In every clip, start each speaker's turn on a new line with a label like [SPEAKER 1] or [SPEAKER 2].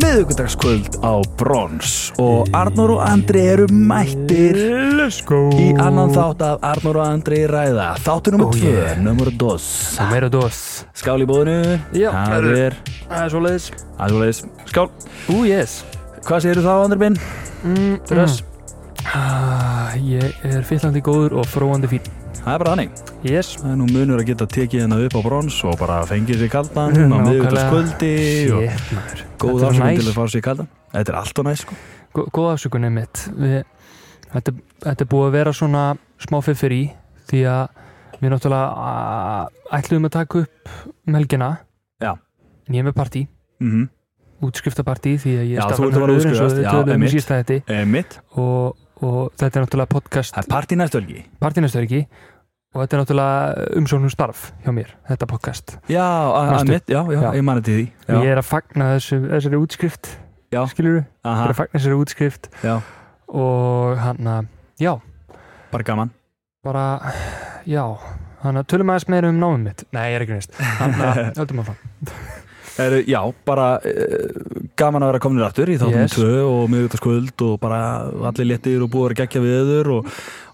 [SPEAKER 1] miðugudagskvöld á Brons og Arnur og Andri eru mættir
[SPEAKER 2] Let's go
[SPEAKER 1] í annan þátt af Arnur og Andri ræða þáttu nummer 2, Oh, yeah. nummer 2
[SPEAKER 2] Meira dos
[SPEAKER 1] skál í bóðinu
[SPEAKER 2] Já,
[SPEAKER 1] það
[SPEAKER 2] gerðu.
[SPEAKER 1] er
[SPEAKER 2] Það er svo leiðis
[SPEAKER 1] aðjóðleis, skál
[SPEAKER 2] Ú, yes
[SPEAKER 1] hvað segir þá Andri minn?
[SPEAKER 2] Dress Mm, ah, Ég er fyllandi góður og fróandi fín
[SPEAKER 1] það er bara þannig,
[SPEAKER 2] Yes
[SPEAKER 1] það er nú munur að geta tekið hennar upp á Brons og bara fengið sér kaldan á
[SPEAKER 2] Nákvæmlega.
[SPEAKER 1] miðugudagskvöldi og
[SPEAKER 2] Shit, maður
[SPEAKER 1] góð
[SPEAKER 2] Þetta var
[SPEAKER 1] ásökun
[SPEAKER 2] næs.
[SPEAKER 1] til að fá sér kaldan þetta er alltaf næst sko
[SPEAKER 2] Gó- Góð afsökunni mitt Við, þetta, þetta er búið að vera svona smá fiffir í því að við náttúrulega a, ætluðum að taka upp um helgina
[SPEAKER 1] Já.
[SPEAKER 2] En ég er með partí
[SPEAKER 1] mhm,
[SPEAKER 2] útskriftapartí því að ég
[SPEAKER 1] Já,
[SPEAKER 2] er
[SPEAKER 1] þú ert að fara að
[SPEAKER 2] stafræðarmaður eins og
[SPEAKER 1] útskrifast.
[SPEAKER 2] við
[SPEAKER 1] Já,
[SPEAKER 2] töluðum um í
[SPEAKER 1] einmitt.
[SPEAKER 2] sísta þetta
[SPEAKER 1] Eh, mitt,
[SPEAKER 2] og, og þetta er náttúrulega podcast
[SPEAKER 1] það er partí næstu helgi
[SPEAKER 2] partínastörki og þetta er náttúrulega umsóknum starf hjá mér, þetta podcast
[SPEAKER 1] já, að
[SPEAKER 2] Manstu?
[SPEAKER 1] mitt, já, já,
[SPEAKER 2] Já.
[SPEAKER 1] ég mani til því
[SPEAKER 2] ég
[SPEAKER 1] já,
[SPEAKER 2] er að fagna þessu, þessari útskrift
[SPEAKER 1] Já.
[SPEAKER 2] skilur ég er
[SPEAKER 1] aha,
[SPEAKER 2] að fagna þessari útskrift
[SPEAKER 1] já,
[SPEAKER 2] og hann að, já,
[SPEAKER 1] bara gaman
[SPEAKER 2] bara já, hann að tölum aðeins meira um námið mitt nei, ég er ekki neist, hann að, höldum að
[SPEAKER 1] Er, já, bara uh, gaman að vera kominir aftur í þáttum
[SPEAKER 2] Yes.
[SPEAKER 1] yes. 2 og miðugtaskvöld og bara allir léttir og búið að gegja viður og,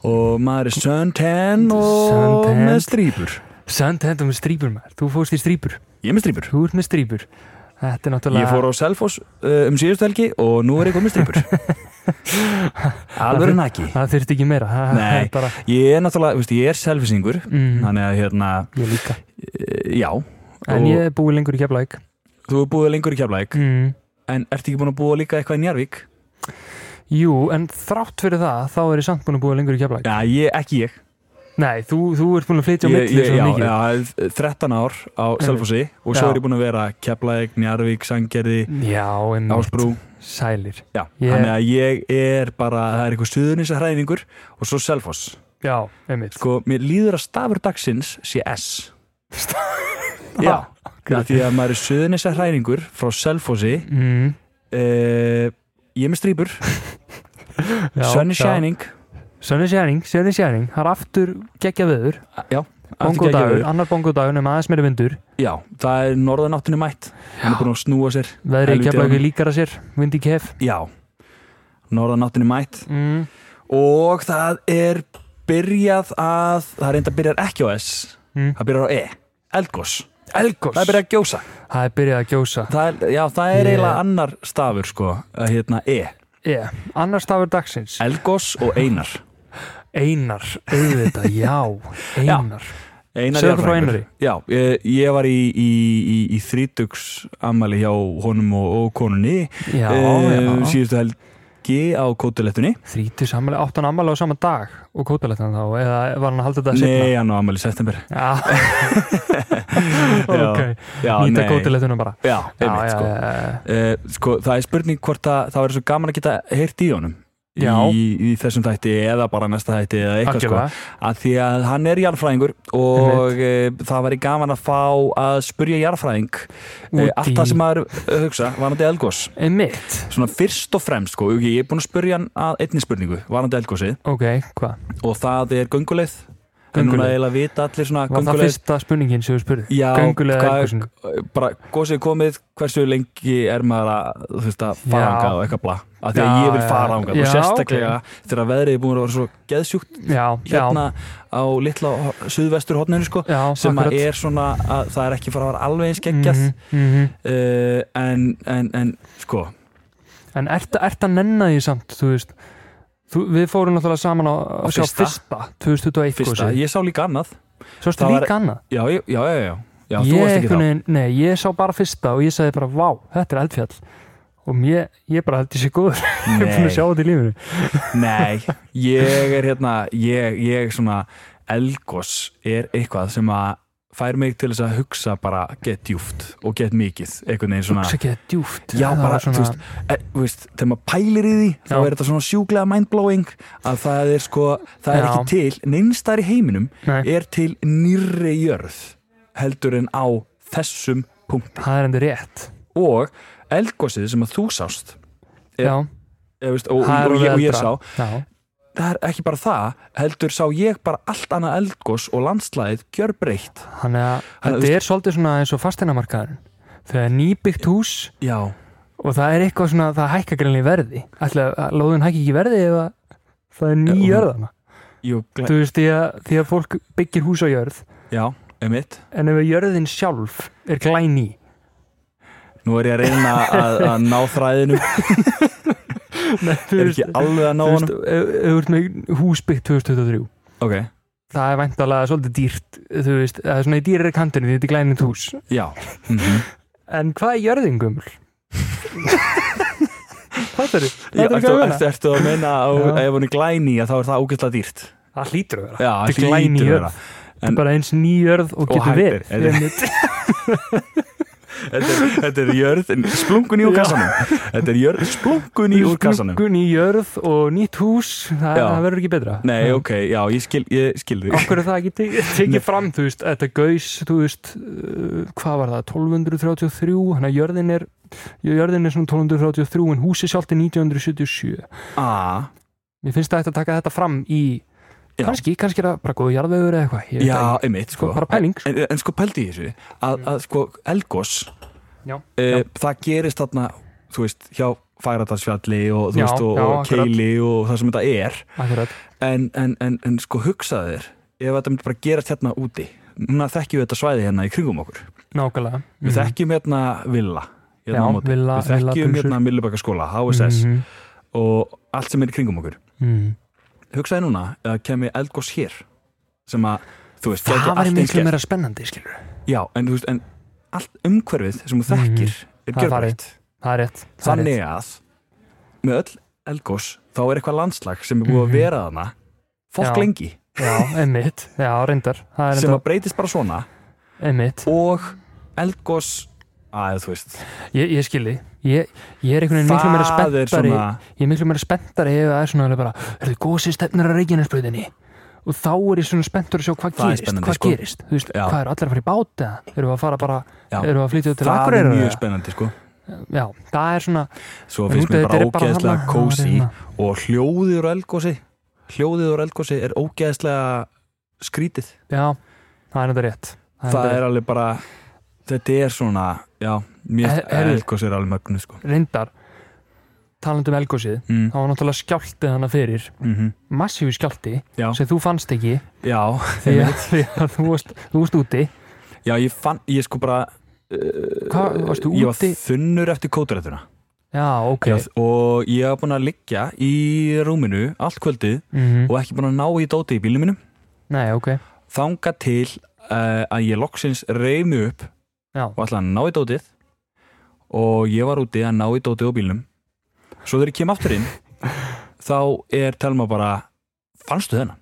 [SPEAKER 1] og maður er suntan og
[SPEAKER 2] Suntan.
[SPEAKER 1] með strýpur
[SPEAKER 2] send þetta með strýpur maður, þú fórst í strýpur
[SPEAKER 1] Ég er með strýpur
[SPEAKER 2] þú ert með strýpur þetta er náttúrulega
[SPEAKER 1] Ég fór á Selfoss uh, um síðustu helgi og nú er ég komið strýpur Alveg naki
[SPEAKER 2] það þurft ekki meira það það
[SPEAKER 1] Nei.
[SPEAKER 2] er bara,
[SPEAKER 1] Ég er náttúrulega, veist, ég er selfisingur
[SPEAKER 2] mm,
[SPEAKER 1] Þannig að hérna,
[SPEAKER 2] ég líka
[SPEAKER 1] eh, já
[SPEAKER 2] en
[SPEAKER 1] Og-
[SPEAKER 2] ég er búið lengur í keflæk
[SPEAKER 1] Þú er búið lengur í Keflæk
[SPEAKER 2] mm.
[SPEAKER 1] En ertu ekki búin að búa líka eitthvað í Njarvík?
[SPEAKER 2] Jú, en þrátt fyrir það, þá er ég samt búin að búa lengur í keflæk.
[SPEAKER 1] Já, ég, ekki ég
[SPEAKER 2] Nei, þú, þú ert búin að flytja á
[SPEAKER 1] Ég-
[SPEAKER 2] milli
[SPEAKER 1] ég-
[SPEAKER 2] svo
[SPEAKER 1] já,
[SPEAKER 2] mikið.
[SPEAKER 1] já, 13 ár á Selfossi og svo
[SPEAKER 2] Já.
[SPEAKER 1] er ég búin að vera Keflæk, Njarvík, Sangerði,
[SPEAKER 2] Já, en
[SPEAKER 1] Ásbrú
[SPEAKER 2] sælir.
[SPEAKER 1] Já,
[SPEAKER 2] Ég-
[SPEAKER 1] þannig að ég er bara, það er eitthvað suðunisa hræðingur og svo Selfoss
[SPEAKER 2] Já, einmitt.
[SPEAKER 1] Sko, mér líður að stafur dagsins sé S Já,
[SPEAKER 2] Ah,
[SPEAKER 1] okay. því að maður er suðunisa hræðingur frá Selfossi
[SPEAKER 2] Mm,
[SPEAKER 1] uh, Ég er með strýpur,
[SPEAKER 2] já,
[SPEAKER 1] Sunny
[SPEAKER 2] já.
[SPEAKER 1] Shining
[SPEAKER 2] Sunny Shining, Sunny Shining, það er aftur geggja veður,
[SPEAKER 1] Já, allt í
[SPEAKER 2] bongodagur,
[SPEAKER 1] geggjaður.
[SPEAKER 2] annar bongodagur nema aðeins meira vindur,
[SPEAKER 1] Já, það er norðanáttunni mætt Hann er búin að snúa sér
[SPEAKER 2] veðri
[SPEAKER 1] Helviti
[SPEAKER 2] ekki að
[SPEAKER 1] annað.
[SPEAKER 2] líkar að sér, vind í kef.
[SPEAKER 1] Já, norðanáttunni mætt
[SPEAKER 2] Mm,
[SPEAKER 1] og það er byrjað að það reynda byrjar ekki á S
[SPEAKER 2] Mm.
[SPEAKER 1] það byrjar á E, eldgós
[SPEAKER 2] Elgos,
[SPEAKER 1] það er byrjað að gjósa
[SPEAKER 2] það er byrjað að gjósa.
[SPEAKER 1] það er, já, það er
[SPEAKER 2] Yeah.
[SPEAKER 1] eiginlega annar stafur sko, að hérna E,
[SPEAKER 2] Yeah. Annar stafur dagsins,
[SPEAKER 1] eldgós og Einar
[SPEAKER 2] Einar, auðvitað, já,
[SPEAKER 1] Já.
[SPEAKER 2] Einar.
[SPEAKER 1] Einar
[SPEAKER 2] Segðu okkur frá
[SPEAKER 1] jarðfræðingur.
[SPEAKER 2] Einari.
[SPEAKER 1] Já, ég, ég var í, í, í, í þrítugs ammali hjá honum og, og konunni eh,
[SPEAKER 2] Já, já.
[SPEAKER 1] síðustu helgi á kótulettunni
[SPEAKER 2] Þrítur sammæli, átt hann ammæli á sama dag og kótalettan þá, eða var hann að halda þetta
[SPEAKER 1] Nei, hann á ammali í september
[SPEAKER 2] Já, ok,
[SPEAKER 1] já,
[SPEAKER 2] nýta
[SPEAKER 1] nei.
[SPEAKER 2] kótalettunum bara
[SPEAKER 1] Já, einmitt,
[SPEAKER 2] já,
[SPEAKER 1] sko.
[SPEAKER 2] já, já.
[SPEAKER 1] Eh, sko, það er spurning hvort að það verður svo gaman að geta heyrt í honum í,
[SPEAKER 2] Já.
[SPEAKER 1] í þessum þætti eða bara næsta þætti eða eitthvað sko
[SPEAKER 2] Algjörlega.
[SPEAKER 1] að því að hann er jarðfræðingur og e, það væri gaman að fá að spurja jarðfræðing e,
[SPEAKER 2] Út í-
[SPEAKER 1] allt það sem maður eh, hugsa varandi eldgós
[SPEAKER 2] Einmitt,
[SPEAKER 1] svona fyrst og fremst sko, ok, ég er búin að spurja hann að einni spurningu varandi eldgósið
[SPEAKER 2] ok, hvað?
[SPEAKER 1] og það er gönguleið en núna
[SPEAKER 2] Gönguleið.
[SPEAKER 1] eiginlega vita allir svona
[SPEAKER 2] Var það
[SPEAKER 1] gönguleið
[SPEAKER 2] fyrsta spurningin sem við spurði?
[SPEAKER 1] Já,
[SPEAKER 2] Göngulega
[SPEAKER 1] hvað-
[SPEAKER 2] eldgósinu
[SPEAKER 1] bara gósið er komið hversu lengi er maður að þú veist að fara
[SPEAKER 2] Já.
[SPEAKER 1] ángað og eitthvað bla af því að
[SPEAKER 2] Já,
[SPEAKER 1] ég vil fara
[SPEAKER 2] já.
[SPEAKER 1] ángað og
[SPEAKER 2] Já,
[SPEAKER 1] sérstaklega þegar veðrið er búin að vera svo geðsjúkt
[SPEAKER 2] Já,
[SPEAKER 1] hérna á litla suðvestur hotninu sko
[SPEAKER 2] já, já,
[SPEAKER 1] sem að
[SPEAKER 2] akkurat.
[SPEAKER 1] er svona að það er ekki fara að vera alveg eins geggjað mm
[SPEAKER 2] Mhm, mhm.
[SPEAKER 1] en, en, en sko
[SPEAKER 2] En ert, ert að nenna því samt, þú veist þú, Við fórum náttúrulega saman á,
[SPEAKER 1] Á
[SPEAKER 2] að sjá
[SPEAKER 1] fyrsta.
[SPEAKER 2] fyrsta 2021
[SPEAKER 1] fyrsta,
[SPEAKER 2] kosið.
[SPEAKER 1] ég sá líka annað
[SPEAKER 2] Svo erstu
[SPEAKER 1] það var-
[SPEAKER 2] líka annað
[SPEAKER 1] já, já, já, já, já. já þú
[SPEAKER 2] ég,
[SPEAKER 1] varst ekki
[SPEAKER 2] einhvern
[SPEAKER 1] þá
[SPEAKER 2] veginn, nei, ég sá bara fyrsta og ég sagði bara, vá, þetta er eldfjall og mér, ég bara held ég sé góður ég er búin að sjá
[SPEAKER 1] nei,
[SPEAKER 2] þetta í lífinu
[SPEAKER 1] nei, ég er hérna ég, ég svona elgos er eitthvað sem að fær mig til þess að hugsa bara get djúft og get mikið einhvern veginn svona
[SPEAKER 2] hugsa ekki það djúft
[SPEAKER 1] Ah. Já,
[SPEAKER 2] Það
[SPEAKER 1] bara,
[SPEAKER 2] var
[SPEAKER 1] þú veist, e, þú veist, þegar maður pælir í því þá
[SPEAKER 2] Já.
[SPEAKER 1] er þetta svona sjúklega mindblowing að það er sko, það er
[SPEAKER 2] Já.
[SPEAKER 1] ekki til neinstar í heiminum
[SPEAKER 2] nei,
[SPEAKER 1] er til nýrri jörð heldur en á þessum punkti
[SPEAKER 2] það er endur rétt
[SPEAKER 1] og eldgósið sem að þú sást Er-
[SPEAKER 2] já,
[SPEAKER 1] ég, veist, og, og,
[SPEAKER 2] Það er
[SPEAKER 1] og,
[SPEAKER 2] alveg
[SPEAKER 1] ég, og ég
[SPEAKER 2] eldra.
[SPEAKER 1] sá
[SPEAKER 2] já,
[SPEAKER 1] það er ekki bara það, heldur sá ég bara allt annað eldgós og landslæðið gjör breytt
[SPEAKER 2] þannig að
[SPEAKER 1] Þannig að
[SPEAKER 2] þetta er svolítið svona eins og fasteinamarkaðurinn þegar nýbyggt hús
[SPEAKER 1] já,
[SPEAKER 2] og það er eitthvað svona, það hækka greinlega í verði ætla að lóðun hækki ekki í verði ef að það er ný
[SPEAKER 1] Já,
[SPEAKER 2] jörðana
[SPEAKER 1] jú, gle-
[SPEAKER 2] þú veist, því að, því að fólk byggir hús á jörð
[SPEAKER 1] já, emitt
[SPEAKER 2] en ef að jörðin sjálf er glæný
[SPEAKER 1] nú er ég að reyna að, að ná þræðinu
[SPEAKER 2] Nei, þú
[SPEAKER 1] er
[SPEAKER 2] veist,
[SPEAKER 1] ekki alveg að ná
[SPEAKER 2] þú veist,
[SPEAKER 1] honum
[SPEAKER 2] ef ef þú ert með hús byggt 2023
[SPEAKER 1] ok,
[SPEAKER 2] það er væntalega svolítið dýrt þú veist, það er svona í dýrari kantinu því þetta er glænint hús
[SPEAKER 1] já mm
[SPEAKER 2] en hvað er jörðin gömul? hvað er
[SPEAKER 1] Já,
[SPEAKER 2] þetta? Þetta er
[SPEAKER 1] ertu,
[SPEAKER 2] ekki að
[SPEAKER 1] ertu,
[SPEAKER 2] vera
[SPEAKER 1] ertu að meina að
[SPEAKER 2] Já.
[SPEAKER 1] ef hún er glæni að þá er það ógæslega dýrt
[SPEAKER 2] það hlýtur að vera
[SPEAKER 1] Já,
[SPEAKER 2] Þetta er glæný
[SPEAKER 1] hlýtur að
[SPEAKER 2] jörð.
[SPEAKER 1] vera.
[SPEAKER 2] þetta
[SPEAKER 1] En-
[SPEAKER 2] er bara eins ný jörð og
[SPEAKER 1] Og
[SPEAKER 2] getur
[SPEAKER 1] hættir, er
[SPEAKER 2] verið Einmitt.
[SPEAKER 1] Þetta er, þetta er jörð, splungun í úr
[SPEAKER 2] Já.
[SPEAKER 1] kassanum Þetta er jörð, splungun í úr kassanum
[SPEAKER 2] Splungun í jörð og nýtt hús það,
[SPEAKER 1] Já.
[SPEAKER 2] það verður ekki betra
[SPEAKER 1] Nei, ok, já, ég skil, ég skil þig
[SPEAKER 2] okkur er það ekki te- tekið fram þú veist, þetta gaus, þú veist uh, hvað var það, 1233 þannig að jörðin er jörðin er svona 1233 en húsi sjálft er 1977
[SPEAKER 1] ah,
[SPEAKER 2] mér finnst það eftir að taka þetta fram í
[SPEAKER 1] Já.
[SPEAKER 2] kannski, kannski er það bara góðu jarðvegur eða eitthvað ég veit
[SPEAKER 1] Já,
[SPEAKER 2] það ekki.
[SPEAKER 1] einmitt, sko
[SPEAKER 2] bara pæling, sko.
[SPEAKER 1] En, en sko pældi ég þessu að, að sko, Elgos
[SPEAKER 2] Mm. Já,
[SPEAKER 1] e, Það gerist þarna, þú veist, hjá Færadalsfjalli og, þú
[SPEAKER 2] Já,
[SPEAKER 1] veist, og,
[SPEAKER 2] já,
[SPEAKER 1] og
[SPEAKER 2] akkurat.
[SPEAKER 1] Keili og það sem þetta er
[SPEAKER 2] akkurat
[SPEAKER 1] en, en, en, en sko hugsaðu þér ef þetta myndi bara gerast hérna úti núna þekkjum við þetta svæði hérna í kringum okkur
[SPEAKER 2] nákvæmlega Mhm.
[SPEAKER 1] við þekkjum hérna Villa hérna
[SPEAKER 2] Já,
[SPEAKER 1] á móti.
[SPEAKER 2] Villa-
[SPEAKER 1] við þekkjum
[SPEAKER 2] Villa-pulsur.
[SPEAKER 1] hérna Millibakaskóla, HSS
[SPEAKER 2] mm
[SPEAKER 1] og allt sem er í kringum okkur
[SPEAKER 2] -hmm.
[SPEAKER 1] hugsaði núna að kemur eldgós hér sem að, þú veist,
[SPEAKER 2] það
[SPEAKER 1] gæti
[SPEAKER 2] var
[SPEAKER 1] allt eins
[SPEAKER 2] miklu
[SPEAKER 1] gert.
[SPEAKER 2] meira spennandi skilur.
[SPEAKER 1] já, en þú veist, en allt umhverfið sem þú þekkir er
[SPEAKER 2] Mhm. Það er
[SPEAKER 1] gjörbreytt
[SPEAKER 2] það er rétt það er rétt.
[SPEAKER 1] þannig að með öll eldgós þá er eitthvað landslag sem er búið
[SPEAKER 2] Mhm.
[SPEAKER 1] að vera þarna fólk
[SPEAKER 2] Já.
[SPEAKER 1] lengi,
[SPEAKER 2] já, einmitt, já, reyndar það er
[SPEAKER 1] sem
[SPEAKER 2] reyndar,
[SPEAKER 1] að breytist bara svona
[SPEAKER 2] einmitt
[SPEAKER 1] og eldgós að þú veist,
[SPEAKER 2] ég, ég skilji, ég, ég er einhvern veginn miklu meira
[SPEAKER 1] það er
[SPEAKER 2] spenntari
[SPEAKER 1] svona
[SPEAKER 2] ég er miklu meira spenntari ef það er svona alveg bara, er þið gósi stefnir að Reykjanesbröðinni og þá er ég svona spenntur að sjá hvað
[SPEAKER 1] Það er
[SPEAKER 2] gerist,
[SPEAKER 1] spennandi,
[SPEAKER 2] hvað
[SPEAKER 1] sko.
[SPEAKER 2] gerist þú veist,
[SPEAKER 1] Já.
[SPEAKER 2] hvað er allir að fara í bát eða eru að fara bara,
[SPEAKER 1] Já.
[SPEAKER 2] eru að flytja út til
[SPEAKER 1] það er
[SPEAKER 2] Akureyrar
[SPEAKER 1] mjög
[SPEAKER 2] eða?
[SPEAKER 1] spennandi sko
[SPEAKER 2] já, það er svona
[SPEAKER 1] Svo
[SPEAKER 2] En
[SPEAKER 1] finnst
[SPEAKER 2] út af
[SPEAKER 1] mér
[SPEAKER 2] þetta
[SPEAKER 1] bara
[SPEAKER 2] er hérna- bara
[SPEAKER 1] ógeðslega
[SPEAKER 2] þarna-
[SPEAKER 1] kósi
[SPEAKER 2] þarna.
[SPEAKER 1] og hljóðið úr eldgósi hljóðið úr eldgósi er ógeðslega skrítið.
[SPEAKER 2] já, það er þetta rétt
[SPEAKER 1] Það,
[SPEAKER 2] reyndar-
[SPEAKER 1] er alveg bara þetta er svona, já mér,
[SPEAKER 2] Eh, heyrðu.
[SPEAKER 1] eldgósi er alveg mögnu sko
[SPEAKER 2] reyndar talandum elgósið,
[SPEAKER 1] mm,
[SPEAKER 2] það var náttúrulega skjáltið hana fyrir,
[SPEAKER 1] mm
[SPEAKER 2] massífu skjálti
[SPEAKER 1] Já.
[SPEAKER 2] sem þú fannst ekki
[SPEAKER 1] Já,
[SPEAKER 2] því að, því að þú, varst, þú varst úti
[SPEAKER 1] já ég fann, ég sko bara
[SPEAKER 2] hvað, varstu
[SPEAKER 1] ég var
[SPEAKER 2] úti?
[SPEAKER 1] þunnur eftir kóturættuna
[SPEAKER 2] já, ok
[SPEAKER 1] okay. og ég var búin að liggja í rúminu allt kvöldið
[SPEAKER 2] Mhm.
[SPEAKER 1] og ekki búin að ná í dóti í bílum minum
[SPEAKER 2] nei, ok,
[SPEAKER 1] þanga til uh, að ég loksins reyf mig upp
[SPEAKER 2] já,
[SPEAKER 1] og ætlaði að ná í dótið og ég var úti að ná í dótið á bílnum svo þegar ég kem aftur inn þá er Telma bara fannstu þennan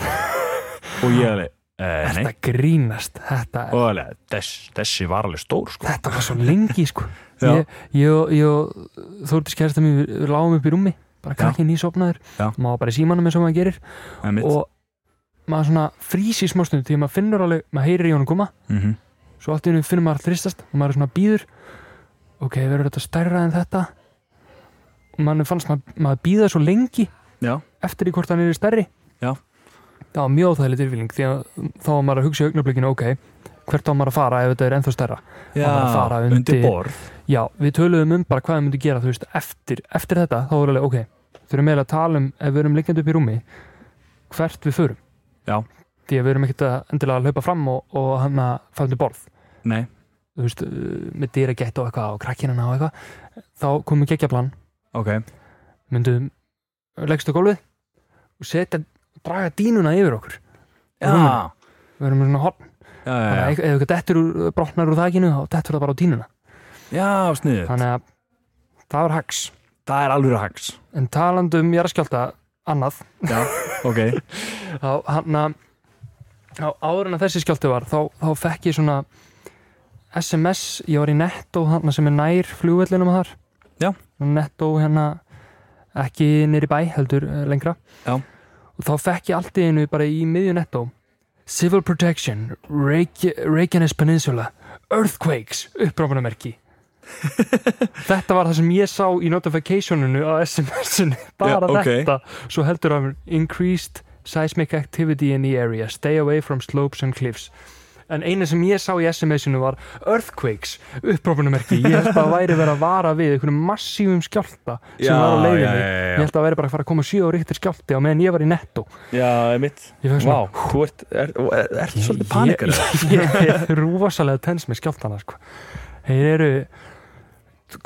[SPEAKER 1] og ég alveg eh, nei
[SPEAKER 2] þetta grínast þetta,
[SPEAKER 1] og alveg þess, þessi var alveg stór sko
[SPEAKER 2] þetta var svo lengi sko
[SPEAKER 1] Já.
[SPEAKER 2] ég, ég, og- ég og Þórdís kærasta mín við, við lágum upp í rúmi bara
[SPEAKER 1] Já.
[SPEAKER 2] krakkin nýsopnaður
[SPEAKER 1] Já.
[SPEAKER 2] maður bara í símanum eins og maður gerir
[SPEAKER 1] Einmitt.
[SPEAKER 2] og maður svona frýs í smástund því að maður finnur alveg, maður heyrir í honum koma
[SPEAKER 1] Mhm.
[SPEAKER 2] svo allt í hennu finnur maður þristast og maður er svona býður ok, verður þetta stærra en þetta og mann fannst maður, maður býða svo lengi
[SPEAKER 1] já,
[SPEAKER 2] eftir því hvort hann er stærri
[SPEAKER 1] Já.
[SPEAKER 2] það var mjög óþægileg tilfélning því að þá var maður að hugsa í augnablikinu ok, hvert á maður að fara ef þetta er ennþá stærra
[SPEAKER 1] já
[SPEAKER 2] bara að fara
[SPEAKER 1] undir,
[SPEAKER 2] undir-
[SPEAKER 1] borð
[SPEAKER 2] já, við töluðum um bara hvað við myndum gera þú veist, eftir, eftir þetta þá var alveg ok, þurfum eiginlega að tala um ef við erum liggjandi upp í rúmi hvert við förum
[SPEAKER 1] Já.
[SPEAKER 2] því að við erum ekkert að endilega að hlaupa fram og, og hann að fara undir borð
[SPEAKER 1] nei,
[SPEAKER 2] þú veist, uh, með dýra gett og eitthvað og krakkinana og eitthvað þá komum við geggjaplan,
[SPEAKER 1] ok
[SPEAKER 2] myndum eh, leggst á gólfið og setja draga dínuna yfir okkur
[SPEAKER 1] já,
[SPEAKER 2] Rúminu. við erum með svona horn,
[SPEAKER 1] já, já,
[SPEAKER 2] þannig að
[SPEAKER 1] já,
[SPEAKER 2] ef- ef eitthvað dettur úr, eh, brotnar úr þakinu þá dettur það bara á dínuna
[SPEAKER 1] já sniðu
[SPEAKER 2] þannig að það var hags
[SPEAKER 1] það er alveg hags
[SPEAKER 2] en um talandum jarðskjálta annað
[SPEAKER 1] já, ok,
[SPEAKER 2] þá hann að á áður en að þessi skjálti var þá, þá fekk ég svona SMS, ég var í Netto þarna sem er nær flugvellinum þar
[SPEAKER 1] Já.
[SPEAKER 2] Netto hérna ekki nýri bæ heldur eh, lengra
[SPEAKER 1] Já.
[SPEAKER 2] og þá fekk ég allt í einu bara í miðju Netto Civil Protection Reykj Reykjanes Peninsula Earthquakes, uppráfunamerki Þetta var það sem ég sá í notificationinu á SMS-inu bara
[SPEAKER 1] Já, ok.
[SPEAKER 2] þetta svo heldur hann increased seismic activity in the area stay away from slopes and cliffs en eina sem ég sá í SMS-inu var earthquakes, upprópunumerki ég held að það væri verið að vara við einhvernum massífum skjálta sem var á leiðinni ég
[SPEAKER 1] já,
[SPEAKER 2] held að það væri bara að fara að koma sjö og ríktir skjálti á meðan ég var í netto
[SPEAKER 1] já, einmitt
[SPEAKER 2] ég fekk
[SPEAKER 1] Vá, þú ert, er, er, er svolítið panikar
[SPEAKER 2] ég, ég er rosalega tens með skjáltana sko. þeir eru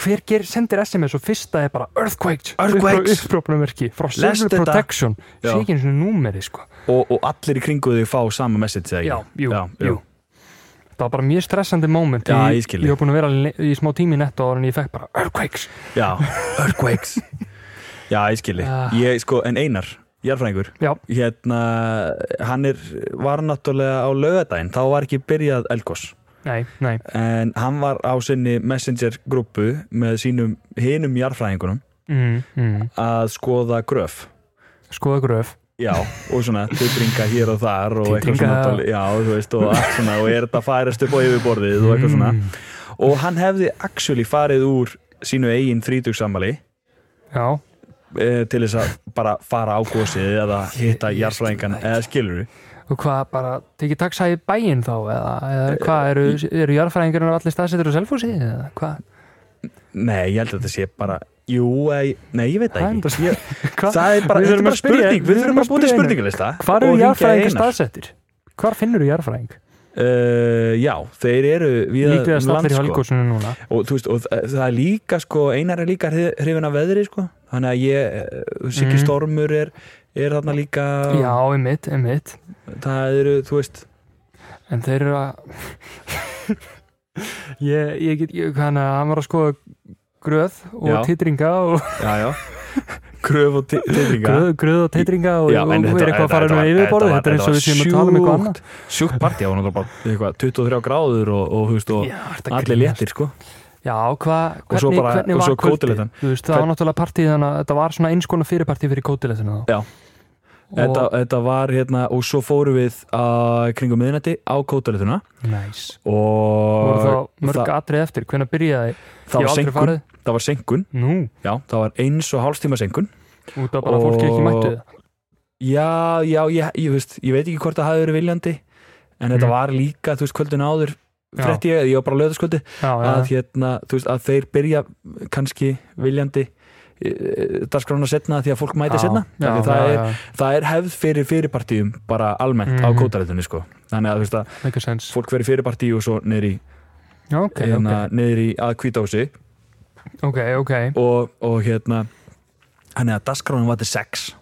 [SPEAKER 2] hver ger, sendir SMS og fyrsta er bara earthquakes,
[SPEAKER 1] Earthquakes.
[SPEAKER 2] upprópunumerki frá
[SPEAKER 1] Lest
[SPEAKER 2] Civil
[SPEAKER 1] þetta.
[SPEAKER 2] Protection
[SPEAKER 1] Já.
[SPEAKER 2] sé ekki eins og númeri sko.
[SPEAKER 1] og, og allir í kringu þig fá sama message eða ekki?
[SPEAKER 2] já, jú,
[SPEAKER 1] já,
[SPEAKER 2] jú. það var bara mjög stressandi moment
[SPEAKER 1] Já,
[SPEAKER 2] ég,
[SPEAKER 1] ég skil þig.
[SPEAKER 2] var búin að vera le- í smá tími í netto ára en ég fekk bara earthquakes
[SPEAKER 1] já. Earthquakes Já, ég skilji
[SPEAKER 2] Ah.
[SPEAKER 1] Ég, sko, en Einar, jarfræðingur
[SPEAKER 2] já,
[SPEAKER 1] hérna, hann er, var náttúrulega á lögadaginn, þá var ekki byrjað Elgos,
[SPEAKER 2] nei, nei
[SPEAKER 1] en hann var á sinni messenger grúpu með sínum hinum jarfræðingunum
[SPEAKER 2] mm, mm.
[SPEAKER 1] að skoða gröf
[SPEAKER 2] skoða gröf
[SPEAKER 1] Já, og svona titringa hér og þar og eitthvað
[SPEAKER 2] Titringa.
[SPEAKER 1] svona, náttúrulega- já, þú veist, og allt svona og er þetta að færast upp á yfirborðið og eitthvað svona
[SPEAKER 2] Mm,
[SPEAKER 1] og hann hefði actually farið úr sínu eigin þrítugsammali
[SPEAKER 2] já,
[SPEAKER 1] eh, til þess að bara fara á gósið eða hitta jarfræðingan eða skilur
[SPEAKER 2] og hvað bara tekið taxa í bæinn þá eða, eða
[SPEAKER 1] Eh,
[SPEAKER 2] hvað eru, eru jarðfræðingarnir allir staðsettur á selfhúsi eða hvað
[SPEAKER 1] Nei, ég held að þetta sé bara Jú, ei, nei, ég veit það
[SPEAKER 2] Það
[SPEAKER 1] ekki
[SPEAKER 2] er
[SPEAKER 1] ég,
[SPEAKER 2] Hva?
[SPEAKER 1] Það er bara, þetta er
[SPEAKER 2] Við þurfum
[SPEAKER 1] bara
[SPEAKER 2] að spyrja-
[SPEAKER 1] spurning
[SPEAKER 2] við
[SPEAKER 1] Við
[SPEAKER 2] þurfum
[SPEAKER 1] þurfum
[SPEAKER 2] að
[SPEAKER 1] að búti
[SPEAKER 2] spyrja
[SPEAKER 1] spurningalista og
[SPEAKER 2] hvar eru
[SPEAKER 1] hringja í
[SPEAKER 2] jarðfræðingar
[SPEAKER 1] Einar.
[SPEAKER 2] staðsettir hvar finnur jarðfræðing
[SPEAKER 1] Uh, já, þeir eru víða
[SPEAKER 2] líklega
[SPEAKER 1] um land,
[SPEAKER 2] staðir í
[SPEAKER 1] sko.
[SPEAKER 2] helgósinu núna
[SPEAKER 1] og, þú veist, og þa- það er líka sko, einar er líka hrif- hrifin af veðri sko. þannig að ég, eh, Siggi
[SPEAKER 2] Mm.
[SPEAKER 1] Stormur er, er þarna líka
[SPEAKER 2] já, einmitt, einmitt
[SPEAKER 1] það eru, þú veist
[SPEAKER 2] en þeir eru að ég, ég get ég, hann, hann var að skoða gröð og
[SPEAKER 1] Já.
[SPEAKER 2] titringa og
[SPEAKER 1] já, já. kröf og tilringa
[SPEAKER 2] gröð, gröð og titringa og, og við erum eitthvað að fara nú yfir borðið þetta er eins og við séum að tala um eitthvað annað
[SPEAKER 1] sjúkt partí, það var náttúrulega bara eitthvað 23 gráður og, og, þú veist, og
[SPEAKER 2] Já, ertu að
[SPEAKER 1] allir
[SPEAKER 2] grínast?
[SPEAKER 1] léttir sko.
[SPEAKER 2] Já, hvað,
[SPEAKER 1] Og svo
[SPEAKER 2] hvernig,
[SPEAKER 1] bara-
[SPEAKER 2] hvernig
[SPEAKER 1] og
[SPEAKER 2] var
[SPEAKER 1] svo kótilettan.
[SPEAKER 2] Þú veist, það var náttúrulega partíð þannig að þetta var svona eins konar fyrirpartíð fyrir kótilettina þá.
[SPEAKER 1] Já. þetta,
[SPEAKER 2] Og,
[SPEAKER 1] þetta var hérna og svo fórum við að kringum miðnætti á kótalituna
[SPEAKER 2] næs. Og
[SPEAKER 1] og
[SPEAKER 2] voru þá mörg
[SPEAKER 1] það,
[SPEAKER 2] atrið eftir, hvernig byrjaði?
[SPEAKER 1] það, var
[SPEAKER 2] Ég hef aldrei
[SPEAKER 1] senkun,
[SPEAKER 2] farið.
[SPEAKER 1] það var senkun
[SPEAKER 2] Nú,
[SPEAKER 1] já, það var eins og hálfstíma senkun
[SPEAKER 2] út af bara
[SPEAKER 1] Og-
[SPEAKER 2] fólki ekki mættu það.
[SPEAKER 1] Já, já, ég, ég, veist, ég veit ekki hvort það hafi verið viljandi en þetta
[SPEAKER 2] Mm.
[SPEAKER 1] var líka, þú veist, kvöldin áður
[SPEAKER 2] Já.
[SPEAKER 1] frett ég, ég var bara löðaskvöldi
[SPEAKER 2] Já,
[SPEAKER 1] að,
[SPEAKER 2] já,
[SPEAKER 1] hérna, þú veist, að þeir byrja kannski viljandi eh, dagskrána setna því að fólk mæti
[SPEAKER 2] já,
[SPEAKER 1] setna
[SPEAKER 2] já,
[SPEAKER 1] það, það,
[SPEAKER 2] já,
[SPEAKER 1] er,
[SPEAKER 2] já,
[SPEAKER 1] það er hefð fyrir fyrirpartíum bara almennt á
[SPEAKER 2] Mhm.
[SPEAKER 1] kótarættunni sko. þannig að, þú veist, að
[SPEAKER 2] make a sense.
[SPEAKER 1] fólk verið fyrirpartí og svo niður í,
[SPEAKER 2] Já, ok,
[SPEAKER 1] hérna, niður í að kvítási
[SPEAKER 2] ok, ok, ok,
[SPEAKER 1] og, og hérna þannig að dagskrána var til sex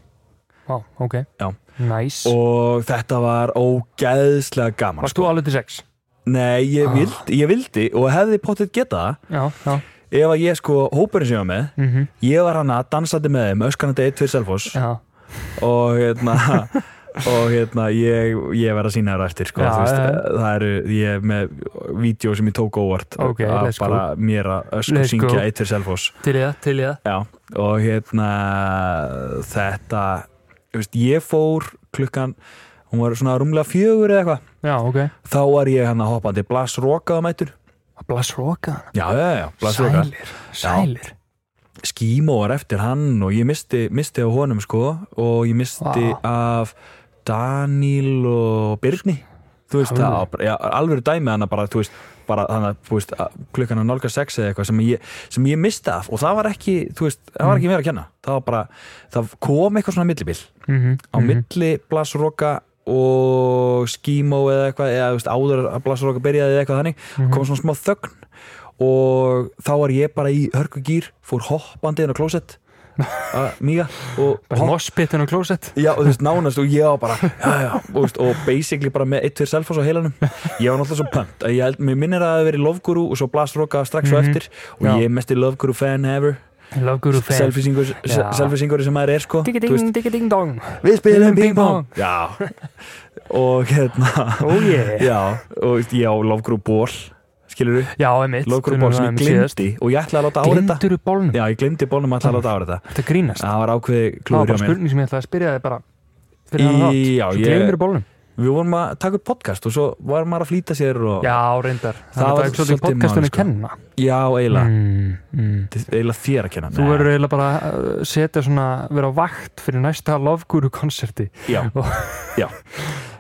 [SPEAKER 2] Vá, ok,
[SPEAKER 1] Já.
[SPEAKER 2] næs.
[SPEAKER 1] og þetta var ógeðslega gaman sko.
[SPEAKER 2] Varst þú alveg til sex?
[SPEAKER 1] Nei, ég,
[SPEAKER 2] Ah.
[SPEAKER 1] vildi, ég vildi og hefði potið geta það
[SPEAKER 2] Já, já,
[SPEAKER 1] ef að ég sko, hópurinn sem ég var með
[SPEAKER 2] mhm,
[SPEAKER 1] ég var hana dansandi með þeim, öskanandi 1 fyrir Selfoss
[SPEAKER 2] já.
[SPEAKER 1] og hérna og hérna, ég, ég verð að sína þér á eftir sko,
[SPEAKER 2] Já,
[SPEAKER 1] þú veist,
[SPEAKER 2] já, já.
[SPEAKER 1] það eru ég er með vídeo sem ég tók óvart
[SPEAKER 2] Ok,
[SPEAKER 1] að
[SPEAKER 2] let's go.
[SPEAKER 1] bara mér að ösku
[SPEAKER 2] Let's go.
[SPEAKER 1] syngja 1 fyrir Selfoss
[SPEAKER 2] Til í það, til í það.
[SPEAKER 1] Já, og hérna þetta, þú veist, ég fór klukkan, hún var svona rúmlega fjögur eða eitthvað,
[SPEAKER 2] Já, ok.
[SPEAKER 1] þá var ég hana hoppandi blassrokaða mættur
[SPEAKER 2] Blass rokaðan.
[SPEAKER 1] Já, já, já, blaðsvöka
[SPEAKER 2] Sælir, sælir.
[SPEAKER 1] Skímó var eftir hann og ég misti, misti á honum sko og ég misti
[SPEAKER 2] Vá.
[SPEAKER 1] af Daniel og Birni þú veist,
[SPEAKER 2] Alvöru.
[SPEAKER 1] það, var bara- já, alveg dæmi hana bara, þú veist, bara hana, þú veist, að- klukkan að nálga sex eða eitthvað sem ég, sem ég misti af og það var ekki, þú veist, það
[SPEAKER 2] Mm.
[SPEAKER 1] var ekki mér að kenna það var bara, það kom eitthvað svona millibill
[SPEAKER 2] Mhm,
[SPEAKER 1] á
[SPEAKER 2] mhm.
[SPEAKER 1] milli blasroka og skímó eða eitthvað eða þú veist, áður að blasroka byrjaði eða eitthvað þannig
[SPEAKER 2] Mhm.
[SPEAKER 1] kom svona smá þögn og þá var ég bara í hörkugýr fór hoppandi inn á klósett að mýga og
[SPEAKER 2] Bara
[SPEAKER 1] hopp-
[SPEAKER 2] mosspittin og klósett.
[SPEAKER 1] Já, og þú veist, nánast og ég var bara já, já, og, þú veist, og basically bara með eitt fyrir selfos á heilanum ég var náttúrulega svo pönt að ég held, mér minnir að það hafi verið Lofguru og svo Blasroka strax svo
[SPEAKER 2] Mhm.
[SPEAKER 1] eftir og
[SPEAKER 2] Já.
[SPEAKER 1] ég er mesti Lofguru fan ever
[SPEAKER 2] Love Guru fan.
[SPEAKER 1] selfisinguri
[SPEAKER 2] Já.
[SPEAKER 1] selfisinguri sem maður er sko
[SPEAKER 2] Digga
[SPEAKER 1] Þú veist,
[SPEAKER 2] ding, digga ding dong
[SPEAKER 1] við
[SPEAKER 2] Spilum
[SPEAKER 1] spilum
[SPEAKER 2] ping-pong.
[SPEAKER 1] ping-pong já og hérna
[SPEAKER 2] Ó ég
[SPEAKER 1] já, og veist, ég á lofgrú ból skilur
[SPEAKER 2] Já, emitt
[SPEAKER 1] lofgrú ból sem ég glemdi og ég ætlaði að láta árita
[SPEAKER 2] Glimdur upp bólnum
[SPEAKER 1] já, ég glemdi bólnum að ætlaði að láta árita
[SPEAKER 2] Þetta grínast
[SPEAKER 1] það var ákveði
[SPEAKER 2] Það var
[SPEAKER 1] klúður
[SPEAKER 2] bara
[SPEAKER 1] hjá mér
[SPEAKER 2] spurning sem ég ætlaði að spyrja þig bara
[SPEAKER 1] Í-
[SPEAKER 2] Fyrir hann þátt
[SPEAKER 1] já,
[SPEAKER 2] Svo
[SPEAKER 1] ég-
[SPEAKER 2] glemdur upp bólnum
[SPEAKER 1] við vorum að taka upp podcast og svo var maður að flýta sér og
[SPEAKER 2] Já, reyndar
[SPEAKER 1] Það
[SPEAKER 2] Það
[SPEAKER 1] var
[SPEAKER 2] var ekki svolítið
[SPEAKER 1] svolítið
[SPEAKER 2] podcastunni
[SPEAKER 1] málið, sko.
[SPEAKER 2] að kenna
[SPEAKER 1] já eiginlega
[SPEAKER 2] mm, mm.
[SPEAKER 1] Þetta er eiginlega þér að kenna
[SPEAKER 2] Þú verður eiginlega bara að uh, setja svona vera á vakt fyrir næsta lofgúru konserti
[SPEAKER 1] já,
[SPEAKER 2] Og-
[SPEAKER 1] já.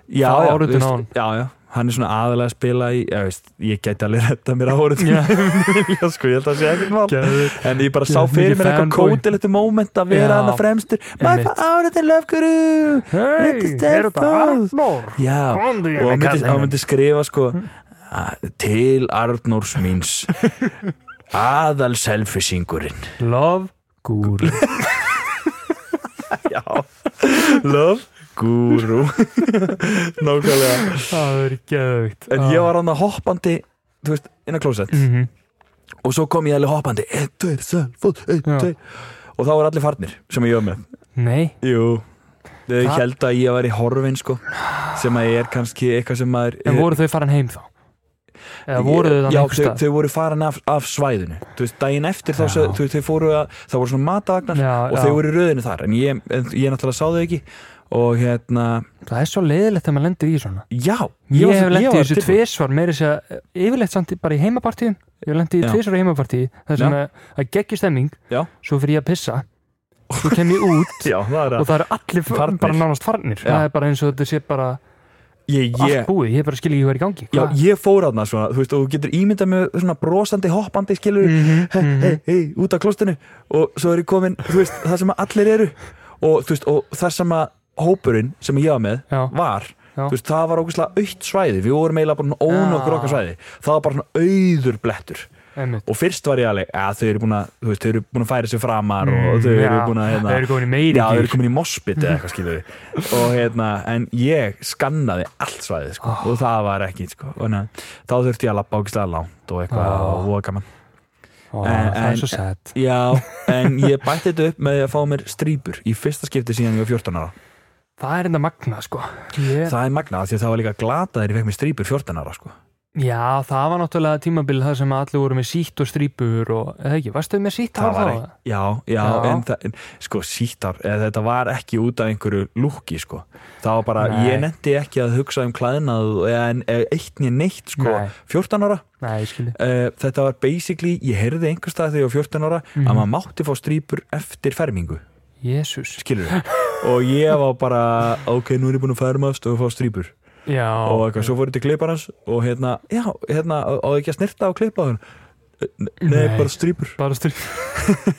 [SPEAKER 1] já,
[SPEAKER 2] Fá
[SPEAKER 1] já,
[SPEAKER 2] áritun
[SPEAKER 1] veist,
[SPEAKER 2] á hann.
[SPEAKER 1] já, já, hann er svona aðalega að spila í, já, veist, ég gæti alveg retta mér áritun
[SPEAKER 2] Já.
[SPEAKER 1] já, sko, ég held að sé ekkert mál
[SPEAKER 2] Geðveikt.
[SPEAKER 1] en ég bara sá
[SPEAKER 2] Geðveikt
[SPEAKER 1] fyrir mér
[SPEAKER 2] mikið
[SPEAKER 1] eitthvað
[SPEAKER 2] fanboy.
[SPEAKER 1] kótilegt moment að vera
[SPEAKER 2] Já.
[SPEAKER 1] hann að fremstur maður
[SPEAKER 2] Einmitt.
[SPEAKER 1] fá áritun löfguru
[SPEAKER 2] Hei,
[SPEAKER 1] Þetta er
[SPEAKER 2] er þetta
[SPEAKER 1] það.
[SPEAKER 2] Arnór?
[SPEAKER 1] já, og
[SPEAKER 2] Komdu hérna,
[SPEAKER 1] hann myndi, hann
[SPEAKER 2] kallinn minn.
[SPEAKER 1] myndi skrifa sko að- til Arnórs míns aðal selfisingurinn
[SPEAKER 2] Lofgúru
[SPEAKER 1] já, love guru nákvæmlega
[SPEAKER 2] Það er geðvikt
[SPEAKER 1] En ég var hann að hoppandi Þú veist, inn að klósett
[SPEAKER 2] -hmm.
[SPEAKER 1] Og svo kom ég alveg hoppandi Einn, tveir, selfóð, einn,
[SPEAKER 2] Já.
[SPEAKER 1] tveir Og þá var allir farnir sem ég var með
[SPEAKER 2] Nei,
[SPEAKER 1] Jú Þau
[SPEAKER 2] Það-
[SPEAKER 1] held að ég var í horfin sko Sem að ég er kannski eitthvað sem maður
[SPEAKER 2] en voru þau farin heim þá? Eða voru þau þannig
[SPEAKER 1] Já,
[SPEAKER 2] einhver
[SPEAKER 1] þau,
[SPEAKER 2] stað?
[SPEAKER 1] þau voru farin af, af svæðinu Þú veist, daginn eftir þá
[SPEAKER 2] Já.
[SPEAKER 1] sög- þau, þau fóru að Það voru svona matavagnar
[SPEAKER 2] Já,
[SPEAKER 1] Og
[SPEAKER 2] já.
[SPEAKER 1] þau voru í röðinu þar En ég, en ég náttúrulega sá þau ekki Og hérna,
[SPEAKER 2] Það er svo leiðilegt þegar maður lendir í svona
[SPEAKER 1] já
[SPEAKER 2] Ég,
[SPEAKER 1] var-
[SPEAKER 2] hef lendið í
[SPEAKER 1] var
[SPEAKER 2] þessu
[SPEAKER 1] tilbúin.
[SPEAKER 2] tvisvar meiri sér yfirleitt samt í- bara í heimapartíum Ég hef lendið í
[SPEAKER 1] Já.
[SPEAKER 2] tvisvar í heimapartíu Það er
[SPEAKER 1] Já.
[SPEAKER 2] sem að- að geggju stemming
[SPEAKER 1] Já.
[SPEAKER 2] Svo fyrir ég að pissa Svo kem ég út
[SPEAKER 1] Já, það er
[SPEAKER 2] og
[SPEAKER 1] að
[SPEAKER 2] það eru allir f-
[SPEAKER 1] Farnir.
[SPEAKER 2] bara nánast farnir
[SPEAKER 1] Já.
[SPEAKER 2] Það er bara eins og þetta sé bara
[SPEAKER 1] Ég, ég,
[SPEAKER 2] allt búið Ég bara skil ekki hvað er í gangi
[SPEAKER 1] Já, ég fór aðna svona, þú veist, og þú getur ímyndað með svona brosandi, hoppandi, skilur mm
[SPEAKER 2] Mhm,
[SPEAKER 1] hei, hei, út af klostinu og svo er ég komin, þú veist, það sem að allir eru og þú veist, og þar sem að hópurinn sem ég var með
[SPEAKER 2] Já.
[SPEAKER 1] var
[SPEAKER 2] Já.
[SPEAKER 1] þú veist, það var ógustlega aukt svæði við vorum eiginlega bara svona ónokkur
[SPEAKER 2] Já.
[SPEAKER 1] okkar svæði það var bara svona auður blettur
[SPEAKER 2] Einmitt.
[SPEAKER 1] og fyrst var ég alveg, að þau eru búin að þú veist, þau eru búin að færa sig framar og
[SPEAKER 2] Mm,
[SPEAKER 1] þau eru
[SPEAKER 2] já.
[SPEAKER 1] búin að, hérna,
[SPEAKER 2] Þau eru komin í Mhm. meiri
[SPEAKER 1] já, þau eru
[SPEAKER 2] gír.
[SPEAKER 1] komin í mospit eða eitthvað skilur við og hérna, en ég skannaði allt svæðið, sko,
[SPEAKER 2] Ah.
[SPEAKER 1] og það var ekki sko, og na, þá þurfti ég að lappa ákislega langt og eitthvað,
[SPEAKER 2] Ah.
[SPEAKER 1] og voða gaman
[SPEAKER 2] Ó,
[SPEAKER 1] En-
[SPEAKER 2] Það
[SPEAKER 1] en-
[SPEAKER 2] er svo sad
[SPEAKER 1] já, en ég bætti þetta upp með því að fá mér strýpur í fyrsta skipti síðan ég var 14 ára
[SPEAKER 2] Það er enda magna sko ég,
[SPEAKER 1] það er magnað, af því að það var líka glatað þegar ég fekk mér strýpur 14 ára, sko
[SPEAKER 2] Já, það var náttúrulega tímabil það sem allir voru með sítt og strípur og, eða ekki, varstu með sítt hár þá?
[SPEAKER 1] ekki, já, já,
[SPEAKER 2] Já.
[SPEAKER 1] en það, en, sko, sítar, eða þetta var ekki út af einhverju lúki, sko. Það var bara,
[SPEAKER 2] Nei.
[SPEAKER 1] ég nefndi ekki að hugsa um klæðnað en eða eitt nýja neitt, sko,
[SPEAKER 2] Nei.
[SPEAKER 1] 14 ára.
[SPEAKER 2] Nei, ég skilji.
[SPEAKER 1] Uh, þetta var basically, ég heyrði einhvers stað þegar ég var 14 ára
[SPEAKER 2] Mhm.
[SPEAKER 1] að maður mátti fá strýpur eftir fermingu,
[SPEAKER 2] Jésús.
[SPEAKER 1] skilur og ég var bara, ok, nú er ég búin að fermast og fá strýpur
[SPEAKER 2] Já.
[SPEAKER 1] og eitthvað, svo fór ég til klipparans og hérna, já, hérna, á á ekki að snirta á klippaðun nei,
[SPEAKER 2] Nei.
[SPEAKER 1] bara strýpur
[SPEAKER 2] Bara strípur.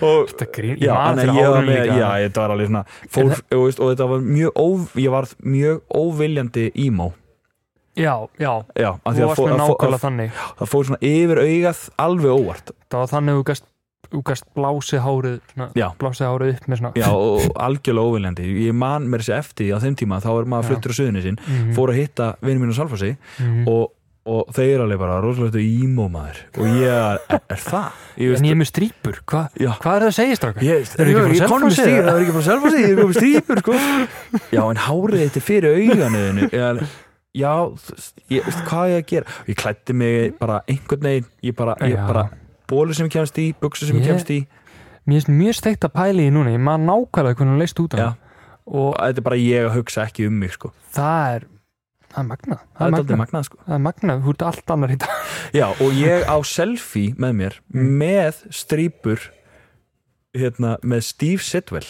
[SPEAKER 1] og
[SPEAKER 2] Þetta grín.
[SPEAKER 1] Já, þannig
[SPEAKER 2] man eftir
[SPEAKER 1] að ég var
[SPEAKER 2] árunum
[SPEAKER 1] með,
[SPEAKER 2] líka.
[SPEAKER 1] já, þetta var alveg svona fólk,
[SPEAKER 2] En
[SPEAKER 1] og, veist, og þetta var mjög óv, ég varð mjög óviljandi emo
[SPEAKER 2] Já, já.
[SPEAKER 1] Já, af því
[SPEAKER 2] Þú
[SPEAKER 1] að
[SPEAKER 2] varst
[SPEAKER 1] fó-
[SPEAKER 2] með
[SPEAKER 1] að fó-
[SPEAKER 2] nákvæmlega
[SPEAKER 1] að-
[SPEAKER 2] þannig.
[SPEAKER 1] það fór svona yfir augað alveg óvart
[SPEAKER 2] Það var þannig að þú gast, þú gast blásið hárið, svona,
[SPEAKER 1] Já.
[SPEAKER 2] blásið hárið upp með svona.
[SPEAKER 1] Já, og og algjörlega óviljandi Ég man mér þessi eftir því á þeim tíma þá er maður
[SPEAKER 2] Já.
[SPEAKER 1] fluttur á suðunni sinn
[SPEAKER 2] Mhm,
[SPEAKER 1] fór að hitta vinur mín á Salfossi
[SPEAKER 2] mhm.
[SPEAKER 1] og, og þeir eru alveg bara rosalega emo maður og ég er, er það Ég
[SPEAKER 2] En
[SPEAKER 1] veist,
[SPEAKER 2] ég er með strípur, hva,
[SPEAKER 1] Já.
[SPEAKER 2] hvað er það að segja strákar?
[SPEAKER 1] Ég veist,
[SPEAKER 2] Eru ekki frá
[SPEAKER 1] ég er komin með
[SPEAKER 2] Selfossi,
[SPEAKER 1] stígur,
[SPEAKER 2] eða?
[SPEAKER 1] það er ekki frá Selfossi, ég er komin með stígur, sko. Já, en hárið þetta er fyrir auganuðinu. Já, þú veist, ég veist, hvað á ég að gera? Ég klætti mig bara einhvern veginn, ég bara, ég
[SPEAKER 2] Já.
[SPEAKER 1] bara, bólu sem ég kemst í, buksu sem ég
[SPEAKER 2] Ég-
[SPEAKER 1] kemst í.
[SPEAKER 2] Mér finnst mjög steikt að pæli í núna, ég man nákvæmlega hvernig hún leist út af
[SPEAKER 1] Já.
[SPEAKER 2] það. Og
[SPEAKER 1] Og þetta er bara ég að hugsa ekki um mig, sko.
[SPEAKER 2] það er, það er magnað.
[SPEAKER 1] Það er alltaf
[SPEAKER 2] magnað.
[SPEAKER 1] magnað, sko.
[SPEAKER 2] Það er magnað, þú ert allt annar í dag.
[SPEAKER 1] Já, og ég á selfie með mér,
[SPEAKER 2] Mm.
[SPEAKER 1] með strípur, hérna, með Steve Sidwell.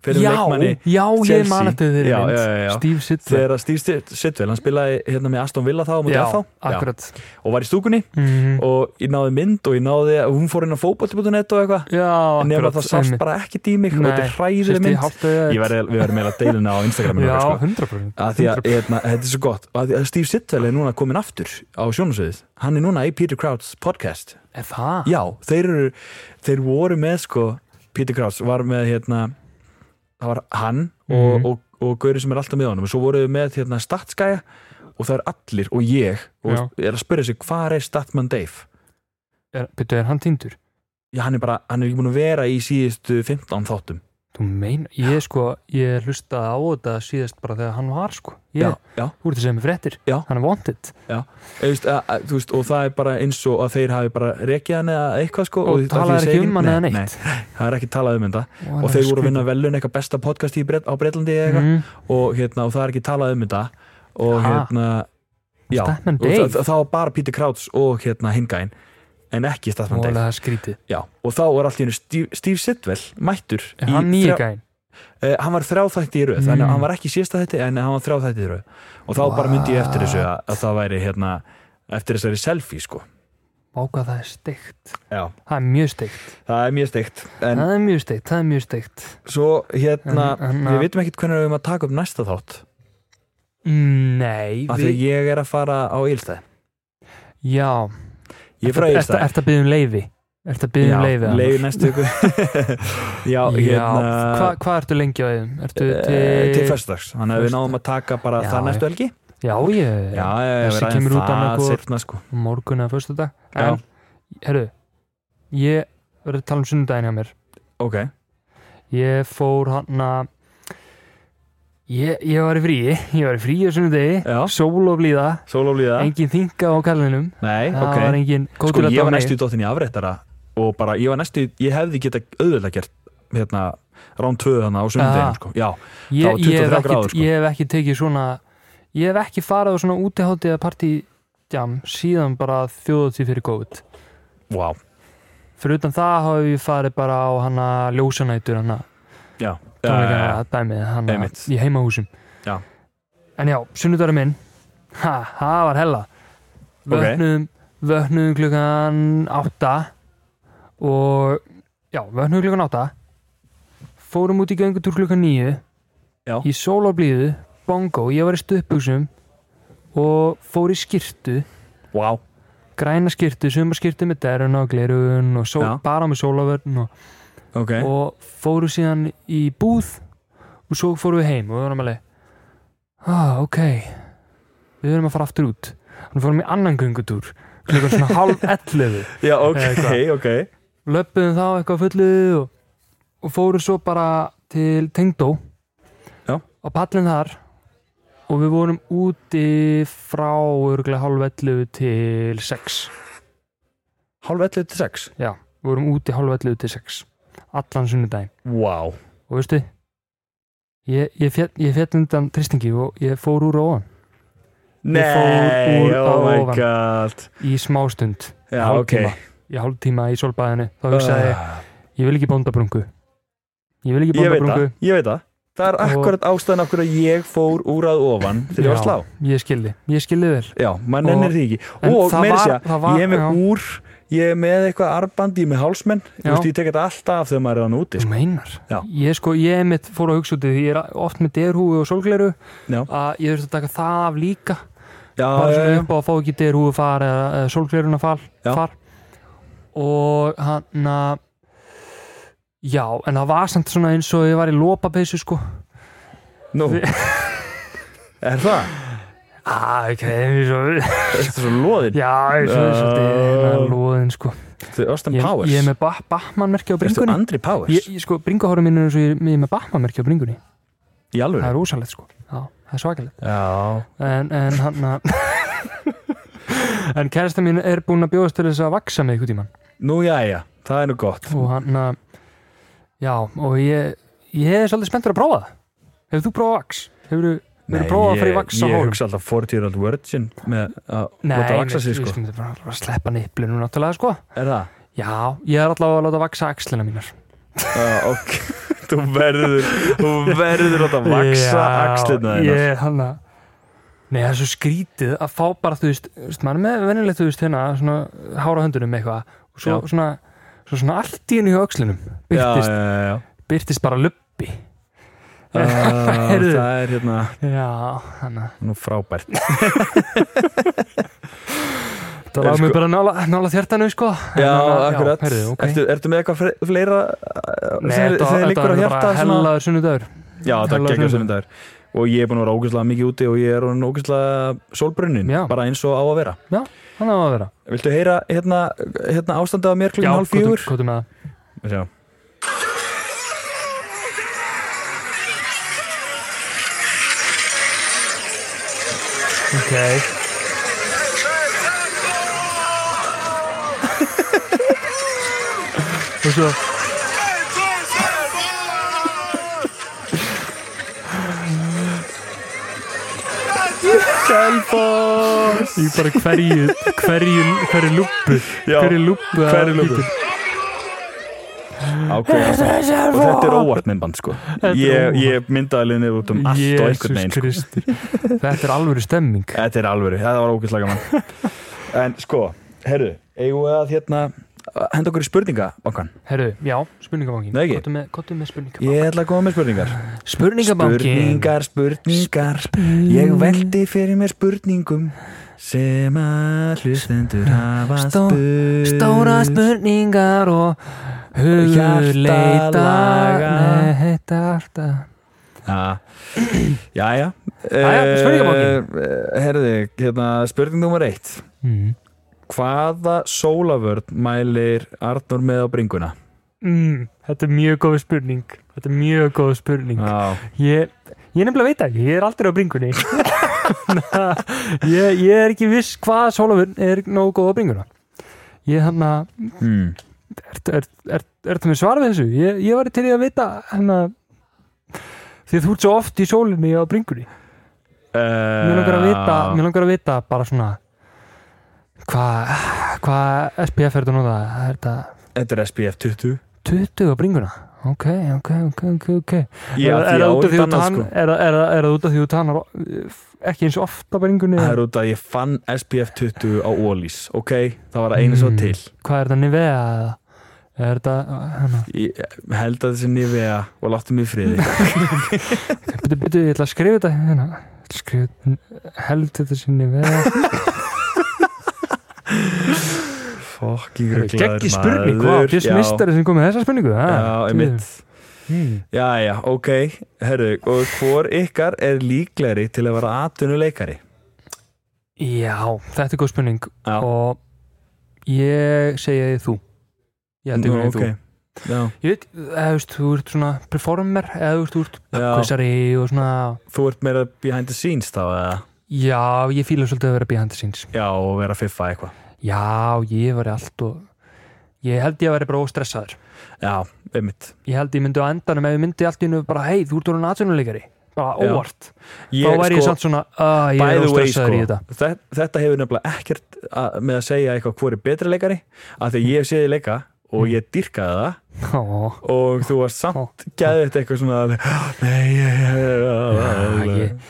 [SPEAKER 1] Fyrir leikmanni
[SPEAKER 2] já, ég
[SPEAKER 1] Chelsea.
[SPEAKER 2] man eftir þeirri
[SPEAKER 1] Já,
[SPEAKER 2] mynd.
[SPEAKER 1] já, já, já.
[SPEAKER 2] Steve Sittler.
[SPEAKER 1] Þegar að Steve Sid- Sidwell, hann spilaði hérna með Aston Villa þá á mútið
[SPEAKER 2] Já,
[SPEAKER 1] FH
[SPEAKER 2] akkurat.
[SPEAKER 1] og var í stúkunni
[SPEAKER 2] Mhm.
[SPEAKER 1] og ég náði mynd og ég náði og hún fór inn á fótbolti.net og eitthvað
[SPEAKER 2] Já,
[SPEAKER 1] en ef
[SPEAKER 2] akkurat.
[SPEAKER 1] það sást bara ekki dýmik og þetta er hræðileg mynd ég verði, við verðum eiginlega að deila henni á Instagraminu
[SPEAKER 2] Já,
[SPEAKER 1] okkar,
[SPEAKER 2] 100%.
[SPEAKER 1] sko. að því að hérna, þetta er svo gott að því að Steve Sitwell er núna komin aftur á sjónasöðið hann er núna í Peter Krauts podcast
[SPEAKER 2] Er það?
[SPEAKER 1] já, þeir eru þeir voru með sko Peter Krauts var með hérna það var hann
[SPEAKER 2] Mhm.
[SPEAKER 1] og, og, og Gauri sem er alltaf með honum og svo voru þau með hérna Statsgæja og það er allir og ég og er að spyrja sig hvað er Statman Dave
[SPEAKER 2] Er- Byrju, er hann tindur?
[SPEAKER 1] Já, hann er bara, hann er ekki búin að vera í síðustu 15 þáttum
[SPEAKER 2] Þú Þú meina, ég sko, ég hlustaði á þetta síðast bara þegar hann var sko
[SPEAKER 1] já,
[SPEAKER 2] ég,
[SPEAKER 1] já,
[SPEAKER 2] Þú ert að segja mig fréttir,
[SPEAKER 1] Já.
[SPEAKER 2] hann er wanted
[SPEAKER 1] Þú veist, að, að, þú veist, og það er bara eins og að þeir hafi bara rekið hann eða eitthvað sko
[SPEAKER 2] Og
[SPEAKER 1] því- af því
[SPEAKER 2] talaðir
[SPEAKER 1] ég segi
[SPEAKER 2] ekki um hann eða
[SPEAKER 1] nei,
[SPEAKER 2] neitt.
[SPEAKER 1] nei, það er ekki talað um þetta og
[SPEAKER 2] hann er
[SPEAKER 1] þeir voru að
[SPEAKER 2] skrýtinn.
[SPEAKER 1] vinna velun eitthvað besta podcast í Bret, á Breitlandi eða eitthvað
[SPEAKER 2] mm,
[SPEAKER 1] og, hérna, og það er ekki talað um þetta og
[SPEAKER 2] Ha?
[SPEAKER 1] hérna já,
[SPEAKER 2] Statman
[SPEAKER 1] og það,
[SPEAKER 2] Dave,
[SPEAKER 1] það var bara Peter Krauts og hérna hingæn en ekki Statman
[SPEAKER 2] mólega
[SPEAKER 1] Dave
[SPEAKER 2] það er skrítið
[SPEAKER 1] já, og þá var allt í hennu Steve, Steve Sidwell mættur
[SPEAKER 2] Er
[SPEAKER 1] í
[SPEAKER 2] hann nýja
[SPEAKER 1] þrjá-
[SPEAKER 2] gæn?
[SPEAKER 1] eh, hann var þráþætti í röð
[SPEAKER 2] Mm.
[SPEAKER 1] þannig að hann var ekki síðasta þetta en hann var þráþætti í röð og þá bara myndi ég eftir þessu að, að það væri hérna eftir þessari selfie sko
[SPEAKER 2] Váka það er steikt
[SPEAKER 1] já,
[SPEAKER 2] Það er mjög steikt,
[SPEAKER 1] það er mjög steikt en
[SPEAKER 2] það er mjög steikt, það er mjög steikt
[SPEAKER 1] svo hérna
[SPEAKER 2] En- en-
[SPEAKER 1] við vitum ekkert hvernig við erum að taka upp næsta þátt
[SPEAKER 2] Nei,
[SPEAKER 1] af því að ég er að fara á Ílstæð
[SPEAKER 2] já
[SPEAKER 1] ég er frá
[SPEAKER 2] Ertu-
[SPEAKER 1] Ílstæð
[SPEAKER 2] Ertu ertu að byggja um leifi? Ertu að byggja um leifi?
[SPEAKER 1] já,
[SPEAKER 2] annars?
[SPEAKER 1] leiði næstu ykkur já,
[SPEAKER 2] Já,
[SPEAKER 1] hérna
[SPEAKER 2] hva- hvað ertu lengi á þeim? Ertu
[SPEAKER 1] til,
[SPEAKER 2] til...
[SPEAKER 1] Eh, til fyrstags, þannig að við náðum að taka bara
[SPEAKER 2] Já,
[SPEAKER 1] það næstu helgi já,
[SPEAKER 2] Já, ég...
[SPEAKER 1] já, já,
[SPEAKER 2] Þessi
[SPEAKER 1] við
[SPEAKER 2] kemur
[SPEAKER 1] ræðum
[SPEAKER 2] út annað
[SPEAKER 1] það
[SPEAKER 2] hvort.
[SPEAKER 1] setna sko
[SPEAKER 2] Morgun eða förstu dag.
[SPEAKER 1] Já.
[SPEAKER 2] En, herru, ég verður að tala um sunnudaginn hjá mér.
[SPEAKER 1] ok,
[SPEAKER 2] Ég fór hann að... Ég, ég var í fríi, ég var í fríi á sunnudegi,
[SPEAKER 1] Já.
[SPEAKER 2] sól og blíða,
[SPEAKER 1] sóloflíða
[SPEAKER 2] engin þinga á kallinum,
[SPEAKER 1] nei,
[SPEAKER 2] það var
[SPEAKER 1] ok,
[SPEAKER 2] engin
[SPEAKER 1] sko
[SPEAKER 2] kókulegt
[SPEAKER 1] ég
[SPEAKER 2] á
[SPEAKER 1] var
[SPEAKER 2] mig.
[SPEAKER 1] næstu í dottinni afréttara og bara, ég var næstu, ég hefði geta auðvitað gert, hérna rán 2 þannig á
[SPEAKER 2] Ah.
[SPEAKER 1] sundeginu, sko, já það var
[SPEAKER 2] Ég, ég, hef
[SPEAKER 1] 23
[SPEAKER 2] ekki,
[SPEAKER 1] gráður, sko.
[SPEAKER 2] ég hef ekki tekið svona, ég hef ekki farið á svona útiháttið að partí, síðan bara þjóðatíð fyrir COVID.
[SPEAKER 1] wow,
[SPEAKER 2] fyrir utan það hafa við farið bara á hana ljósanætur hana
[SPEAKER 1] já, Eh,
[SPEAKER 2] tónleikana dæmið hana
[SPEAKER 1] einmitt.
[SPEAKER 2] í heimahúsum
[SPEAKER 1] Já.
[SPEAKER 2] en já, sunnudarum minn ha, það var hella vöknum, vöknum klukkan átta og já, vöknum klukkan átta fórum út í göngutúr klukkan níu
[SPEAKER 1] Já.
[SPEAKER 2] í sól og blíðu bongo, ég var í stuðbúsum og fór í skirtu
[SPEAKER 1] wow,
[SPEAKER 2] græna skirtu, sumarskirtu með derun og glerun og sól,
[SPEAKER 1] Já.
[SPEAKER 2] bara með sólavörn og
[SPEAKER 1] ok
[SPEAKER 2] og fóru síðan í búð og svo fóru við heim og við vorum alveg ah, ok við verum að fara aftur út þannig fórum í annan göngutúr klukkan svona hálf 11
[SPEAKER 1] já, ok,
[SPEAKER 2] Eh, hvað?
[SPEAKER 1] ok
[SPEAKER 2] löppuðum þá eitthvað fullu og, og fóru svo bara til Tengdó
[SPEAKER 1] Já.
[SPEAKER 2] á pallin þar og við vorum úti frá örgulega hálf 11 til 6
[SPEAKER 1] hálf 11 til 6,
[SPEAKER 2] já, við vorum úti hálf 11 til 6 allan sunnudaginn
[SPEAKER 1] wow
[SPEAKER 2] og veistu ég, ég, féll, ég féll undan tristingi og ég fór úr óan
[SPEAKER 1] nei,
[SPEAKER 2] úr á
[SPEAKER 1] oh my
[SPEAKER 2] ofan.
[SPEAKER 1] god
[SPEAKER 2] í smástund
[SPEAKER 1] já, ok
[SPEAKER 2] Hálftíma. í hálftíma í solbæðinu þá hugsaði ég,
[SPEAKER 1] Ah.
[SPEAKER 2] ég vil ekki bóndabrungu ég vil
[SPEAKER 1] ég
[SPEAKER 2] ekki
[SPEAKER 1] veit það,
[SPEAKER 2] bóndabrungu
[SPEAKER 1] ég veit það það er
[SPEAKER 2] Og-
[SPEAKER 1] akkurat ástæðan af hverju að ég fór úr að ofan þegar ég var að slá
[SPEAKER 2] ég skildi, ég skildi vel
[SPEAKER 1] já, maður nennir
[SPEAKER 2] Og-
[SPEAKER 1] því
[SPEAKER 2] en
[SPEAKER 1] ekki og
[SPEAKER 2] það
[SPEAKER 1] meira
[SPEAKER 2] var-
[SPEAKER 1] sér,
[SPEAKER 2] það var-
[SPEAKER 1] ég er með
[SPEAKER 2] já.
[SPEAKER 1] úr ég er með eitthvað arbandi, ég er með hálsmenn þú
[SPEAKER 2] Já.
[SPEAKER 1] veist, ég tek þetta alltaf af þegar maður er hann úti
[SPEAKER 2] þú
[SPEAKER 1] sko.
[SPEAKER 2] meinar,
[SPEAKER 1] Já.
[SPEAKER 2] ég sko, ég mitt fór að hugsa út í því, ég er oft með derhúi og solgleru
[SPEAKER 1] Já.
[SPEAKER 2] að ég þurfti að taka það af líka
[SPEAKER 1] já, eh,
[SPEAKER 2] bara
[SPEAKER 1] já,
[SPEAKER 2] svona
[SPEAKER 1] já,
[SPEAKER 2] upp á að fá ekki derhúi far eða, eða solgleruna far,
[SPEAKER 1] Já.
[SPEAKER 2] far og hann að já, en það var samt svona eins og ég var í lópapeysu sko
[SPEAKER 1] nú er það?
[SPEAKER 2] Ah, ok, eins og
[SPEAKER 1] þetta er svo loðin
[SPEAKER 2] Já, eins og
[SPEAKER 1] Já.
[SPEAKER 2] svolítið Lóðin, sko
[SPEAKER 1] þetta er Austin
[SPEAKER 2] Ég,
[SPEAKER 1] Powers
[SPEAKER 2] ég er með ba Batman-merki á
[SPEAKER 1] Ertu
[SPEAKER 2] bringunni
[SPEAKER 1] Andri Powers?
[SPEAKER 2] ég, ég, sko, Bringuhárum mínu er eins og ég ég er með Batman-merki á bringunni
[SPEAKER 1] í
[SPEAKER 2] Það
[SPEAKER 1] alveg
[SPEAKER 2] er ósalegt, sko Já, það er svakalegt
[SPEAKER 1] já,
[SPEAKER 2] En, en hann að En kærasta mín er búin að bjóðast til þess að vaksa með ykkur tíman
[SPEAKER 1] nú já, já, það er nú gott
[SPEAKER 2] Og hann að Já, og ég Ég er svolítið spenntur að prófa það Hefur þú prófað vaks? Hefur þú
[SPEAKER 1] Nei,
[SPEAKER 2] prófað að fara í
[SPEAKER 1] ég,
[SPEAKER 2] vax á
[SPEAKER 1] ég
[SPEAKER 2] hólum?
[SPEAKER 1] hugsa alltaf 40 year old virgin með að
[SPEAKER 2] Nei,
[SPEAKER 1] láta vaksa sig
[SPEAKER 2] við- við
[SPEAKER 1] sko.
[SPEAKER 2] skulum bara- bara sleppa niplinu náttúrulega sko
[SPEAKER 1] er það?
[SPEAKER 2] Já, ég er allavega að láta vaksa axlina mínar
[SPEAKER 1] Já, ok, þú verður þú verður að láta vaksa axlirna þínar
[SPEAKER 2] ég, hana, Nei, það er svo skrítið að fá bara, þú veist, þú veist maður er með venjulegt, þú veist, hérna, svona hára á höndunum eitthvað og svo
[SPEAKER 1] Já.
[SPEAKER 2] svona, svo svona allt í henni hjá öxlunum
[SPEAKER 1] já,
[SPEAKER 2] byrtist,
[SPEAKER 1] já, já.
[SPEAKER 2] byrtist bara luppi
[SPEAKER 1] Uh,
[SPEAKER 2] Heyrðu.
[SPEAKER 1] það er hérna
[SPEAKER 2] Já, hana
[SPEAKER 1] nú frábært
[SPEAKER 2] Það lág
[SPEAKER 1] sko-
[SPEAKER 2] mig bara nála, nála þjartanu, sko En
[SPEAKER 1] já,
[SPEAKER 2] hana,
[SPEAKER 1] akkurat,
[SPEAKER 2] já, heyrðu, ok
[SPEAKER 1] ertu, ertu með eitthvað fre- fleira uh,
[SPEAKER 2] Nei,
[SPEAKER 1] sem,
[SPEAKER 2] þetta
[SPEAKER 1] sem
[SPEAKER 2] þetta
[SPEAKER 1] liggur á
[SPEAKER 2] var
[SPEAKER 1] hjarta
[SPEAKER 2] bara
[SPEAKER 1] svona,
[SPEAKER 2] hellaður sunnudagur
[SPEAKER 1] já, þetta
[SPEAKER 2] hella
[SPEAKER 1] er geggjað
[SPEAKER 2] sunnudagur.
[SPEAKER 1] sem þetta er og ég er búin að vera ógæslega mikið úti og ég er orðinn ógæslega sólbrunnin,
[SPEAKER 2] Já.
[SPEAKER 1] bara eins og á að vera
[SPEAKER 2] Hann á að vera
[SPEAKER 1] viltu heyra hérna, hérna ástandið á mér klukkan hálf
[SPEAKER 2] hvað
[SPEAKER 1] fjögur?
[SPEAKER 2] þú með það
[SPEAKER 1] Sjá.
[SPEAKER 2] Ok Og svo
[SPEAKER 1] Selfoss
[SPEAKER 2] Ég bara hverju Hverju, hverju lúpu
[SPEAKER 1] Já,
[SPEAKER 2] Hverju lúpu að
[SPEAKER 1] hverju lúpu?
[SPEAKER 2] bítur.
[SPEAKER 1] Ákveðast Og þetta er óvart myndband sko
[SPEAKER 2] er
[SPEAKER 1] Ég,
[SPEAKER 2] óvart.
[SPEAKER 1] ég myndaði liðnið út um allt og
[SPEAKER 2] Jesús
[SPEAKER 1] einhvern veginn sko.
[SPEAKER 2] Kristur Þetta er alvöru stemming
[SPEAKER 1] Þetta er alvöru, þetta var ógæslega gaman En sko, herru Eigum við að hérna Henda okkur í spurningabankan
[SPEAKER 2] Herru, já, spurningabankin
[SPEAKER 1] Nei, ekki.
[SPEAKER 2] Kottu með, kottu með spurningabankin
[SPEAKER 1] Ég ætla að koma með spurningar
[SPEAKER 2] Sko, Spurningabankin
[SPEAKER 1] Spurningar, spurningar Ég veldi fyrir mér spurningum Sem að hlustendur hafa
[SPEAKER 2] Stó-
[SPEAKER 1] spurt
[SPEAKER 2] Stóra
[SPEAKER 1] Mm.
[SPEAKER 2] Mm. spurningar og hugur
[SPEAKER 1] Hjarta
[SPEAKER 2] leita
[SPEAKER 1] laga.
[SPEAKER 2] Nei, þetta er alltaf
[SPEAKER 1] Já, já, já.
[SPEAKER 2] Jæja, spurningabanki.
[SPEAKER 1] Eh, Herði, hérna, spurning nummer eitt
[SPEAKER 2] mm.
[SPEAKER 1] Hvaða sólavörn mælir Arnur með á bringuna?
[SPEAKER 2] Mm, Þetta er mjög góð spurning Þetta er mjög góð spurning
[SPEAKER 1] Já,
[SPEAKER 2] Ég, ég nefnilega veit ekki, ég er aldrei á bringunni ég, ég er ekki viss hvað sólafur er nógu góð á bringuna Ég hann að
[SPEAKER 1] mm.
[SPEAKER 2] Ertu er, er, er, er með svara við þessu? Ég, ég var til í að vita hann að Því að þú ert svo oft í sólinni á bringunni Mér langar að vita, mér langar að vita bara svona hvað hva SPF er þetta nú það? Er þetta
[SPEAKER 1] Eh, Þetta er SPF 20
[SPEAKER 2] 20 á bringuna? Ok, ok, ok, ok, ok.
[SPEAKER 1] Ég,
[SPEAKER 2] er,
[SPEAKER 1] af því
[SPEAKER 2] er,
[SPEAKER 1] ég
[SPEAKER 2] það
[SPEAKER 1] á
[SPEAKER 2] út af
[SPEAKER 1] eitt
[SPEAKER 2] því þú
[SPEAKER 1] annað,
[SPEAKER 2] tan,
[SPEAKER 1] sko.
[SPEAKER 2] er, það- er, það- er það út af því þú tanar eh, ekki eins og oft á bringunni?
[SPEAKER 1] Það er út af að ég fann SPF 20 á Ólís Ok, það var að einu svo
[SPEAKER 2] Mm.
[SPEAKER 1] til
[SPEAKER 2] Hvað er þetta nivea eða? Er þetta, hérna,
[SPEAKER 1] Ég held að þessi nývega og láttu mig í friði
[SPEAKER 2] byrju, byrju, ég ætla að skrifa þetta hérna, Ég ætla að skrifa held þetta sinni vega
[SPEAKER 1] Fokking
[SPEAKER 2] Gekki spurning, hvað,
[SPEAKER 1] Já,
[SPEAKER 2] fyrst mistari sem kom með þessa spurningu ha?
[SPEAKER 1] já, einmitt
[SPEAKER 2] Hmm.
[SPEAKER 1] Já, já, ok, herru Og hvor ykkar er líklegri til að vera atvinnuleikari?
[SPEAKER 2] Já, þetta er góð spurning
[SPEAKER 1] Já.
[SPEAKER 2] og ég segi þú Ég held ekki þú
[SPEAKER 1] þú Já,
[SPEAKER 2] Ég veit, eða þú veist, þú ert svona performer eða þú veist, þú ert
[SPEAKER 1] Já.
[SPEAKER 2] kvissari og svona
[SPEAKER 1] þú ert meira behind the scenes þá eða
[SPEAKER 2] Já, ég fíla svolítið að vera behind the scenes
[SPEAKER 1] Já, og vera að fiffa eitthvað
[SPEAKER 2] Já, ég var allt og ég held ég að vera bara óstressaður
[SPEAKER 1] Já, einmitt
[SPEAKER 2] Ég held ég myndi á endanum ef ég myndi allt í hennu bara, hei, þú ert orðin atvinnuleikari bara
[SPEAKER 1] Já.
[SPEAKER 2] óvart,
[SPEAKER 1] ég, sko,
[SPEAKER 2] þá væri ég samt svona að ég
[SPEAKER 1] by the
[SPEAKER 2] er
[SPEAKER 1] way, sko."
[SPEAKER 2] óstressaður í þetta
[SPEAKER 1] þe- þetta hefur nefnilega ekkert að, með að segja eitthvað hvor er betri leikari af því að ég hef séð þið leika og
[SPEAKER 2] Mm.
[SPEAKER 1] ég dyrkaði það
[SPEAKER 2] Ó,
[SPEAKER 1] og þú var samt gæðið þetta eitthvað svona að, nei, ég,
[SPEAKER 2] já,
[SPEAKER 1] ég,
[SPEAKER 2] Ah, ég,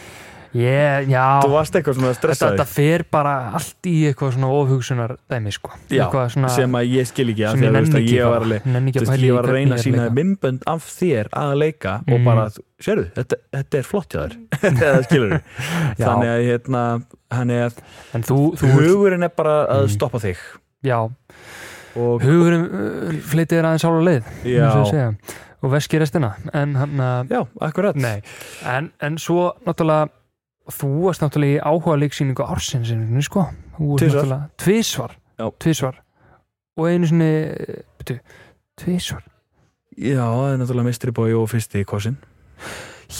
[SPEAKER 2] ég, já
[SPEAKER 1] þú varst eitthvað svona
[SPEAKER 2] þetta,
[SPEAKER 1] stressaði
[SPEAKER 2] þetta fer bara allt í eitthvað svona ofhugsunar dæmi sko
[SPEAKER 1] Já,
[SPEAKER 2] eitthvað svona
[SPEAKER 1] sem að ég skil ekki af
[SPEAKER 2] sem
[SPEAKER 1] því að
[SPEAKER 2] ég
[SPEAKER 1] þú veist
[SPEAKER 2] nenni
[SPEAKER 1] að
[SPEAKER 2] ekki
[SPEAKER 1] ég var
[SPEAKER 2] bara-
[SPEAKER 1] alveg
[SPEAKER 2] nenni ekki
[SPEAKER 1] þú
[SPEAKER 2] að
[SPEAKER 1] veist,
[SPEAKER 2] pæla í
[SPEAKER 1] ég var að reyna
[SPEAKER 2] hvernig
[SPEAKER 1] að
[SPEAKER 2] er
[SPEAKER 1] sína
[SPEAKER 2] leika.
[SPEAKER 1] minnbönd af þér að leika og
[SPEAKER 2] Mm.
[SPEAKER 1] bara, sérðu, þetta, þetta er flott hjá þér eða skilur
[SPEAKER 2] Já.
[SPEAKER 1] þannig að hérna, hann er
[SPEAKER 2] en þú, þú
[SPEAKER 1] hugurinn er bara að
[SPEAKER 2] Mm.
[SPEAKER 1] stoppa þig
[SPEAKER 2] já,
[SPEAKER 1] og
[SPEAKER 2] hugurinn uh, flytið er aðeins ára leið eins og ég
[SPEAKER 1] já,
[SPEAKER 2] segja, og veski restina en hann að,
[SPEAKER 1] já, akkurat
[SPEAKER 2] nei en, en svo náttúrulega þú varst náttúrulega í áhuga leiksýningu ársinsinu sko, þú varst
[SPEAKER 1] Tvisvar.
[SPEAKER 2] náttúrulega tvísvar,
[SPEAKER 1] Já.
[SPEAKER 2] tvísvar og einu sinni, eh, betu tvísvar,
[SPEAKER 1] já, það er náttúrulega mystery boy og fyrsti kossin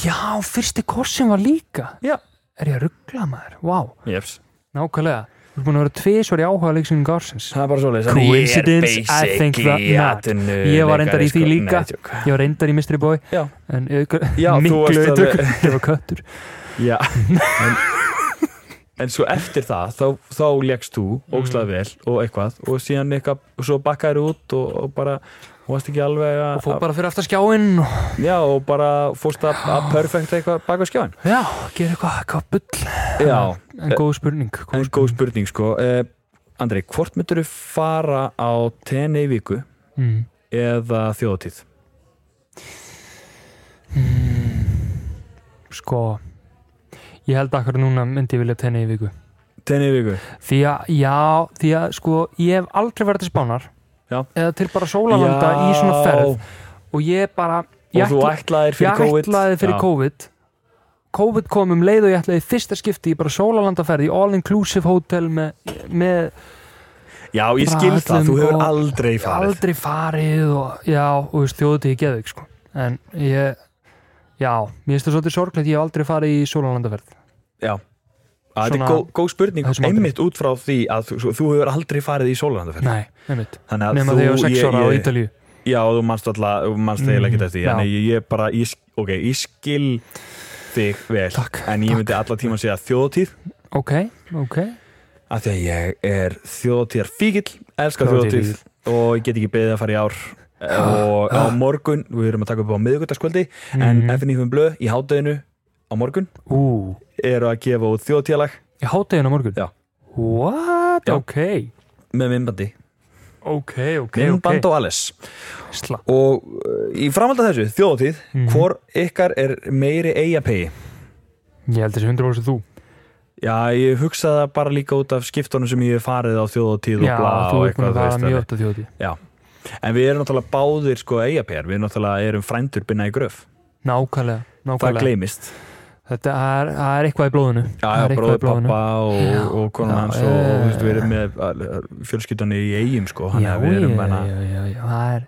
[SPEAKER 2] já, fyrsti korsin var líka
[SPEAKER 1] Já.
[SPEAKER 2] er ég að ruggla maður, vá wow.
[SPEAKER 1] Jeps.
[SPEAKER 2] Nákvæmlega, þú ert búin að vera tvisvar í áhuga leiksýningu ársins
[SPEAKER 1] það er bara svoleiðis en
[SPEAKER 2] Coincidence?
[SPEAKER 1] ég er
[SPEAKER 2] I think
[SPEAKER 1] basically
[SPEAKER 2] that not.
[SPEAKER 1] atvinnuleikari,
[SPEAKER 2] Ég var reyndar í því
[SPEAKER 1] sko.
[SPEAKER 2] líka.
[SPEAKER 1] Nei, tjók.
[SPEAKER 2] Ég var reyndar í Mystery Boy
[SPEAKER 1] Já.
[SPEAKER 2] En ykkur,
[SPEAKER 1] Já, þú
[SPEAKER 2] miklu
[SPEAKER 1] varst
[SPEAKER 2] auðvitað
[SPEAKER 1] alveg-
[SPEAKER 2] Ég var köttur
[SPEAKER 1] Já en, en svo eftir það þá, þá leggst þú ógslað
[SPEAKER 2] Mm.
[SPEAKER 1] vel og eitthvað og síðan eitthvað, og svo bakkaðir út og, og bara, þú varst ekki alveg
[SPEAKER 2] Og fór
[SPEAKER 1] að
[SPEAKER 2] bara fyrir aftar skjáinn og
[SPEAKER 1] já, og bara fórst að, að perfekt eitthvað baka skjáin
[SPEAKER 2] Já, gera eitthvað, eitthvað bull
[SPEAKER 1] Já,
[SPEAKER 2] En góð spurning
[SPEAKER 1] Eh, en góð spurning sko eh, Andri, hvort myndur þú fara á tenni viku
[SPEAKER 2] mm.
[SPEAKER 1] eða þjóðatíð?
[SPEAKER 2] mm. Sko Ég held að akkur núna myndi ég vilja tenni í viku
[SPEAKER 1] Tenni viku?
[SPEAKER 2] Því að, já, því að sko Ég hef aldrei verið til spánar
[SPEAKER 1] Já.
[SPEAKER 2] Eða til bara sólavanda í svona ferð Og ég bara ég
[SPEAKER 1] og þú
[SPEAKER 2] ætla-
[SPEAKER 1] ætlaðir fyrir
[SPEAKER 2] ég
[SPEAKER 1] COVID
[SPEAKER 2] ætlaði fyrir
[SPEAKER 1] Já.
[SPEAKER 2] COVID COVID kom um leið og ég ætlaði í fyrsta skipti í bara sólalandaferð í all inclusive hotel með, með
[SPEAKER 1] Já, ég skil það,
[SPEAKER 2] Bræðlum
[SPEAKER 1] þú hefur
[SPEAKER 2] og-
[SPEAKER 1] aldrei farið
[SPEAKER 2] aldrei farið og já, og þú veist, þjóðutíð ég geðið sko. en ég já, mér finnst það svolítið sorglegt, ég hef aldrei farið í sólalandaferð
[SPEAKER 1] Já. Að Þetta er
[SPEAKER 2] Svona-
[SPEAKER 1] góð gó góð spurning
[SPEAKER 2] Þessum aldri.
[SPEAKER 1] einmitt út frá því að þú, svo- þú hefur aldrei farið í sólarlandaferð
[SPEAKER 2] Nei, einmitt
[SPEAKER 1] Þannig
[SPEAKER 2] Nefna þegar ég var sex ára á
[SPEAKER 1] ég,
[SPEAKER 2] Ítalíu
[SPEAKER 1] Já, þú manst alltaf, þú manst
[SPEAKER 2] Mm,
[SPEAKER 1] þegar ekki þetta því
[SPEAKER 2] já.
[SPEAKER 1] Þannig ég, ég bara, ég, sk- ok, ég skil þig vel
[SPEAKER 2] Takk,
[SPEAKER 1] En ég myndi alla tíma segja þjóðtíð
[SPEAKER 2] Ok, ok
[SPEAKER 1] Af því að ég er þjóðtíðar fíkil Elskar þjóðtíð
[SPEAKER 2] Þjóðhátíðarfíkill.
[SPEAKER 1] Og ég get ekki beðið að fara í ár Og á morgun, við erum að taka upp á miðvikudagskvöldi En
[SPEAKER 2] Mhm.
[SPEAKER 1] FNF um Blöð í hádeginu á morgun
[SPEAKER 2] Ú,
[SPEAKER 1] eru að gefa út þjóðtíðalag
[SPEAKER 2] ég háti hérna morgun
[SPEAKER 1] Já.
[SPEAKER 2] What?
[SPEAKER 1] Já.
[SPEAKER 2] Ok,
[SPEAKER 1] með minnbandi
[SPEAKER 2] ok, ok
[SPEAKER 1] Minnband og alles
[SPEAKER 2] og Sla
[SPEAKER 1] og uh, í framhald að þessu, þjóðatíð
[SPEAKER 2] Mhm.
[SPEAKER 1] hvor ykkar er meiri eigapegi
[SPEAKER 2] Ég held þessi 100% þú
[SPEAKER 1] já, ég hugsa það bara líka út af skiptunum sem ég hef farið á þjóðatíð
[SPEAKER 2] Já,
[SPEAKER 1] og bla
[SPEAKER 2] þú
[SPEAKER 1] og
[SPEAKER 2] ert
[SPEAKER 1] eitthvað
[SPEAKER 2] búin
[SPEAKER 1] þú
[SPEAKER 2] að fara
[SPEAKER 1] veist,
[SPEAKER 2] mjög
[SPEAKER 1] þannig.
[SPEAKER 2] oft að þjóti
[SPEAKER 1] já. en við erum náttúrulega báðir sko eigapegjar, við náttúrulega erum frændur binna í gröf,
[SPEAKER 2] Nákvæmlega,
[SPEAKER 1] það
[SPEAKER 2] nákvæmlega
[SPEAKER 1] gleymist
[SPEAKER 2] Þetta það er, það er eitthvað í blóðinu
[SPEAKER 1] já,
[SPEAKER 2] Það
[SPEAKER 1] já,
[SPEAKER 2] er eitthvað
[SPEAKER 1] bróður
[SPEAKER 2] í blóðinu.
[SPEAKER 1] pappa
[SPEAKER 2] Já,
[SPEAKER 1] og, og konan
[SPEAKER 2] já,
[SPEAKER 1] hans og, og
[SPEAKER 2] eh.
[SPEAKER 1] þú veist, við erum með uh, fjölskyldunni í eigum sko,
[SPEAKER 2] Já,
[SPEAKER 1] þannig að við erum
[SPEAKER 2] já,
[SPEAKER 1] menna,
[SPEAKER 2] já, já, já, það er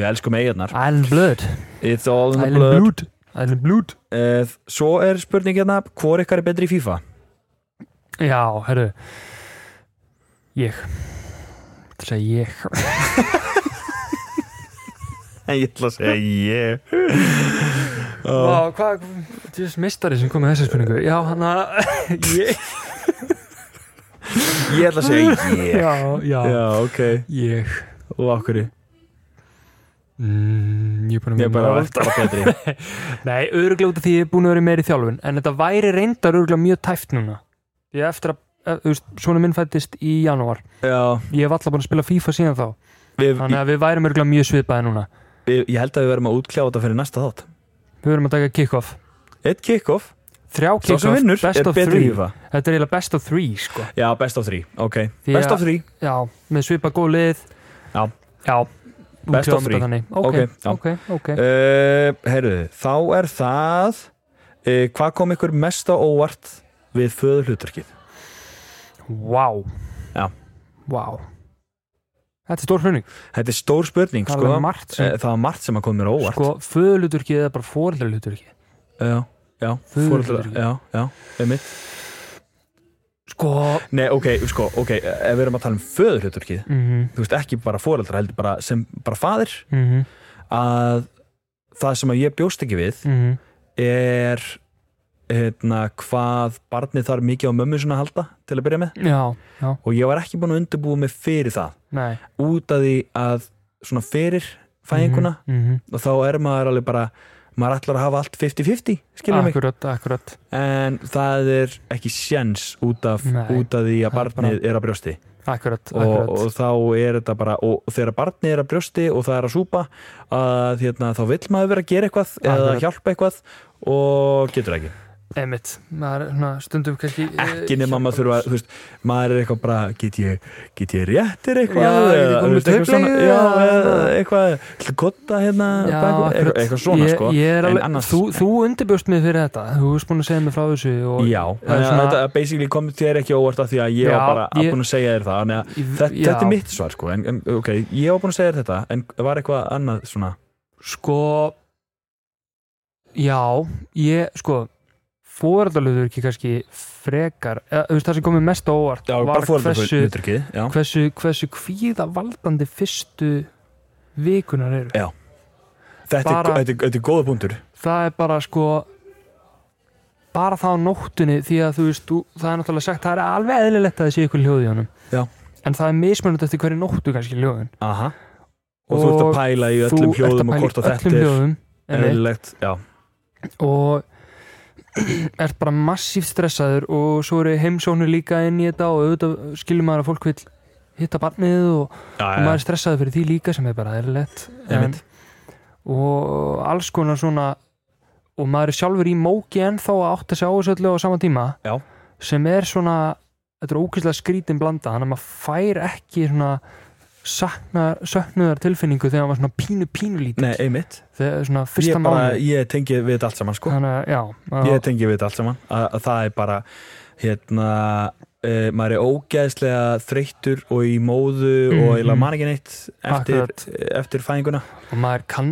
[SPEAKER 1] við elskum eigarnar
[SPEAKER 2] Island Blood
[SPEAKER 1] it's all in the
[SPEAKER 2] Island
[SPEAKER 1] blood
[SPEAKER 2] Blood Island Blood
[SPEAKER 1] uh, svo er spurning hérna, hvor ykkar er betri í FIFA
[SPEAKER 2] Já, herru Ég Þetta segja ég
[SPEAKER 1] ég ætla að segja
[SPEAKER 2] Eh,
[SPEAKER 1] ég
[SPEAKER 2] Vá, hvað, þessi mistari sem kom með þessa spurningu Já, hann að Ég
[SPEAKER 1] Ég ætla að segja ég
[SPEAKER 2] Já, já,
[SPEAKER 1] Já, ok
[SPEAKER 2] Ég
[SPEAKER 1] Og okkur
[SPEAKER 2] mm, Ég er búin að
[SPEAKER 1] Ég er bara
[SPEAKER 2] muna-
[SPEAKER 1] eftir að betri
[SPEAKER 2] Nei, öruglega út af því ég er búin að vera meiri þjálfun En þetta væri reyndar öruglega mjög tæft núna Því að eftir að, að þú veist, svona minn fættist í janúar
[SPEAKER 1] Já
[SPEAKER 2] Ég hef alltaf búin að spila FIFA síðan þá
[SPEAKER 1] við,
[SPEAKER 2] Þannig að við værum öruglega mjög svipaði núna
[SPEAKER 1] við, Ég held að við verðum að útkljá þetta fyrir næsta þátt
[SPEAKER 2] Við verum að taka kick-off
[SPEAKER 1] Eitt kick-off
[SPEAKER 2] Þrjá
[SPEAKER 1] Sá sem
[SPEAKER 2] kick-off,
[SPEAKER 1] vinnur
[SPEAKER 2] best
[SPEAKER 1] er
[SPEAKER 2] of
[SPEAKER 1] betri í
[SPEAKER 2] three
[SPEAKER 1] FIFA
[SPEAKER 2] Þetta er eiginlega best of three, sko
[SPEAKER 1] Já, best of three Ok
[SPEAKER 2] Því
[SPEAKER 1] Best
[SPEAKER 2] að-
[SPEAKER 1] of three
[SPEAKER 2] Já, með svipa góð lið
[SPEAKER 1] Já.
[SPEAKER 2] Já,
[SPEAKER 1] Best of
[SPEAKER 2] útkljáum
[SPEAKER 1] three.
[SPEAKER 2] þetta þannig.
[SPEAKER 1] Ok, já.
[SPEAKER 2] Ok, ok, ok
[SPEAKER 1] uh, Herruðu, þá er það uh, Hvað kom ykkur mest á óvart við föður hlutverkið?
[SPEAKER 2] Vá
[SPEAKER 1] Já.
[SPEAKER 2] Vá Þetta er stór hrunning
[SPEAKER 1] Þetta er stór spurning
[SPEAKER 2] Það
[SPEAKER 1] sko.
[SPEAKER 2] er alveg margt sem
[SPEAKER 1] Eh, Það var margt sem að kom mér á óvart
[SPEAKER 2] Sko, föðluturki eða bara fóreldraluturki
[SPEAKER 1] Já, já,
[SPEAKER 2] Föður
[SPEAKER 1] foreldrar-
[SPEAKER 2] hlutverkið.
[SPEAKER 1] já, já, einmitt
[SPEAKER 2] Sko
[SPEAKER 1] Nei, ok, sko, ok, ef við erum að tala um föður hlutverkið
[SPEAKER 2] mm -hmm,
[SPEAKER 1] þú veist, ekki bara foreldra heldur bara sem bara faðir
[SPEAKER 2] mhm,
[SPEAKER 1] að það sem að ég bjóst ekki við
[SPEAKER 2] mhm.
[SPEAKER 1] er hérna, hvað barnið þarf mikið á mömmu svona að halda til að byrja með
[SPEAKER 2] Já, já,
[SPEAKER 1] og ég var ekki búin að undirbúa mig fyrir það
[SPEAKER 2] nei
[SPEAKER 1] út af því að svona fyrir fæðinguna
[SPEAKER 2] mm -hmm.
[SPEAKER 1] og þá er maður alveg bara maður ætlar að hafa allt 50-50 skilur mig,
[SPEAKER 2] Akkurat, akkurat
[SPEAKER 1] en það er ekki sjens út af,
[SPEAKER 2] Nei.
[SPEAKER 1] út af því að
[SPEAKER 2] Það er
[SPEAKER 1] barnið er að brjósti
[SPEAKER 2] Akkurat,
[SPEAKER 1] og,
[SPEAKER 2] akkurat
[SPEAKER 1] og þá er þetta bara og þegar barnið er að brjósti og það er að súpa að hérna, þá vill maður vera að gera eitthvað eða
[SPEAKER 2] Akkurat.
[SPEAKER 1] hjálpa eitthvað og getur ekki
[SPEAKER 2] Einmitt, maður er svona stundum kannski eh,
[SPEAKER 1] ekki nema maður þurfa, þú veist, maður er eitthvað bara, get ég, get ég réttir eitthvað
[SPEAKER 2] Já, get ég
[SPEAKER 1] eða,
[SPEAKER 2] komist
[SPEAKER 1] þú veist,
[SPEAKER 2] eitthvað svona-
[SPEAKER 1] eitthvað, já,
[SPEAKER 2] já,
[SPEAKER 1] eða eitthvað ætla að kotta hérna,
[SPEAKER 2] Já,
[SPEAKER 1] bak-
[SPEAKER 2] akkurat.
[SPEAKER 1] eitthvað, eitthvað svona
[SPEAKER 2] ég,
[SPEAKER 1] sko
[SPEAKER 2] ég er
[SPEAKER 1] En
[SPEAKER 2] alveg,
[SPEAKER 1] annars-
[SPEAKER 2] Þú, þú undirbjóst mig fyrir þetta Þú veist búin að segja mig frá þessu og
[SPEAKER 1] já,
[SPEAKER 2] það er
[SPEAKER 1] þannig að
[SPEAKER 2] svona-
[SPEAKER 1] þetta basically kom þér ekki á óvart af því að ég
[SPEAKER 2] Já,
[SPEAKER 1] var bara
[SPEAKER 2] ég-
[SPEAKER 1] ég, búin að segja þér það þannig að
[SPEAKER 2] Ég-
[SPEAKER 1] þetta,
[SPEAKER 2] já.
[SPEAKER 1] þetta er mitt svar sko en, en, ok, ég var búin að segja þér þetta en var eitthvað annað svona
[SPEAKER 2] Sko Já, ég sko Fóreldralutur ekki kannski frekar eða, þú veist, Það sem komið mest á óvart
[SPEAKER 1] já,
[SPEAKER 2] var
[SPEAKER 1] bara
[SPEAKER 2] hversu,
[SPEAKER 1] fóreldrahlutverkið, já
[SPEAKER 2] hversu, hversu kvíða valdandi fyrstu vikunar eru
[SPEAKER 1] Þetta,
[SPEAKER 2] Bara-
[SPEAKER 1] er, þetta, er, þetta er góða punktur
[SPEAKER 2] Það er bara sko bara það á nóttunni því að þú veist, þú, það er náttúrulega sagt það er alveg eðlilegt að það sé ykkur hljóð í honum
[SPEAKER 1] Já.
[SPEAKER 2] en það er mismunandi eftir hverju nóttu kannski hljóðin
[SPEAKER 1] Aha. og þú ert að
[SPEAKER 2] Og
[SPEAKER 1] pæla í
[SPEAKER 2] Þú
[SPEAKER 1] öllum
[SPEAKER 2] ert
[SPEAKER 1] hljóðum
[SPEAKER 2] pæla
[SPEAKER 1] og
[SPEAKER 2] í
[SPEAKER 1] hvort að þetta
[SPEAKER 2] öllum
[SPEAKER 1] er
[SPEAKER 2] hljóðum, einmitt.
[SPEAKER 1] eðlilegt já,
[SPEAKER 2] og ert bara massíft stressaður og svo eru heimsóknir líka inn í þetta og auðvitað skilur maður að fólk vil hitta barnið og,
[SPEAKER 1] já,
[SPEAKER 2] og maður
[SPEAKER 1] já,
[SPEAKER 2] er stressaður fyrir því líka sem er bara eðlilegt
[SPEAKER 1] Einmitt.
[SPEAKER 2] og alls konar svona og maður er sjálfur í móki ennþá að átta sig á þessu öllu á sama tíma
[SPEAKER 1] Já.
[SPEAKER 2] sem er svona þetta er ógeðslega skrítin blanda þannig að maður fær ekki svona saknar, söknuðar tilfinningu þegar maður svona pínu pínulítið
[SPEAKER 1] nei, einmitt
[SPEAKER 2] þegar svona
[SPEAKER 1] ég,
[SPEAKER 2] fyrsta
[SPEAKER 1] bara,
[SPEAKER 2] mánu
[SPEAKER 1] ég tengi við þetta allt saman sko.
[SPEAKER 2] þannig að já, að-
[SPEAKER 1] ég tengi við þetta allt saman að, að það er bara hérna Uh, maður er ógeðslega þreyttur og í móðu og
[SPEAKER 2] Mhm.
[SPEAKER 1] eiginlega man ekki neitt eftir,
[SPEAKER 2] Akkurat.
[SPEAKER 1] eftir fæðinguna
[SPEAKER 2] og maður kann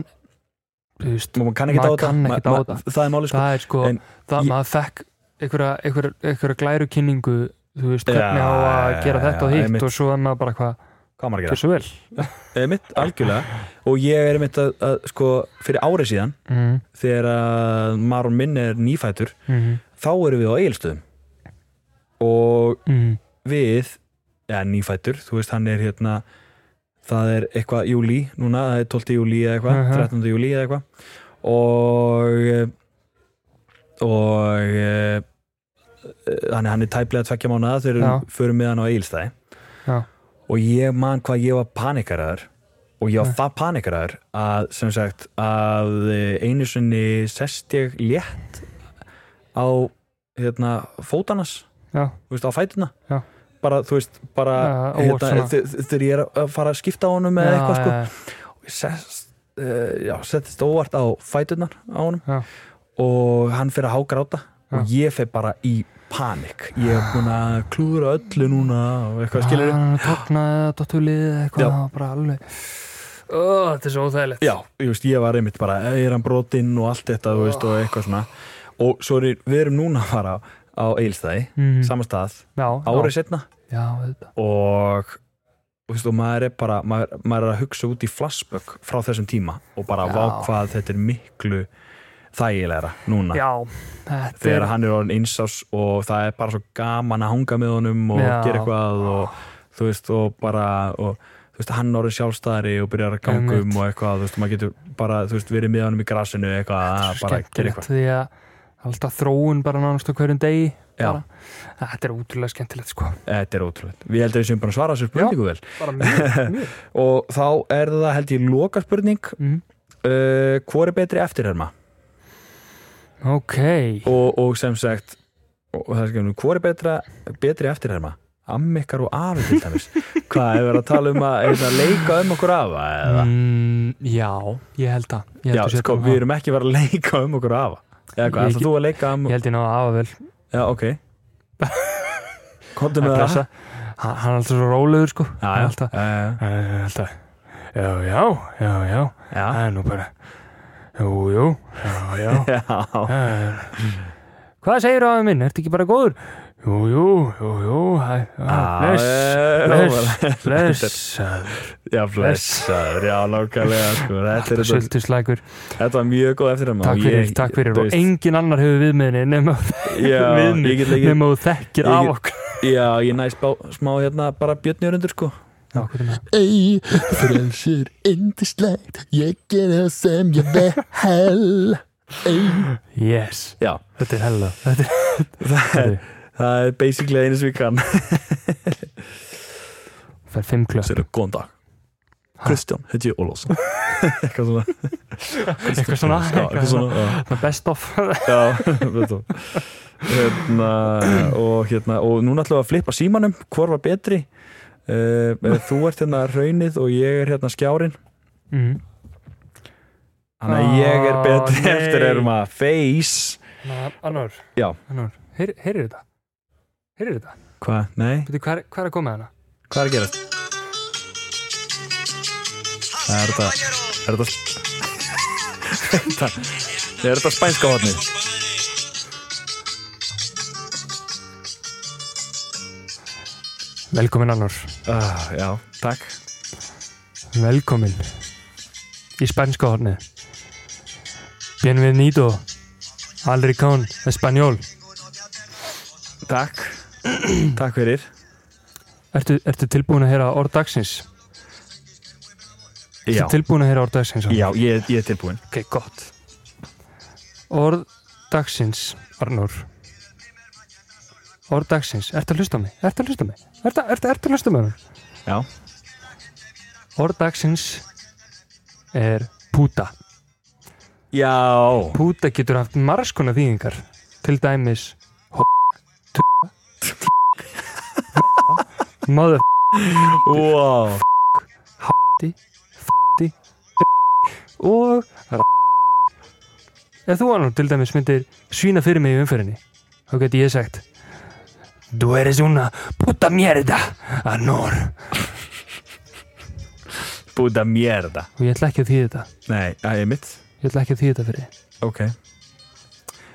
[SPEAKER 2] þú veist,
[SPEAKER 1] og maður kann ekki
[SPEAKER 2] Maður kann ekkert á
[SPEAKER 1] það það er máli sko
[SPEAKER 2] það er sko
[SPEAKER 1] En
[SPEAKER 2] það,
[SPEAKER 1] ég-
[SPEAKER 2] maður fekk einhverja, einhverja, einhverja glæru kynningu þú veist, hvernig
[SPEAKER 1] Já,
[SPEAKER 2] á að
[SPEAKER 1] já,
[SPEAKER 2] gera
[SPEAKER 1] já,
[SPEAKER 2] þetta og
[SPEAKER 1] já,
[SPEAKER 2] hitt
[SPEAKER 1] einmitt.
[SPEAKER 2] og svo er maður bara hvað,
[SPEAKER 1] Hvað á maður að gera?
[SPEAKER 2] hversu vel
[SPEAKER 1] Einmitt, algjörlega og ég er einmitt að, að sko, fyrir árið síðan
[SPEAKER 2] mm,
[SPEAKER 1] þegar að Maron minn er nýfætur
[SPEAKER 2] mm,
[SPEAKER 1] þá erum við á eigilstöðum og
[SPEAKER 2] mm,
[SPEAKER 1] við ja, nýfætur, þú veist hann er hérna það er eitthvað júli núna, það er 12. júli eða eitthvað
[SPEAKER 2] Mhm.
[SPEAKER 1] 13. júli eða eitthvað og eh, og eh, hann er, hann er tæplega tvekja mánuða þegar
[SPEAKER 2] Já.
[SPEAKER 1] við förum með hann á Egilstæði
[SPEAKER 2] Já.
[SPEAKER 1] og ég man hvað ég var panikaraður og ég var
[SPEAKER 2] Já.
[SPEAKER 1] það panikaraður að sem sagt að eh, einu sinni sest ég létt á hérna fótanas
[SPEAKER 2] já,
[SPEAKER 1] þú veist, á fætuna
[SPEAKER 2] Já.
[SPEAKER 1] bara, þú veist, bara
[SPEAKER 2] Já, óvart
[SPEAKER 1] hérna,
[SPEAKER 2] svona.
[SPEAKER 1] þe- þe- þegar ég er að fara að skipta á honum
[SPEAKER 2] já,
[SPEAKER 1] eða eitthvað, sko
[SPEAKER 2] já,
[SPEAKER 1] og ég sest, uh, já, settist óvart á fætunar á honum
[SPEAKER 2] Já.
[SPEAKER 1] og hann fyrir að hágráta og ég fyrir bara í panik ég er búin að klúðra öllu núna og eitthvað, skilur
[SPEAKER 2] hann er að topna eða dottulið eða
[SPEAKER 1] Já.
[SPEAKER 2] eitthvað, það var bara alveg Ó, þetta er svo óþægilegt
[SPEAKER 1] Já, ég, veist, ég var einmitt bara, "Eh, er hann brotinn og allt þetta, þú veist, og
[SPEAKER 2] Ah.
[SPEAKER 1] eitthvað svona og svo er, við erum núna að fara á Eilstæði,
[SPEAKER 2] mm,
[SPEAKER 1] sama stað
[SPEAKER 2] já,
[SPEAKER 1] árið
[SPEAKER 2] já,
[SPEAKER 1] setna
[SPEAKER 2] já, auðvitað.
[SPEAKER 1] og þú veist, og maður er bara maður, maður er að hugsa út í flashback frá þessum tíma og bara
[SPEAKER 2] Já.
[SPEAKER 1] vá hvað þetta er miklu þægilegra núna
[SPEAKER 2] já þetta
[SPEAKER 1] þegar
[SPEAKER 2] er
[SPEAKER 1] hann er orðin einsás og það er bara svo gaman að hanga með honum og
[SPEAKER 2] Já.
[SPEAKER 1] gera eitthvað og þú veist og bara og, þú veist, hann er orðin sjálfstæðari og byrjar að ganga
[SPEAKER 2] Einmitt.
[SPEAKER 1] um og eitthvað þú veist, og maður getur bara, þú veist, verið með honum í grasinu eitthvað,
[SPEAKER 2] svo
[SPEAKER 1] bara gera
[SPEAKER 2] skemmtilegt
[SPEAKER 1] eitthvað
[SPEAKER 2] því að alltaf þróun bara nánast á hverjum degi
[SPEAKER 1] Já.
[SPEAKER 2] bara. þetta er útrúlega skemmtilegt sko
[SPEAKER 1] þetta er ótrúlega, við heldum við sem bara að svara þessu spurningu vel
[SPEAKER 2] bara mjög, mjög
[SPEAKER 1] og þá er það held ég loka spurning
[SPEAKER 2] mm,
[SPEAKER 1] uh, hvor er betri eftirherma
[SPEAKER 2] ok,
[SPEAKER 1] og, og sem sagt og það er skemmtum, hvor er betra, betri eftirherma ammikar og afi til dæmis hvað, hefur verið að tala um að, að leika um okkur afa eða
[SPEAKER 2] mm, já, ég held að ég held
[SPEAKER 1] Já,
[SPEAKER 2] að sé
[SPEAKER 1] sko,
[SPEAKER 2] þetta um
[SPEAKER 1] við
[SPEAKER 2] það.
[SPEAKER 1] erum ekki að vera að leika um okkur afa eða
[SPEAKER 2] Ég
[SPEAKER 1] hvað, ætlað
[SPEAKER 2] ekki-
[SPEAKER 1] þú að leika um
[SPEAKER 2] ég held ég náðu að afa vel
[SPEAKER 1] Já, ok Komdu
[SPEAKER 2] að
[SPEAKER 1] með það
[SPEAKER 2] pressa hann, hann er alltaf svo rólegur sko
[SPEAKER 1] Já,
[SPEAKER 2] Hann er
[SPEAKER 1] já, Eh,
[SPEAKER 2] alltaf,
[SPEAKER 1] já, já,
[SPEAKER 2] Hann er alltaf já, já, já, já það
[SPEAKER 1] já,
[SPEAKER 2] er nú bara jú, jú, já, já
[SPEAKER 1] já.
[SPEAKER 2] Það er- hvað segir afa minn, ertu ekki bara góður jú, jú, jú, jú hæ-
[SPEAKER 1] Já,
[SPEAKER 2] ah, bless,
[SPEAKER 1] já,
[SPEAKER 2] bless, bless
[SPEAKER 1] Eh, Já, blessaður, já, nákvæmlega sko. þetta, er, þetta,
[SPEAKER 2] söldu slækur
[SPEAKER 1] þetta var mjög góð eftirherma og
[SPEAKER 2] takk fyrir,
[SPEAKER 1] ég-
[SPEAKER 2] takk fyrir
[SPEAKER 1] þú
[SPEAKER 2] og
[SPEAKER 1] veist,
[SPEAKER 2] engin annar hefur viðmiðni nema
[SPEAKER 1] Já,
[SPEAKER 2] viðmið,
[SPEAKER 1] ég get leikið
[SPEAKER 2] nema þú þekkir
[SPEAKER 1] ég
[SPEAKER 2] af
[SPEAKER 1] get-
[SPEAKER 2] okkur
[SPEAKER 1] Já, ég næst bá, smá hérna bara björnjörundur sko
[SPEAKER 2] Já, hvað er það?
[SPEAKER 3] Ey, frelsur indislegt, ég gera það sem ég vil. Ey,
[SPEAKER 2] yes,
[SPEAKER 1] Já,
[SPEAKER 2] þetta er hella þetta er,
[SPEAKER 1] það er,
[SPEAKER 2] þetta
[SPEAKER 1] það er basically einu sem ég kann
[SPEAKER 2] er- fær fimm klöpp
[SPEAKER 1] Sér er góðan dag Kristján, heiti ég Ólafsson Eitthvað svona
[SPEAKER 2] eitthvað svona,
[SPEAKER 1] Já, eitthvað svona já.
[SPEAKER 2] svona best of
[SPEAKER 1] Já, veitum Hérna, og hérna og núna ætlum við að flippa símanum Hvor var betri? Uh, þú ert hérna raunið og ég er hérna skjárin
[SPEAKER 2] mm.
[SPEAKER 1] Þannig að ég er
[SPEAKER 2] Ah,
[SPEAKER 1] betri
[SPEAKER 2] nei.
[SPEAKER 1] eftir erum að face
[SPEAKER 2] Ná, annar,
[SPEAKER 1] Já.
[SPEAKER 2] annar heyrir þetta? heyrir þetta?
[SPEAKER 1] Hvað? Nei?
[SPEAKER 2] Veitu, hvað, er- hvað er að koma með hana?
[SPEAKER 1] Hvað er að gerast? Það er þetta Er þetta Það er þetta spænska hotnið
[SPEAKER 2] velkomin annar,
[SPEAKER 1] uh, Já, takk
[SPEAKER 2] velkomin í spænska horni bienvenido al ricón español
[SPEAKER 1] Takk Takk fyrir
[SPEAKER 2] ertu, ertu tilbúin að heyra orð dagsins?
[SPEAKER 1] Já,
[SPEAKER 2] Ertu tilbúin að heyra orð dagsins?
[SPEAKER 1] já ég, ég er tilbúin
[SPEAKER 2] Ok, gott. Orð dagsins, Arnór. Orð dagsins. Ertu að hlusta á mig? Ertu að hlusta á mig? Ertu, ertu, ertu að hlusta á mig?
[SPEAKER 1] Já.
[SPEAKER 2] Orð dagsins er púta.
[SPEAKER 1] Já
[SPEAKER 2] Púta getur haft margs konar þýðingar. Til dæmis h***, t***, t***, mother
[SPEAKER 1] Wow
[SPEAKER 2] og r- Ef þú annars til dæmis myndir svína fyrir mig í umferðinni þá geti ég sagt Þú eres una puta mierda Anor
[SPEAKER 1] Búta mérda
[SPEAKER 2] og ég ætla ekki að þýða þetta
[SPEAKER 1] Nei, það er mitt
[SPEAKER 2] ég ætla ekki að þýða þetta fyrir þig.
[SPEAKER 1] Ok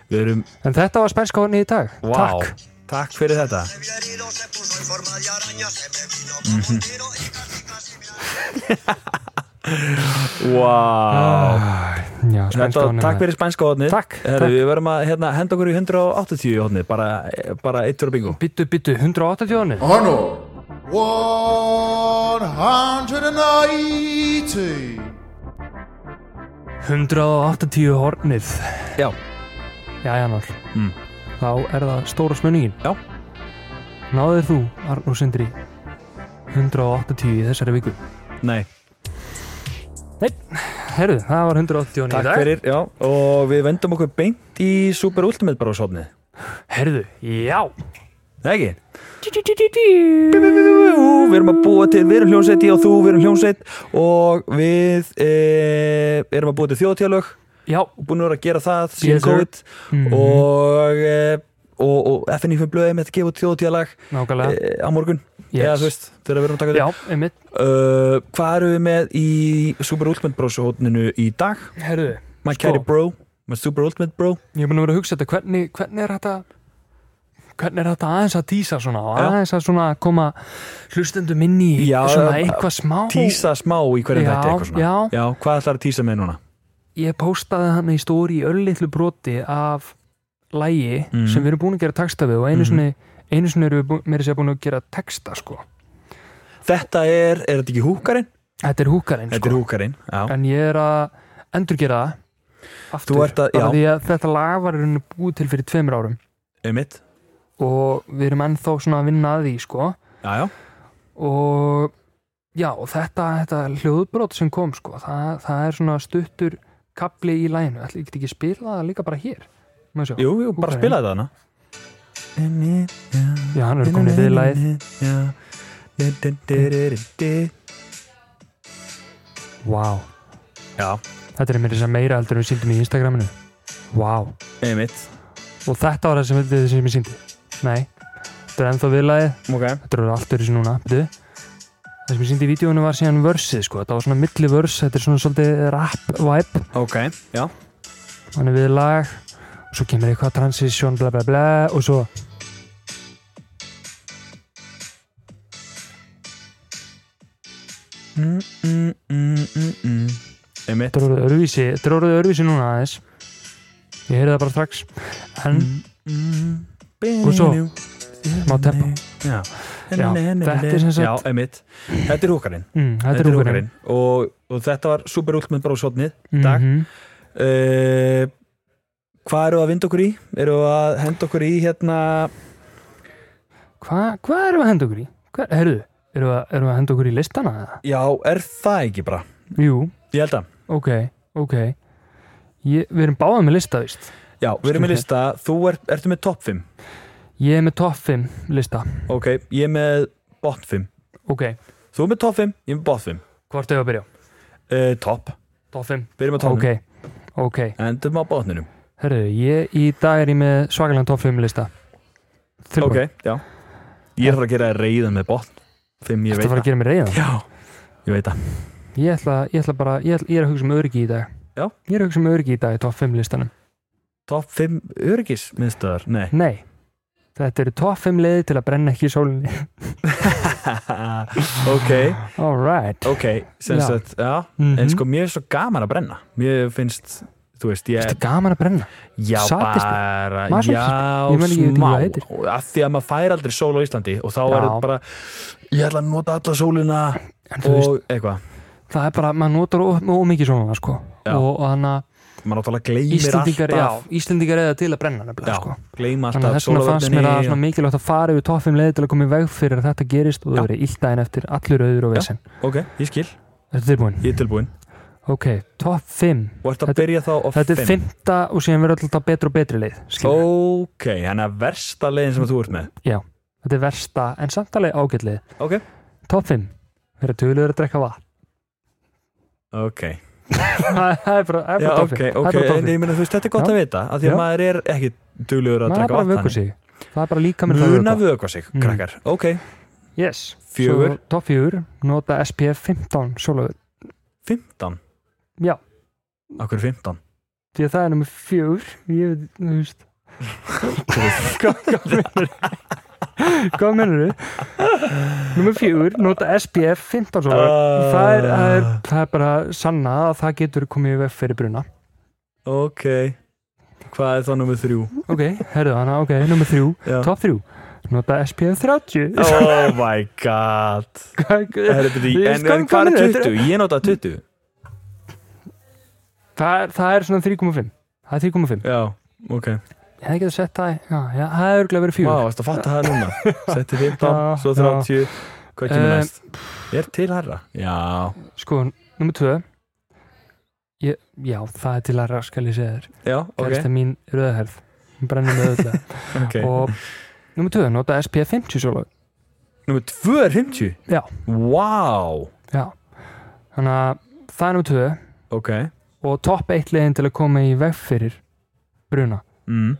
[SPEAKER 1] Við erum,
[SPEAKER 2] En þetta var spænska horni í dag.
[SPEAKER 1] wow,
[SPEAKER 2] Takk.
[SPEAKER 1] takk fyrir þetta
[SPEAKER 4] viajero se puso en forma de araña, se me vino como quiero y casi casi me
[SPEAKER 1] Wow
[SPEAKER 2] Ah, Já, spænska
[SPEAKER 1] Þetta,
[SPEAKER 2] horni.
[SPEAKER 1] takk fyrir spænska hodnið
[SPEAKER 2] Takk, takk.
[SPEAKER 1] Við verðum að hérna, henda okkur í 180 hodnið bara, bara eittur og bingo
[SPEAKER 2] Bittu, bittu, 180 horni.
[SPEAKER 5] Honor 180.
[SPEAKER 2] 180 hornið.
[SPEAKER 1] Já,
[SPEAKER 2] Já, Janor.
[SPEAKER 1] Mm.
[SPEAKER 2] Þá er það stóra spurningin.
[SPEAKER 1] Já.
[SPEAKER 2] Náður þú, Arnur Sindri, 180 í þessari viku?
[SPEAKER 1] nei,
[SPEAKER 2] Herðu, það var 180 horni í
[SPEAKER 1] takk
[SPEAKER 2] dag.
[SPEAKER 1] fyrir já, Og við vendum okkur beint í Super Ultimate Bros hodnið
[SPEAKER 2] Herðu, já.
[SPEAKER 1] Nei ekki? Við erum að búa til, við erum hljónsveit, ég og þú, við erum hljónsveit og við e, erum að búa til þjóðtjálög
[SPEAKER 2] Já,
[SPEAKER 1] og búin að vera að gera það síðan
[SPEAKER 2] Yes, sir.
[SPEAKER 1] COVID
[SPEAKER 2] Mhm.
[SPEAKER 1] og, e, og, og FNF blöði E með að gefa út þjóðtjálag e,
[SPEAKER 2] nákvæmlega.
[SPEAKER 1] á morgun
[SPEAKER 2] Yes.
[SPEAKER 1] eða þú veist, þegar við erum að taka
[SPEAKER 2] Já,
[SPEAKER 1] þetta
[SPEAKER 2] einmitt.
[SPEAKER 1] uh, Hvað eru við með í Super Ultimate Bros hótninu í dag?
[SPEAKER 2] Herðu,
[SPEAKER 1] My
[SPEAKER 2] Sko. Oh.
[SPEAKER 1] Carry Bro, my Super Ultimate Bro
[SPEAKER 2] ég er búin að vera að hugsa þetta. Hvernig, hvernig er þetta... Hvernig er þetta aðeins að tísa svona og
[SPEAKER 1] Já.
[SPEAKER 2] aðeins að svona koma hlustendum inn í
[SPEAKER 1] Já,
[SPEAKER 2] svona
[SPEAKER 1] að-
[SPEAKER 2] eitthvað smá
[SPEAKER 1] Tísa smá í hverjum
[SPEAKER 2] Já,
[SPEAKER 1] þetta eitthvað svona
[SPEAKER 2] já.
[SPEAKER 1] hvað ætlar að tísa með núna?
[SPEAKER 2] ég postaði hann í stóri í öllitlu broti af lægi
[SPEAKER 1] Mhm.
[SPEAKER 2] sem við erum búin að gera texta við og einu
[SPEAKER 1] Mhm.
[SPEAKER 2] sinni, einu sinni erum við bú- meira að segja búin að gera texta sko.
[SPEAKER 1] Þetta er, er þetta ekki húkarinn?
[SPEAKER 2] Þetta er húkarinn
[SPEAKER 1] Þetta er
[SPEAKER 2] sko.
[SPEAKER 1] húkarinn, já
[SPEAKER 2] en ég er að endurgera það aftur,
[SPEAKER 1] Þú ert að-
[SPEAKER 2] bara
[SPEAKER 1] já.
[SPEAKER 2] því að þetta lag var í rauninni búið til fyrir tveimur árum
[SPEAKER 1] Einmitt,
[SPEAKER 2] og við erum ennþá svona að vinna að því sko.
[SPEAKER 1] já, já
[SPEAKER 2] og já, og þetta, þetta hljóðbrot sem kom sko, það, það er svona stuttur kapli í læginu, ætli ég get ekki spila það líka bara hér Má sjá.
[SPEAKER 1] Jú, jú, bara
[SPEAKER 2] Húkarinn.
[SPEAKER 1] spila þetta hana
[SPEAKER 2] já, hann er komin í viðlæð
[SPEAKER 1] viðlæð
[SPEAKER 2] Vá,
[SPEAKER 1] Já,
[SPEAKER 2] þetta er meira þess að meira heldur en við síndum í Instagraminu Vá,
[SPEAKER 1] einmitt
[SPEAKER 2] og þetta var það sem, þetta sem ég síndi Nei, þetta er ennþá viðlagið
[SPEAKER 1] Ok
[SPEAKER 2] Þetta eru allt öðru sem núna, byrju Það sem ég síndi í vídjóinu var síðan versið sko Þetta var svona milli vers, þetta er svona svolítið rap vibe
[SPEAKER 1] Ok, já
[SPEAKER 2] Þannig viðlag og svo kemur eitthvað transition bla bla bla og svo
[SPEAKER 1] Mm, mm, mm, mm, mm. Einmitt
[SPEAKER 2] þetta er orðið öðruvísi, þetta er orðið öðruvísi núna aðeins Ég heyri það bara strax En
[SPEAKER 1] Og
[SPEAKER 2] svo, smá tempo.
[SPEAKER 1] Já,
[SPEAKER 2] Já, þetta er sem sagt-
[SPEAKER 1] Já, einmitt Þetta er húkarinn
[SPEAKER 2] mm, þetta er húkarinn
[SPEAKER 1] og, og þetta var Super Ultimate Bros hotnið Dag.
[SPEAKER 2] Mhm.
[SPEAKER 1] uh, Hvað eru að vinda okkur í? Eru að henda okkur í hérna
[SPEAKER 2] Hva, Hvað erum við að henda okkur í? Hvað, heyrðu, erum við, erum við að henda okkur í listana? eða?
[SPEAKER 1] Já, er það ekki bara?
[SPEAKER 2] Jú,
[SPEAKER 1] Ég held að
[SPEAKER 2] Ok, ok ég, Við erum báðið með lista, víst
[SPEAKER 1] Já, við erum með lista Þú ert, ertu með top 5
[SPEAKER 2] Ég er með top 5 lista
[SPEAKER 1] Ok, ég er með bot 5
[SPEAKER 2] Ok,
[SPEAKER 1] Þú er með top 5, ég er með bot 5
[SPEAKER 2] hvort er að byrja?
[SPEAKER 1] uh, Top,
[SPEAKER 2] Top 5
[SPEAKER 1] byrjum að
[SPEAKER 2] Ok,
[SPEAKER 1] topnum
[SPEAKER 2] ok
[SPEAKER 1] Endum á botninum
[SPEAKER 2] Herðu, ég í dag er ég með svakalega top 5 lista
[SPEAKER 1] Ok, já Ég er að fara að gera þér reiðan með botn 5, ég
[SPEAKER 2] Þetta
[SPEAKER 1] veit
[SPEAKER 2] fara að
[SPEAKER 1] það
[SPEAKER 2] gera mér reyðan
[SPEAKER 1] Já, ég veit það
[SPEAKER 2] Ég ætla, ég ætla bara, ég, ætla, ég er að hugsa um öryggi í dag
[SPEAKER 1] Já.
[SPEAKER 2] Ég er að hugsa um öryggi í dag í top 5 listanum
[SPEAKER 1] Top 5 öryggismiðstöðar, nei
[SPEAKER 2] Nei, þetta eru top 5 leiði til að brenna ekki í sólinni
[SPEAKER 1] Ok,
[SPEAKER 2] Alright
[SPEAKER 1] ok Sem
[SPEAKER 2] Já.
[SPEAKER 1] sagt, já
[SPEAKER 2] mm
[SPEAKER 1] En sko, mér er svo gaman að brenna Mér finnst, þú veist, ég
[SPEAKER 2] Þetta er gaman að brenna
[SPEAKER 1] Já,
[SPEAKER 2] Sadisti.
[SPEAKER 1] bara,
[SPEAKER 2] Masókisti.
[SPEAKER 1] já,
[SPEAKER 2] Ég man ekki, ég veit ekki
[SPEAKER 1] smá
[SPEAKER 2] hvað heitir.
[SPEAKER 1] Og af því að maður fær aldrei sól á Íslandi og þá
[SPEAKER 2] Já.
[SPEAKER 1] er þetta bara ég ætla að nota alla sólina
[SPEAKER 2] En þú veist,
[SPEAKER 1] og eitthvað,
[SPEAKER 2] það er bara, maður notar ó- ómikið svona sko.
[SPEAKER 1] Já.
[SPEAKER 2] og, og þannig að
[SPEAKER 1] maður náttúrulega gleymir
[SPEAKER 2] Íslendingar, já,
[SPEAKER 1] alltaf
[SPEAKER 2] Íslendingar eða til að brenna
[SPEAKER 1] já,
[SPEAKER 2] nefnilega sko.
[SPEAKER 1] gleyma
[SPEAKER 2] Þannig að
[SPEAKER 1] alltaf
[SPEAKER 2] þess vegna fannst mér að svona
[SPEAKER 1] sólavarninni
[SPEAKER 2] mikilvægt að fara yfir toffum leið til að koma í veg fyrir að þetta gerist og
[SPEAKER 1] Já.
[SPEAKER 2] það verið illtæðin eftir allur auður og
[SPEAKER 1] Já.
[SPEAKER 2] vesen.
[SPEAKER 1] ok, ég skil,
[SPEAKER 2] Þetta er tilbúin.
[SPEAKER 1] ég er tilbúin
[SPEAKER 2] Ok, topp 5.
[SPEAKER 1] og ert að
[SPEAKER 2] Þetta-
[SPEAKER 1] byrja þá á
[SPEAKER 2] Þetta er
[SPEAKER 1] fimm.
[SPEAKER 2] fymta og síðan verður alltaf betra og betri leið. Oh.
[SPEAKER 1] ok, hann er versta leiðin sem þú ert með
[SPEAKER 2] Þetta er versta en samtalið ágætt leið.
[SPEAKER 1] ok,
[SPEAKER 2] Topp 5. Verður töluður að drekka vatn.
[SPEAKER 1] ok,
[SPEAKER 2] það er bara, það er
[SPEAKER 1] já,
[SPEAKER 2] bara topp
[SPEAKER 1] ok,
[SPEAKER 2] 5.
[SPEAKER 1] ok
[SPEAKER 2] Það er bara topp
[SPEAKER 1] en
[SPEAKER 2] 5.
[SPEAKER 1] ég meina þú veist, þetta er gott
[SPEAKER 2] Já.
[SPEAKER 1] að vita af því
[SPEAKER 2] Já.
[SPEAKER 1] að maður er ekki duglegur að
[SPEAKER 2] Það er
[SPEAKER 1] taka
[SPEAKER 2] bara að vöku
[SPEAKER 1] vatn
[SPEAKER 2] sig. Það er bara líka með það
[SPEAKER 1] muna
[SPEAKER 2] að vöku.
[SPEAKER 1] vöku sig,
[SPEAKER 2] Mm.
[SPEAKER 1] krakkar ok,
[SPEAKER 2] Yes.
[SPEAKER 1] Fjögur.
[SPEAKER 2] Svo Topp 4. Nota SPF 15 sólavöld.
[SPEAKER 1] 15,
[SPEAKER 2] Já,
[SPEAKER 1] akkur 15
[SPEAKER 2] því að það er nummer fjögur ég veit, þú veist hvað hvað mennur hvað mennur þið nummer fjögur, nota SPF 15 svona,
[SPEAKER 1] Ah.
[SPEAKER 2] það, er, það, er, það er bara sanna að það getur komið í veg fyrir bruna
[SPEAKER 1] Ok Hvað er það nummið þrjú?
[SPEAKER 2] ok, herðu hana, ok, nummer þrjú
[SPEAKER 1] Já.
[SPEAKER 2] top þrjú, nota SPF 30
[SPEAKER 1] Oh my god
[SPEAKER 2] Hvað-
[SPEAKER 1] Herri, byrju,
[SPEAKER 2] Ég
[SPEAKER 1] En,
[SPEAKER 2] skal
[SPEAKER 1] en hvað
[SPEAKER 2] koma
[SPEAKER 1] er
[SPEAKER 2] niður.
[SPEAKER 1] 20? Ég nota 20
[SPEAKER 2] það, er- það er svona 3,5 það er 3,5
[SPEAKER 1] Já, ok
[SPEAKER 2] ég hefði getið sett það, í- já, já, það er örgulega verið
[SPEAKER 1] Vá,
[SPEAKER 2] fjögur
[SPEAKER 1] varst að fatta það núna Setti 15,
[SPEAKER 2] Já,
[SPEAKER 1] svo
[SPEAKER 2] já.
[SPEAKER 1] 30 Hvað kemur
[SPEAKER 2] Eh,
[SPEAKER 1] næst? Ég er til herra Já,
[SPEAKER 2] sko, nummer tvö ég, já, það er til að raskal ég segja þér
[SPEAKER 1] já, ok,
[SPEAKER 2] kærasta mín röðherð hún brennir með öllu
[SPEAKER 1] ok
[SPEAKER 2] og nummer 2, nota SPF 50 solo
[SPEAKER 1] Númer 2 er 50?
[SPEAKER 2] Já.
[SPEAKER 1] Vá,
[SPEAKER 2] já, þannig að það er nummer 2
[SPEAKER 1] ok
[SPEAKER 2] og topp 1 leiðin til að koma í veg fyrir bruna,
[SPEAKER 1] mm.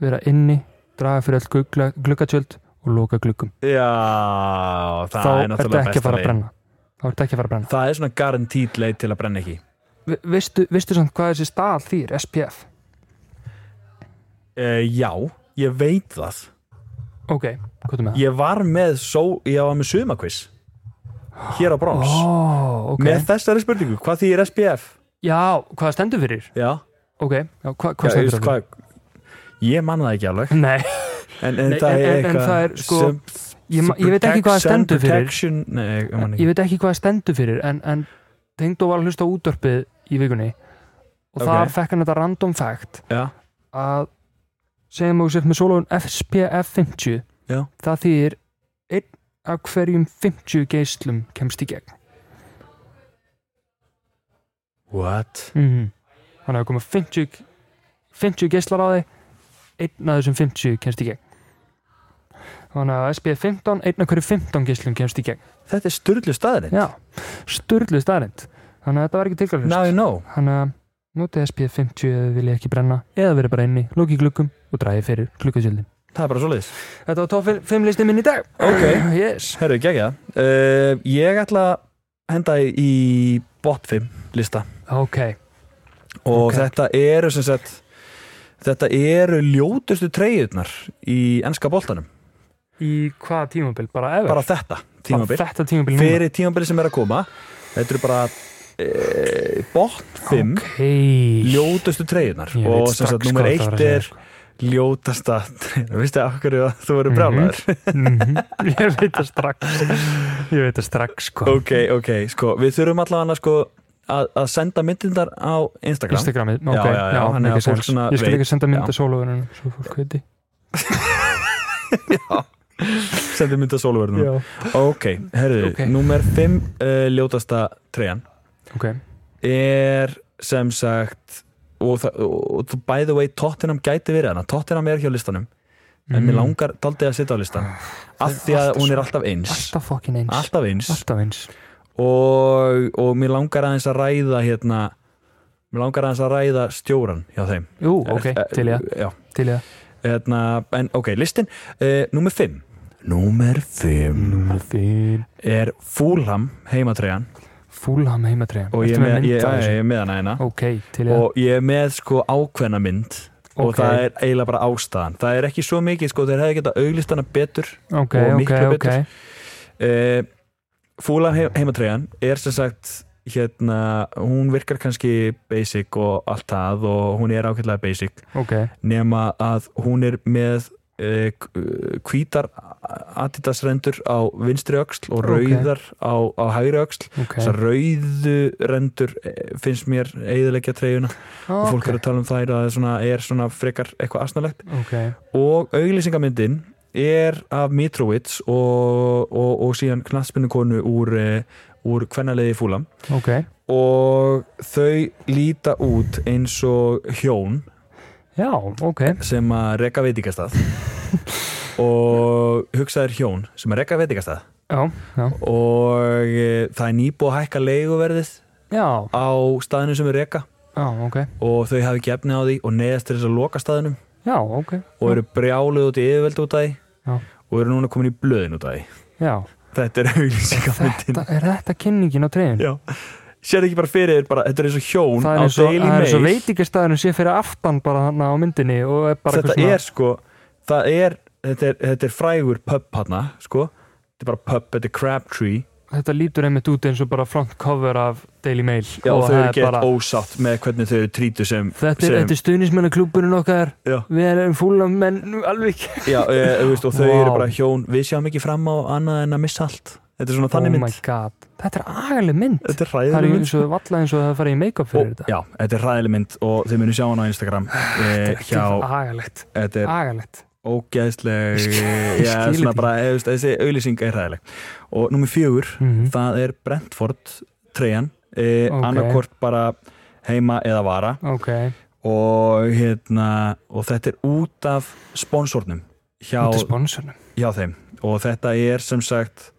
[SPEAKER 2] vera inni draga fyrir öll glugga, gluggatjöld og loka gluggum,
[SPEAKER 1] Já, það
[SPEAKER 2] þá
[SPEAKER 1] er
[SPEAKER 2] ertu
[SPEAKER 1] náttúrulega
[SPEAKER 2] ekki að
[SPEAKER 1] besta
[SPEAKER 2] fara að
[SPEAKER 1] leið
[SPEAKER 2] brenna þá ertu ekki að fara að brenna
[SPEAKER 1] Það er svona garantít leið til að brenna ekki
[SPEAKER 2] Vi- veistu, veistu samt hvað þessi stað þýr, SPF
[SPEAKER 1] uh, Já, ég veit það
[SPEAKER 2] ok, hvað er með það?
[SPEAKER 1] Ég var með, só, ég var með sumakviss Hér á brons
[SPEAKER 2] Ó, ok,
[SPEAKER 1] Með þessari spurningu, hvað þýðir SPF?
[SPEAKER 2] já, hvað stendur fyrir?
[SPEAKER 1] Já,
[SPEAKER 2] ok, já, hva,
[SPEAKER 1] Já, sko-
[SPEAKER 2] hvað stendur
[SPEAKER 1] veist
[SPEAKER 2] fyrir?
[SPEAKER 1] Ég man það ekki alveg
[SPEAKER 2] Nei,
[SPEAKER 1] En, en,
[SPEAKER 2] Nei,
[SPEAKER 1] það, er
[SPEAKER 2] en- en- en
[SPEAKER 1] eitthvað
[SPEAKER 2] það er sko-
[SPEAKER 1] sem-
[SPEAKER 2] ég, ma- ég veit ekki hvað það
[SPEAKER 1] Sun
[SPEAKER 2] stendur fyrir
[SPEAKER 1] protection, Nei, ég ég man
[SPEAKER 2] ég
[SPEAKER 1] ekki
[SPEAKER 2] veit ekki hvað það stendur fyrir en, en Tengdó var að hlusta á útdörpið í vikunni og
[SPEAKER 1] Ok.
[SPEAKER 2] þar fekk hann þetta random fact
[SPEAKER 1] Já.
[SPEAKER 2] að segjum að þú sért með sólóðun SPF 50
[SPEAKER 1] Já.
[SPEAKER 2] það þýðir einn af hverjum 50 geislum kemst í gegn
[SPEAKER 1] What?
[SPEAKER 2] mm -hmm. þannig að koma 50, 50 geislar á þig einn af þessum 50 kemst í gegn þannig að SPF 15 einn af hverjum 15 geislum kemst í gegn
[SPEAKER 1] Þetta er styrlu staðurinn
[SPEAKER 2] já, sturlu staðrind þannig að þetta var ekki tilgælust
[SPEAKER 1] Now you know
[SPEAKER 2] Þannig að notið SPF 50 ef þið viljið ekki brenna eða verið bara inni, lóki glukkum og dragið fyrir klukkasjöldin.
[SPEAKER 1] Það er bara svoleiðis
[SPEAKER 2] Þetta var top 5 listin minn í dag.
[SPEAKER 1] Ok.
[SPEAKER 2] Yes.
[SPEAKER 1] Herru, gegja uh, Ég ætla að henda í bot 5 lista
[SPEAKER 2] Ok.
[SPEAKER 1] og
[SPEAKER 2] Ok.
[SPEAKER 1] þetta eru sem sagt þetta eru ljótustu treyjurnar í ennska boltanum
[SPEAKER 2] Í hvaða tímabil? Bara ever?
[SPEAKER 1] bara þetta tímabil
[SPEAKER 2] Bara þetta tímabil núna?
[SPEAKER 1] fyrir tímabil sem er að koma þetta eru bara e, bot 5
[SPEAKER 2] Ok.
[SPEAKER 1] ljótustu treyjurnar
[SPEAKER 2] Ég veit
[SPEAKER 1] og sem
[SPEAKER 2] strax
[SPEAKER 1] sagt nummer
[SPEAKER 2] hvað það
[SPEAKER 1] 1
[SPEAKER 2] var að segja, sko.
[SPEAKER 1] er ljótasta treyjurnar veistu af hverju að þú eru
[SPEAKER 2] Mhm.
[SPEAKER 1] brjálæður
[SPEAKER 2] Mhm. Ég veit það strax. Ég veit það strax, sko.
[SPEAKER 1] ok, ok, sko við þurfum allavega sko að, að senda myndindar á Instagram,
[SPEAKER 2] Instagramið,
[SPEAKER 1] Já,
[SPEAKER 2] ok.
[SPEAKER 1] já, já, þannig að
[SPEAKER 2] mikið
[SPEAKER 1] fólk
[SPEAKER 2] sens.
[SPEAKER 1] svona
[SPEAKER 2] Ég skal
[SPEAKER 1] veit.
[SPEAKER 2] ekki senda
[SPEAKER 1] Já.
[SPEAKER 2] mynda sólóðunum, svo fólk veit
[SPEAKER 1] sendum mynd að sóluverðunum
[SPEAKER 2] Já.
[SPEAKER 1] ok, herðu,
[SPEAKER 2] Ok.
[SPEAKER 1] nummer 5 uh, ljótasta treyjan
[SPEAKER 2] Ok.
[SPEAKER 1] er sem sagt og, það- og, og by the way Tottenham gæti verið hana, Tottenham er hjá listanum en mér
[SPEAKER 2] Mm.
[SPEAKER 1] langar daldið að sitja á listan af því að
[SPEAKER 2] Ah, alltaf
[SPEAKER 1] hún er
[SPEAKER 2] svona.
[SPEAKER 1] alltaf eins
[SPEAKER 2] Alltaf fucking eins.
[SPEAKER 1] alltaf eins
[SPEAKER 2] Alltaf eins.
[SPEAKER 1] og, og mér langar aðeins að ræða hérna mér langar aðeins að ræða stjóran hjá þeim Eh,
[SPEAKER 2] Jú, ok, til ég,
[SPEAKER 1] já,
[SPEAKER 2] til ég.
[SPEAKER 1] hérna, en, ok, listin uh, nummer 5 nummer 5
[SPEAKER 2] Númer þín.
[SPEAKER 1] er Fúlham heimatreyjan
[SPEAKER 2] Fúlham heimatræðan
[SPEAKER 1] og ég er með, ég, ég, ég er með hana hérna
[SPEAKER 2] Ok, til ég
[SPEAKER 1] og ég er með sko ákveðna mynd og
[SPEAKER 2] Ok.
[SPEAKER 1] það er eiginlega bara ástæðan það er ekki svo mikið sko, þeir hefði getað auglist hana betur
[SPEAKER 2] Ok,
[SPEAKER 1] og
[SPEAKER 2] ok,
[SPEAKER 1] miklu betur.
[SPEAKER 2] ok
[SPEAKER 1] uh, Fúlan he heimatreyjan er sem sagt hérna, hún virkar kannski basic og allt það og hún er ákveðlega basic
[SPEAKER 2] Ok,
[SPEAKER 1] nema að hún er með uh, hvítar Adidas rendur á vinstri öxl og
[SPEAKER 2] Ok.
[SPEAKER 1] rauðar á, á hægri öxl
[SPEAKER 2] ok
[SPEAKER 1] þessar rauðu rendur eh, finnst mér eiðilegja treyjuna og fólk er að tala um þær að það er svona, er svona frekar eitthvað asnalegt
[SPEAKER 2] Ok,
[SPEAKER 1] og auglýsingamyndin er af Mitrovic og, og, og síðan knattspinnukonu úr, eh, úr kvennalegi fúlam
[SPEAKER 2] ok
[SPEAKER 1] og þau líta út eins og hjón
[SPEAKER 2] Já, ok
[SPEAKER 1] sem að reka veitingastað og hugsaðir hjón sem að reka veitingastað
[SPEAKER 2] Já, já
[SPEAKER 1] og e, það er nýbúið að hækka leiguverðið
[SPEAKER 2] Já,
[SPEAKER 1] á staðinu sem við reka
[SPEAKER 2] já, ok
[SPEAKER 1] og þau hafi ekki efni á því og neðast til þess að loka staðinum
[SPEAKER 2] Já, ok
[SPEAKER 1] og eru brjáluð út í yfirveld út af því
[SPEAKER 2] Já.
[SPEAKER 1] og eru núna komin í blöðin út af því
[SPEAKER 2] Já,
[SPEAKER 1] þetta er auglýsingamyndin
[SPEAKER 2] þetta, er þetta kynningin á treyðin?
[SPEAKER 1] Já. sér ekki bara fyrir þér bara, þetta er eins og hjón á
[SPEAKER 2] það er eins og,
[SPEAKER 1] Daily
[SPEAKER 2] það er eins og
[SPEAKER 1] Mail
[SPEAKER 2] veitingastæðurinn sé fyrir aftan bara hann á myndinni og er bara
[SPEAKER 1] þetta er sko það er, þetta er, þetta er frægur pub hana, sko þetta er bara pub, þetta er Crabtree
[SPEAKER 2] þetta lítur einmitt út eins og bara front cover af Daily Mail
[SPEAKER 1] já, og
[SPEAKER 2] og
[SPEAKER 1] þau
[SPEAKER 2] það
[SPEAKER 1] eru
[SPEAKER 2] er
[SPEAKER 1] gett
[SPEAKER 2] bara
[SPEAKER 1] ósátt með hvernig þau trýtu sem,
[SPEAKER 2] þetta er,
[SPEAKER 1] sem
[SPEAKER 2] þetta er stuðnismennaklúburinn okkar
[SPEAKER 1] já,
[SPEAKER 2] við erum fúla menn alveg ekki.
[SPEAKER 1] já, e, e, veist, og þau
[SPEAKER 2] Vá.
[SPEAKER 1] eru bara hjón við sjáum ekki fram á annað en að missa allt þetta er svona
[SPEAKER 2] oh
[SPEAKER 1] þannig
[SPEAKER 2] my
[SPEAKER 1] mynd
[SPEAKER 2] god, þetta er agaleg mynd
[SPEAKER 1] þetta er
[SPEAKER 2] það er
[SPEAKER 1] hræðileg mynd sko.
[SPEAKER 2] eins og valla eins og það farið í make-up fyrir
[SPEAKER 1] og,
[SPEAKER 2] þetta
[SPEAKER 1] já, þetta er hræðileg mynd og þið munum sjá hana á Instagram e, hjá,
[SPEAKER 2] Þetta er agalegt,
[SPEAKER 1] þetta er
[SPEAKER 2] agalegt
[SPEAKER 1] ógæðsleg
[SPEAKER 2] Ég skil- ég
[SPEAKER 1] já,
[SPEAKER 2] skil
[SPEAKER 1] svona
[SPEAKER 2] þetta
[SPEAKER 1] bara, e, veist, þessi auðlýsing er hræðileg og nummer fjögur
[SPEAKER 2] Mhm.
[SPEAKER 1] það er Brentford treyjan, e,
[SPEAKER 2] Ok.
[SPEAKER 1] annarkvort bara heima eða vara
[SPEAKER 2] ok,
[SPEAKER 1] og, hérna, og þetta er út af sponsornum hjá,
[SPEAKER 2] út af sponsornum
[SPEAKER 1] hjá þeim og þetta er sem sagt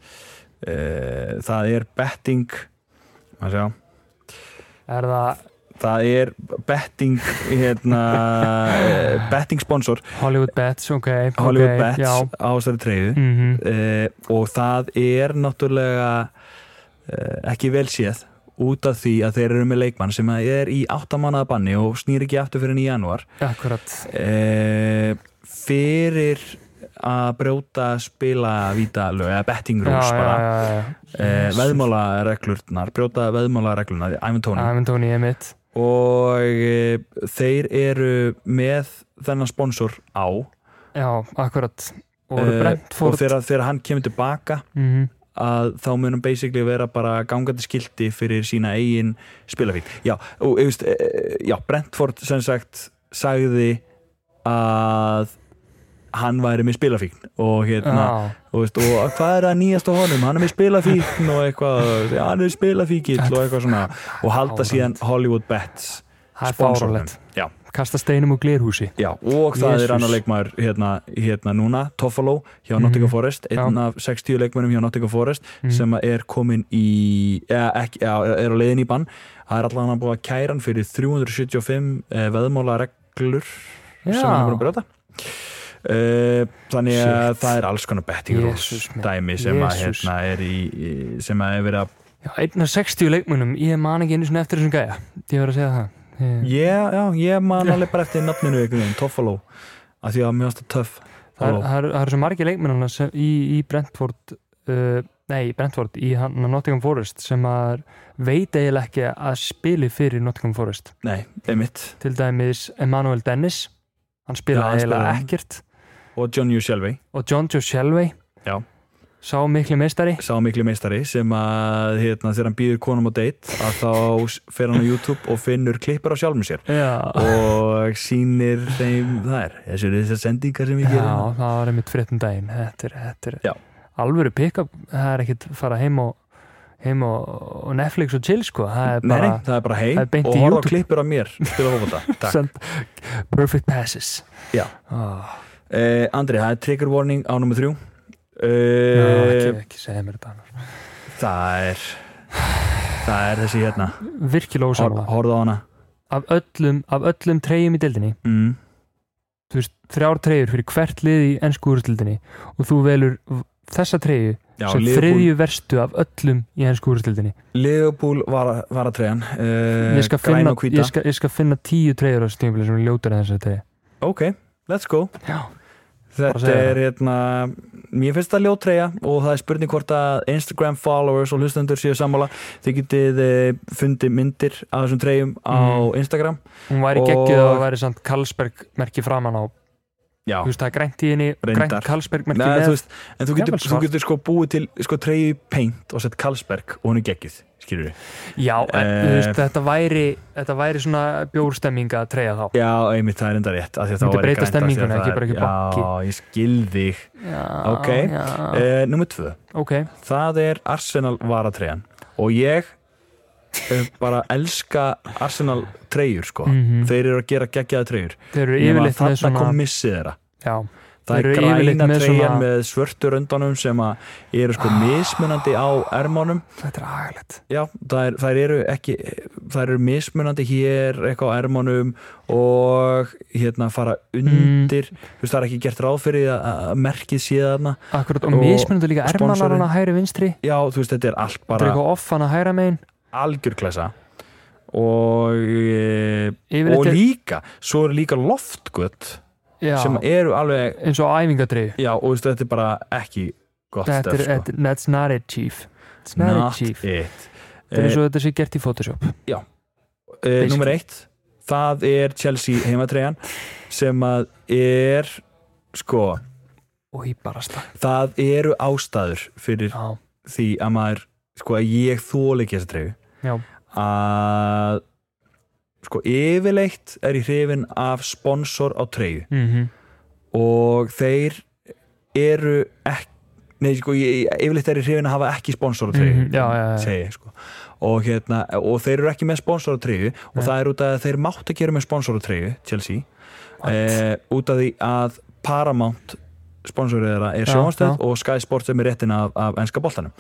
[SPEAKER 1] e, það er betting að sjá
[SPEAKER 2] er það
[SPEAKER 1] það er betting hérna, e, betting sponsor
[SPEAKER 2] Hollywood Bets, ok
[SPEAKER 1] Hollywood
[SPEAKER 2] ok,
[SPEAKER 1] Bets
[SPEAKER 2] já.
[SPEAKER 1] á þessari treyju
[SPEAKER 2] Mhm.
[SPEAKER 1] uh, og það er náttúrulega uh, ekki vel séð út af því að þeir eru með leikmann sem að er í áttamannaða banni og snýr ekki aftur fyrir í januar
[SPEAKER 2] akkurat,
[SPEAKER 1] uh, fyrir að brjóta spila víta lög, eða betting rules bara
[SPEAKER 2] já, já, já. Mm.
[SPEAKER 1] uh, veðmálareglurnar, brjóta veðmálareglurnar Ævin Tóni
[SPEAKER 2] Æmund Tóni er mitt
[SPEAKER 1] og uh, þeir eru með þennan sponsor á
[SPEAKER 2] Já, akkurat Og
[SPEAKER 1] eh, og
[SPEAKER 2] Brentford
[SPEAKER 1] þegar, þegar hann kemur tilbaka
[SPEAKER 2] Mhm.
[SPEAKER 1] að þá munum basically vera bara gangandi skildi fyrir sína eigin spilafík. Já, og, eufst, e, já, Brentford sem sagt sagði að hann væri með spilafíkn og hérna,
[SPEAKER 2] Já,
[SPEAKER 1] og, veist, og hvað er að nýjast á honum, hann er með spilafíkn og eitthvað, já, hann er spilafíkill og eitthvað svona, og halda
[SPEAKER 2] Fáránlegt.
[SPEAKER 1] síðan Hollywood Bets
[SPEAKER 2] það er
[SPEAKER 1] sponsornum.
[SPEAKER 2] fáralegt
[SPEAKER 1] Já,
[SPEAKER 2] Kasta steinum úr glirhúsi
[SPEAKER 1] já, og það
[SPEAKER 2] Jesus.
[SPEAKER 1] er annar leikmaður hérna, hérna núna, Toffalo hjá
[SPEAKER 2] Mhm.
[SPEAKER 1] Nottingham Forest, einn
[SPEAKER 2] Já.
[SPEAKER 1] af 60 leikmönnum hjá Nottingham Forest
[SPEAKER 2] Mhm.
[SPEAKER 1] sem að er komin í eða, ekki, eða, er á leiðin í bann það er allan að búa kæran fyrir 375 eh, veðmálareglur sem hann er búin að
[SPEAKER 2] Já,
[SPEAKER 1] brjóta Eh, þannig að
[SPEAKER 2] Shit.
[SPEAKER 1] það er alls konar betting rules
[SPEAKER 2] Jesus, minn.
[SPEAKER 1] dæmi sem að
[SPEAKER 2] Jesus.
[SPEAKER 1] hérna er í, í sem að er verið að
[SPEAKER 2] já einn af 60 leikmunum Ég man ekki einu svona eftir þessum gæja Ég verður að segja það Ég-
[SPEAKER 1] yeah, já, ég man alveg bara eftir nafninu einhvern veginn, Toffalo af því að mér varst það töff
[SPEAKER 2] Það er-
[SPEAKER 1] Toffolo.
[SPEAKER 2] það eru er svo margir leikmunum í, í Brentford uh, Nei, í Brentford Í hann Nottingham Forest sem að veit eiginlega ekki að spili fyrir Nottingham Forest
[SPEAKER 1] nei, einmitt,
[SPEAKER 2] Til dæmis Emmanuel Dennis Hann
[SPEAKER 1] Já,
[SPEAKER 2] spilaði
[SPEAKER 1] hann
[SPEAKER 2] eiginlega
[SPEAKER 1] spilaði.
[SPEAKER 2] ekkert
[SPEAKER 1] og John U. Shelby
[SPEAKER 2] Og John Joe Shelby
[SPEAKER 1] Já.
[SPEAKER 2] Sá miklu meistari
[SPEAKER 1] sá miklu meistari sem að hérna, þegar hann býður konum á date að þá fer hann á YouTube og finnur klippar á sjálfum sér
[SPEAKER 2] Já
[SPEAKER 1] og sýnir þeim þær þessu eru þessar sendingar sem við gerum
[SPEAKER 2] Já, það var einmitt fréttum daginn Þetta er, þetta
[SPEAKER 1] Já.
[SPEAKER 2] er alvöru pick-up Það er ekkit fara heim og, heim og, og Netflix og chill sko Það er
[SPEAKER 1] Nei,
[SPEAKER 2] bara
[SPEAKER 1] nei, það er bara heim
[SPEAKER 2] það er beint
[SPEAKER 1] og
[SPEAKER 2] í
[SPEAKER 1] horfa
[SPEAKER 2] YouTube.
[SPEAKER 1] klippur af mér spila fókvölda, takk
[SPEAKER 2] send, perfect passes
[SPEAKER 1] Já.
[SPEAKER 2] oh,
[SPEAKER 1] uh, Andri, það er trigger warning á nummer þrjú
[SPEAKER 2] Ná, ekki,
[SPEAKER 1] uh,
[SPEAKER 2] ekki segja mér þetta annars.
[SPEAKER 1] það er það er þessi hérna
[SPEAKER 2] Virkilega
[SPEAKER 1] Hor,
[SPEAKER 2] ósamlega
[SPEAKER 1] horfa á hana
[SPEAKER 2] Af öllum, af öllum treyjum í deildinni
[SPEAKER 1] mm,
[SPEAKER 2] Þú veist, þrjár treyjur fyrir hvert lið í ennsku úrstildinni og þú velur v- þessa treyju
[SPEAKER 1] já,
[SPEAKER 2] sem
[SPEAKER 1] Liverpool,
[SPEAKER 2] þriðju verstu af öllum í ennsku úrstildinni
[SPEAKER 1] Liverpool var, var að treyjan uh,
[SPEAKER 2] ég, skal
[SPEAKER 1] græn
[SPEAKER 2] finna-
[SPEAKER 1] og
[SPEAKER 2] ég,
[SPEAKER 1] hvíta
[SPEAKER 2] skal- ég skal finna tíu treyjur á þessu tímabili sem er ljótar en þessa treyja
[SPEAKER 1] ok, let's go
[SPEAKER 2] Já
[SPEAKER 1] Þetta
[SPEAKER 2] segja
[SPEAKER 1] er hérna Mér finnst það ljótreya og það er spurning hvort að Instagram followers og hlustendur séu sammála Þið getið eh, fundið myndir af þessum treyjum á
[SPEAKER 2] Mhm.
[SPEAKER 1] Instagram
[SPEAKER 2] Hún væri
[SPEAKER 1] Og-
[SPEAKER 2] geggjuð og... að það væri samt Karlsberg merki framan á,
[SPEAKER 1] Já,
[SPEAKER 2] þú veist það er grænt í henni
[SPEAKER 1] Reyndar.
[SPEAKER 2] grænt Karlsberg merki
[SPEAKER 1] Nei,
[SPEAKER 2] með
[SPEAKER 1] þú veist, en þú getur,
[SPEAKER 2] Jafnvel
[SPEAKER 1] þú
[SPEAKER 2] svart.
[SPEAKER 1] getur sko búið til sko treyju paint og sett Karlsberg og hún er geggið, skilur við
[SPEAKER 2] Já, en,
[SPEAKER 1] Eh.
[SPEAKER 2] þú veist, þetta væri þetta væri svona bjórstemming að treyja þá
[SPEAKER 1] Já, einmitt, það er enda rétt af því að
[SPEAKER 2] Þú
[SPEAKER 1] það
[SPEAKER 2] myndir
[SPEAKER 1] væri grænt,
[SPEAKER 2] breyta
[SPEAKER 1] af því að
[SPEAKER 2] stemningunni,
[SPEAKER 1] það
[SPEAKER 2] ekki
[SPEAKER 1] er-
[SPEAKER 2] bara ekki
[SPEAKER 1] Já, ég skil þig
[SPEAKER 2] já,
[SPEAKER 1] Ok.
[SPEAKER 2] já.
[SPEAKER 1] uh, Númer tvö,
[SPEAKER 2] Eh, Ok,
[SPEAKER 1] það er Arsenal varatreyjan og ég eh, bara elska Arsenal treyjur sko
[SPEAKER 2] Mhm.
[SPEAKER 1] þeir eru að gera geggjaða treyjur
[SPEAKER 2] þeir eru
[SPEAKER 1] nema
[SPEAKER 2] yfirleitt með
[SPEAKER 1] þarna
[SPEAKER 2] svona
[SPEAKER 1] kom missið þeirra
[SPEAKER 2] Já,
[SPEAKER 1] það
[SPEAKER 2] Þeir
[SPEAKER 1] er
[SPEAKER 2] eru yfirleitt
[SPEAKER 1] græna
[SPEAKER 2] með
[SPEAKER 1] treyjan
[SPEAKER 2] svona- Ah.
[SPEAKER 1] með svörtu röndanum sem að eru sko mismunandi á ermánum
[SPEAKER 2] þetta er agalegt
[SPEAKER 1] já, þær, þær eru ekki þær eru mismunandi hér eitthvað á ermánum og hérna fara
[SPEAKER 2] Mm.
[SPEAKER 1] undir þú veist það er ekki gert ráð fyrir að, að merkið sé þarna
[SPEAKER 2] Akkurat, og
[SPEAKER 1] Og
[SPEAKER 2] mismunandi líka
[SPEAKER 1] sponsorinn.
[SPEAKER 2] ermanar hana hægri vinstri
[SPEAKER 1] já, þú veist þetta er allt
[SPEAKER 2] Þetta er
[SPEAKER 1] bara
[SPEAKER 2] eitthvað off hana hægra megin
[SPEAKER 1] algjör klessa og, e,
[SPEAKER 2] Yfirleitt
[SPEAKER 1] og
[SPEAKER 2] er-
[SPEAKER 1] líka svo eru líka loftgött
[SPEAKER 2] já,
[SPEAKER 1] sem eru alveg
[SPEAKER 2] eins og æfingadreyju
[SPEAKER 1] já, og veistu, þetta er bara ekki gott
[SPEAKER 2] Þetta
[SPEAKER 1] stöf
[SPEAKER 2] er-
[SPEAKER 1] sko.
[SPEAKER 2] þetta- that's not it chief that's not, it chief
[SPEAKER 1] it Eh,
[SPEAKER 2] þetta er eins og þetta sé gert í Photoshop
[SPEAKER 1] e,
[SPEAKER 2] basically.
[SPEAKER 1] Númer eitt það er Chelsea heimatreyjan sem að er sko,
[SPEAKER 2] og í barasta
[SPEAKER 1] það eru ástæður fyrir
[SPEAKER 2] já,
[SPEAKER 1] því að maður sko að ég þóla ekki þessa treyju
[SPEAKER 2] já,
[SPEAKER 1] að sko yfirleitt er ég hrifin af sponsor á treyju
[SPEAKER 2] mm
[SPEAKER 1] og þeir eru ekki Nei, sko, ég, yfirleitt er ég hrifin að hafa ekki sponsor á treyju
[SPEAKER 2] Mhm, já, já, já.
[SPEAKER 1] segi ég, sko. og, hérna, og þeir eru ekki með sponsor á treyju og
[SPEAKER 2] Nei.
[SPEAKER 1] það er út af því að þeir mátt að gera með sponsor á treyju Chelsea eh, út af því að Paramount sponsorið þeirra er
[SPEAKER 2] Já,
[SPEAKER 1] sjónastöð
[SPEAKER 2] já.
[SPEAKER 1] og Sky Sport sem er réttin af, af enska boltanum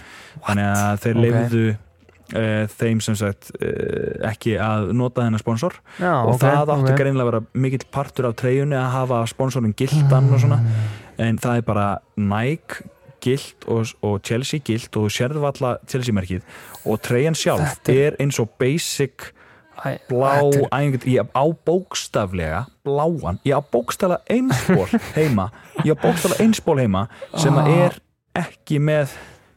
[SPEAKER 1] þannig að þeir
[SPEAKER 2] Ok.
[SPEAKER 1] okay. leifðu þeim sem sagt eh, ekki að nota þennan sponsor
[SPEAKER 2] já
[SPEAKER 1] og
[SPEAKER 2] Ah, ok,
[SPEAKER 1] það átti
[SPEAKER 2] ok.
[SPEAKER 1] greinlega að vera mikill partur af treyjunni að hafa sponsorin gildan og svona
[SPEAKER 2] Mm.
[SPEAKER 1] en það er bara Nike gilt og, og Chelsea gilt og þú sérðu valla Chelsea merkið og treyjan sjálf
[SPEAKER 2] Þetta
[SPEAKER 1] er eins og basic
[SPEAKER 2] Æ,
[SPEAKER 1] blá
[SPEAKER 2] þetta er-
[SPEAKER 1] æfingar, ég á bókstaflega bláan, ég á bókstaflega einsból heima, ég á bókstaflega einsból heima sem að
[SPEAKER 2] Ah.
[SPEAKER 1] er ekki með,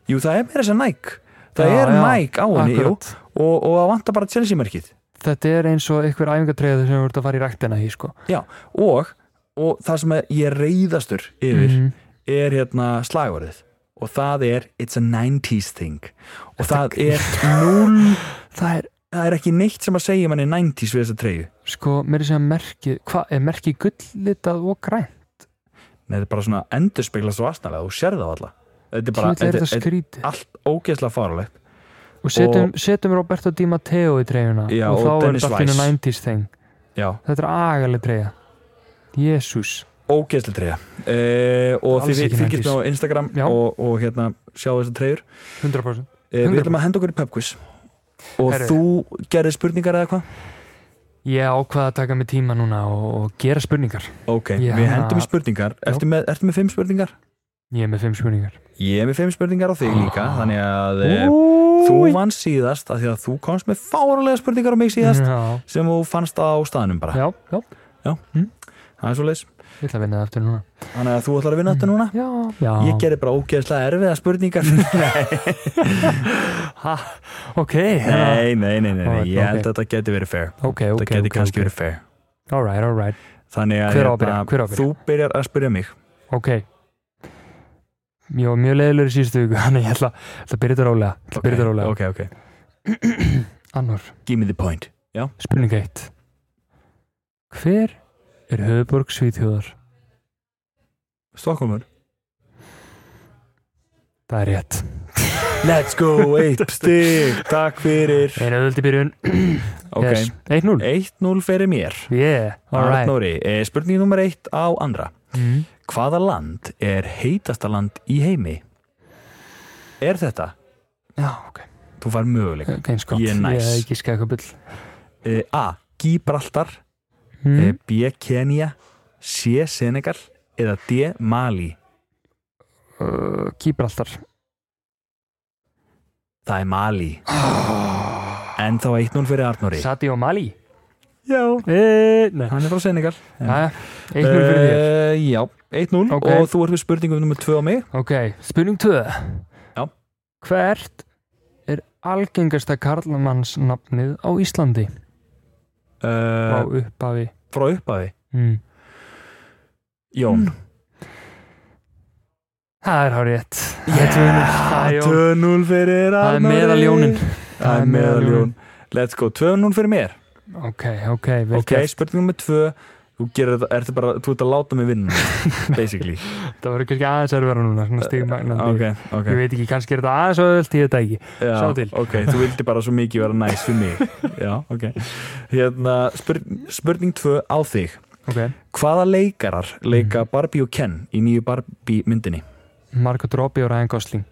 [SPEAKER 1] jú það er meira þess að Nike það
[SPEAKER 2] Já,
[SPEAKER 1] er
[SPEAKER 2] já,
[SPEAKER 1] Nike á henni jú,
[SPEAKER 2] akkurat.
[SPEAKER 1] og, og það vantar bara Chelsea merkið
[SPEAKER 2] þetta er eins og einhver æfingadreyju sem voru að fara í ræktina í sko
[SPEAKER 1] já, og, og það sem ég er reyðastur yfir
[SPEAKER 2] Mhm.
[SPEAKER 1] er hérna slagvarðið og það er it's a 90s thing og það er null
[SPEAKER 2] það er
[SPEAKER 1] það er ekki neitt sem að segja manni 90s við þessa treyju
[SPEAKER 2] sko, mér er sem merkið hvað, er merkið gulllitað og græn
[SPEAKER 1] Nei, þetta er bara svona endurspegla svo astanlega, þú sér það alla Þetta er bara,
[SPEAKER 2] Tjóðlega er
[SPEAKER 1] þetta,
[SPEAKER 2] þetta
[SPEAKER 1] þetta
[SPEAKER 2] skrítið
[SPEAKER 1] er allt ógeðslega farulegt
[SPEAKER 2] og setjum, setjum Roberto Di Matteo í treyjuna
[SPEAKER 1] Já,
[SPEAKER 2] og
[SPEAKER 1] og
[SPEAKER 2] þá er
[SPEAKER 1] Dennis
[SPEAKER 2] þetta allir
[SPEAKER 1] Weiss.
[SPEAKER 2] 90s þing
[SPEAKER 1] Já,
[SPEAKER 2] þetta er agaleg treyja Jésús
[SPEAKER 1] ógeðslega treyja e, Og
[SPEAKER 2] Alls
[SPEAKER 1] þið
[SPEAKER 2] ekki
[SPEAKER 1] fylgist með
[SPEAKER 2] 90s.
[SPEAKER 1] á Instagram
[SPEAKER 2] Já.
[SPEAKER 1] og, og hérna, sjáu þessar treyjur
[SPEAKER 2] 100%
[SPEAKER 1] e, Við
[SPEAKER 2] 100%.
[SPEAKER 1] ætlum að henda okkur í pubquiz Og
[SPEAKER 2] Herru.
[SPEAKER 1] þú gerði spurningar eða hvað?
[SPEAKER 2] Ég ákvaða að taka mig tíma núna og, og gera spurningar
[SPEAKER 1] Ok,
[SPEAKER 2] Já.
[SPEAKER 1] við hendum í spurningar Ertu með, ertu með fimm spurningar?
[SPEAKER 2] Ég er með fimm spurningar
[SPEAKER 1] Ég er með fimm spurningar á þig líka
[SPEAKER 2] Ah.
[SPEAKER 1] Þannig að e, þú
[SPEAKER 2] Þú
[SPEAKER 1] vann síðast af Því að þú komst með fárulega spurningar á mig síðast
[SPEAKER 2] Já,
[SPEAKER 1] Sem þú fannst á staðnum bara
[SPEAKER 2] Mm. já, já,
[SPEAKER 1] Það er svo
[SPEAKER 2] ég ætla að vinna það aftur núna
[SPEAKER 1] Þannig að þú ætlar að vinna þetta núna
[SPEAKER 2] Já, já
[SPEAKER 1] Ég gerði bara ógeðslega erfiða spurningar Nei,
[SPEAKER 2] ha, Ok,
[SPEAKER 1] nei, nei, nei, nei, nei. Ég held
[SPEAKER 2] Ok.
[SPEAKER 1] að þetta geti verið fair
[SPEAKER 2] ok,
[SPEAKER 1] Þetta
[SPEAKER 2] ok,
[SPEAKER 1] geti
[SPEAKER 2] ok,
[SPEAKER 1] kannski
[SPEAKER 2] okay.
[SPEAKER 1] verið fair
[SPEAKER 2] All right, all right,
[SPEAKER 1] Þannig að hérna,
[SPEAKER 2] Hver á að byrja? Hver á að byrja?
[SPEAKER 1] þú byrjar að spyrja mig
[SPEAKER 2] ok Ég var mjög leiðilegur í síðustu viku Þannig ég ætla, ætla að byrja þetta rólega Ætla að byrja þetta rólega
[SPEAKER 1] ok, ok
[SPEAKER 2] Annor,
[SPEAKER 1] Give me the point
[SPEAKER 2] spurning 1 Hver er höfuborg Svíþjóðar?
[SPEAKER 1] Stokkólmur
[SPEAKER 2] Það er rétt
[SPEAKER 1] Let's go, eitt stig Takk fyrir
[SPEAKER 2] Einu öðvöldi byrjun
[SPEAKER 1] Ok,
[SPEAKER 2] yes. 1-0
[SPEAKER 1] 1-0 fyrir mér
[SPEAKER 2] Yeah, all right
[SPEAKER 1] Arnóri, eh, spurning nummer 1 á andra
[SPEAKER 2] mm.
[SPEAKER 1] Hvaða land er heitasta land í heimi? Er þetta?
[SPEAKER 2] Já, ok
[SPEAKER 1] Þú fær möguleik
[SPEAKER 2] Eins gott
[SPEAKER 1] Ég er næs.
[SPEAKER 2] Ég ekki skæða eitthvað bull
[SPEAKER 1] eh, A. Gibraltar
[SPEAKER 2] mm.
[SPEAKER 1] mm. B. Kenya C. Senegal eða D. Mali
[SPEAKER 2] uh, Kýbraltar
[SPEAKER 1] það er Mali
[SPEAKER 2] Ah.
[SPEAKER 1] en þá 1-0 fyrir Arnóri
[SPEAKER 2] Sati og Mali
[SPEAKER 1] já,
[SPEAKER 2] e, Nei
[SPEAKER 1] hann er frá Senegal
[SPEAKER 2] Jæja, 1-0 fyrir þér
[SPEAKER 1] Eh, já, 1-0
[SPEAKER 2] Ok.
[SPEAKER 1] og þú ert við spurningum nummer 2 á mig
[SPEAKER 2] Ok, spurning 2
[SPEAKER 1] Já.
[SPEAKER 2] Hvert er algengasta karlamannsnafnið á Íslandi á
[SPEAKER 1] uh,
[SPEAKER 2] upphafi
[SPEAKER 1] frá upphafi
[SPEAKER 2] mm.
[SPEAKER 1] Jón
[SPEAKER 2] Það er hár rétt
[SPEAKER 1] Yeah,
[SPEAKER 2] Það er Jón.
[SPEAKER 1] 2-0 fyrir
[SPEAKER 2] Það
[SPEAKER 1] Arnóri
[SPEAKER 2] er meðaljónin
[SPEAKER 1] það er meðaljón let's go, 2-0 fyrir mér
[SPEAKER 2] Ok, ok, vel
[SPEAKER 1] ok, spurning nummer 2 þú gerir þetta, ertu bara, þú ert að láta mig vinna basically
[SPEAKER 2] gert Það verður kannski aðeins erfara núna Svona stigmagnandi
[SPEAKER 1] Eh, ok, ok
[SPEAKER 2] Ég veit ekki, kannski er þetta aðeins öðvöld Ég veit það ekki
[SPEAKER 1] Já,
[SPEAKER 2] Sjá til.
[SPEAKER 1] ok, þú vildi bara svo mikið vera næs fyrir mig Já, ok Hérna, spur, spurning tvö á þig
[SPEAKER 2] Ok
[SPEAKER 1] Hvaða leikarar leika
[SPEAKER 2] Mm.
[SPEAKER 1] Barbie og Ken í nýju Barbie myndinni?
[SPEAKER 2] Margot Robbie og Ryan Gosling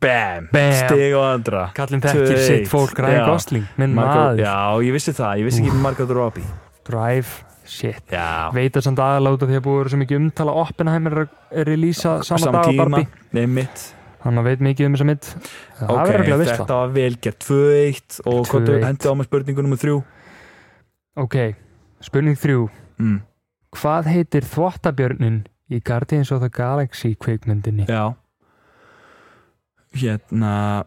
[SPEAKER 1] Bam,
[SPEAKER 2] Bam.
[SPEAKER 1] stig og andra
[SPEAKER 2] Kallinn
[SPEAKER 1] Tvö
[SPEAKER 2] þekkir sitt
[SPEAKER 1] eitt.
[SPEAKER 2] fólk Ryan
[SPEAKER 1] Já.
[SPEAKER 2] Gosling Minn
[SPEAKER 1] Margot-
[SPEAKER 2] maður
[SPEAKER 1] Já, ég vissi það, ég vissi ekki Margot Robbie
[SPEAKER 2] Drive Shit
[SPEAKER 1] Já,
[SPEAKER 2] Veit að samt aðaláta því að búið verið svo mikið umtala Oppenheimer er að releasa sama
[SPEAKER 1] Sama
[SPEAKER 2] dag á
[SPEAKER 1] tíma,
[SPEAKER 2] Barbie
[SPEAKER 1] Nei, mitt
[SPEAKER 2] hann veit mikið um þessa mynd það okay, verður ekki að veist
[SPEAKER 1] þetta var vel gert 2-1 og hvað
[SPEAKER 2] 2-1.
[SPEAKER 1] hendi á með spurningu nummer 3
[SPEAKER 2] ok, spurning þrjú
[SPEAKER 1] mm.
[SPEAKER 2] hvað heitir þvottabjörnin í Guardians of the Galaxy kveikmyndinni
[SPEAKER 1] Já Hérna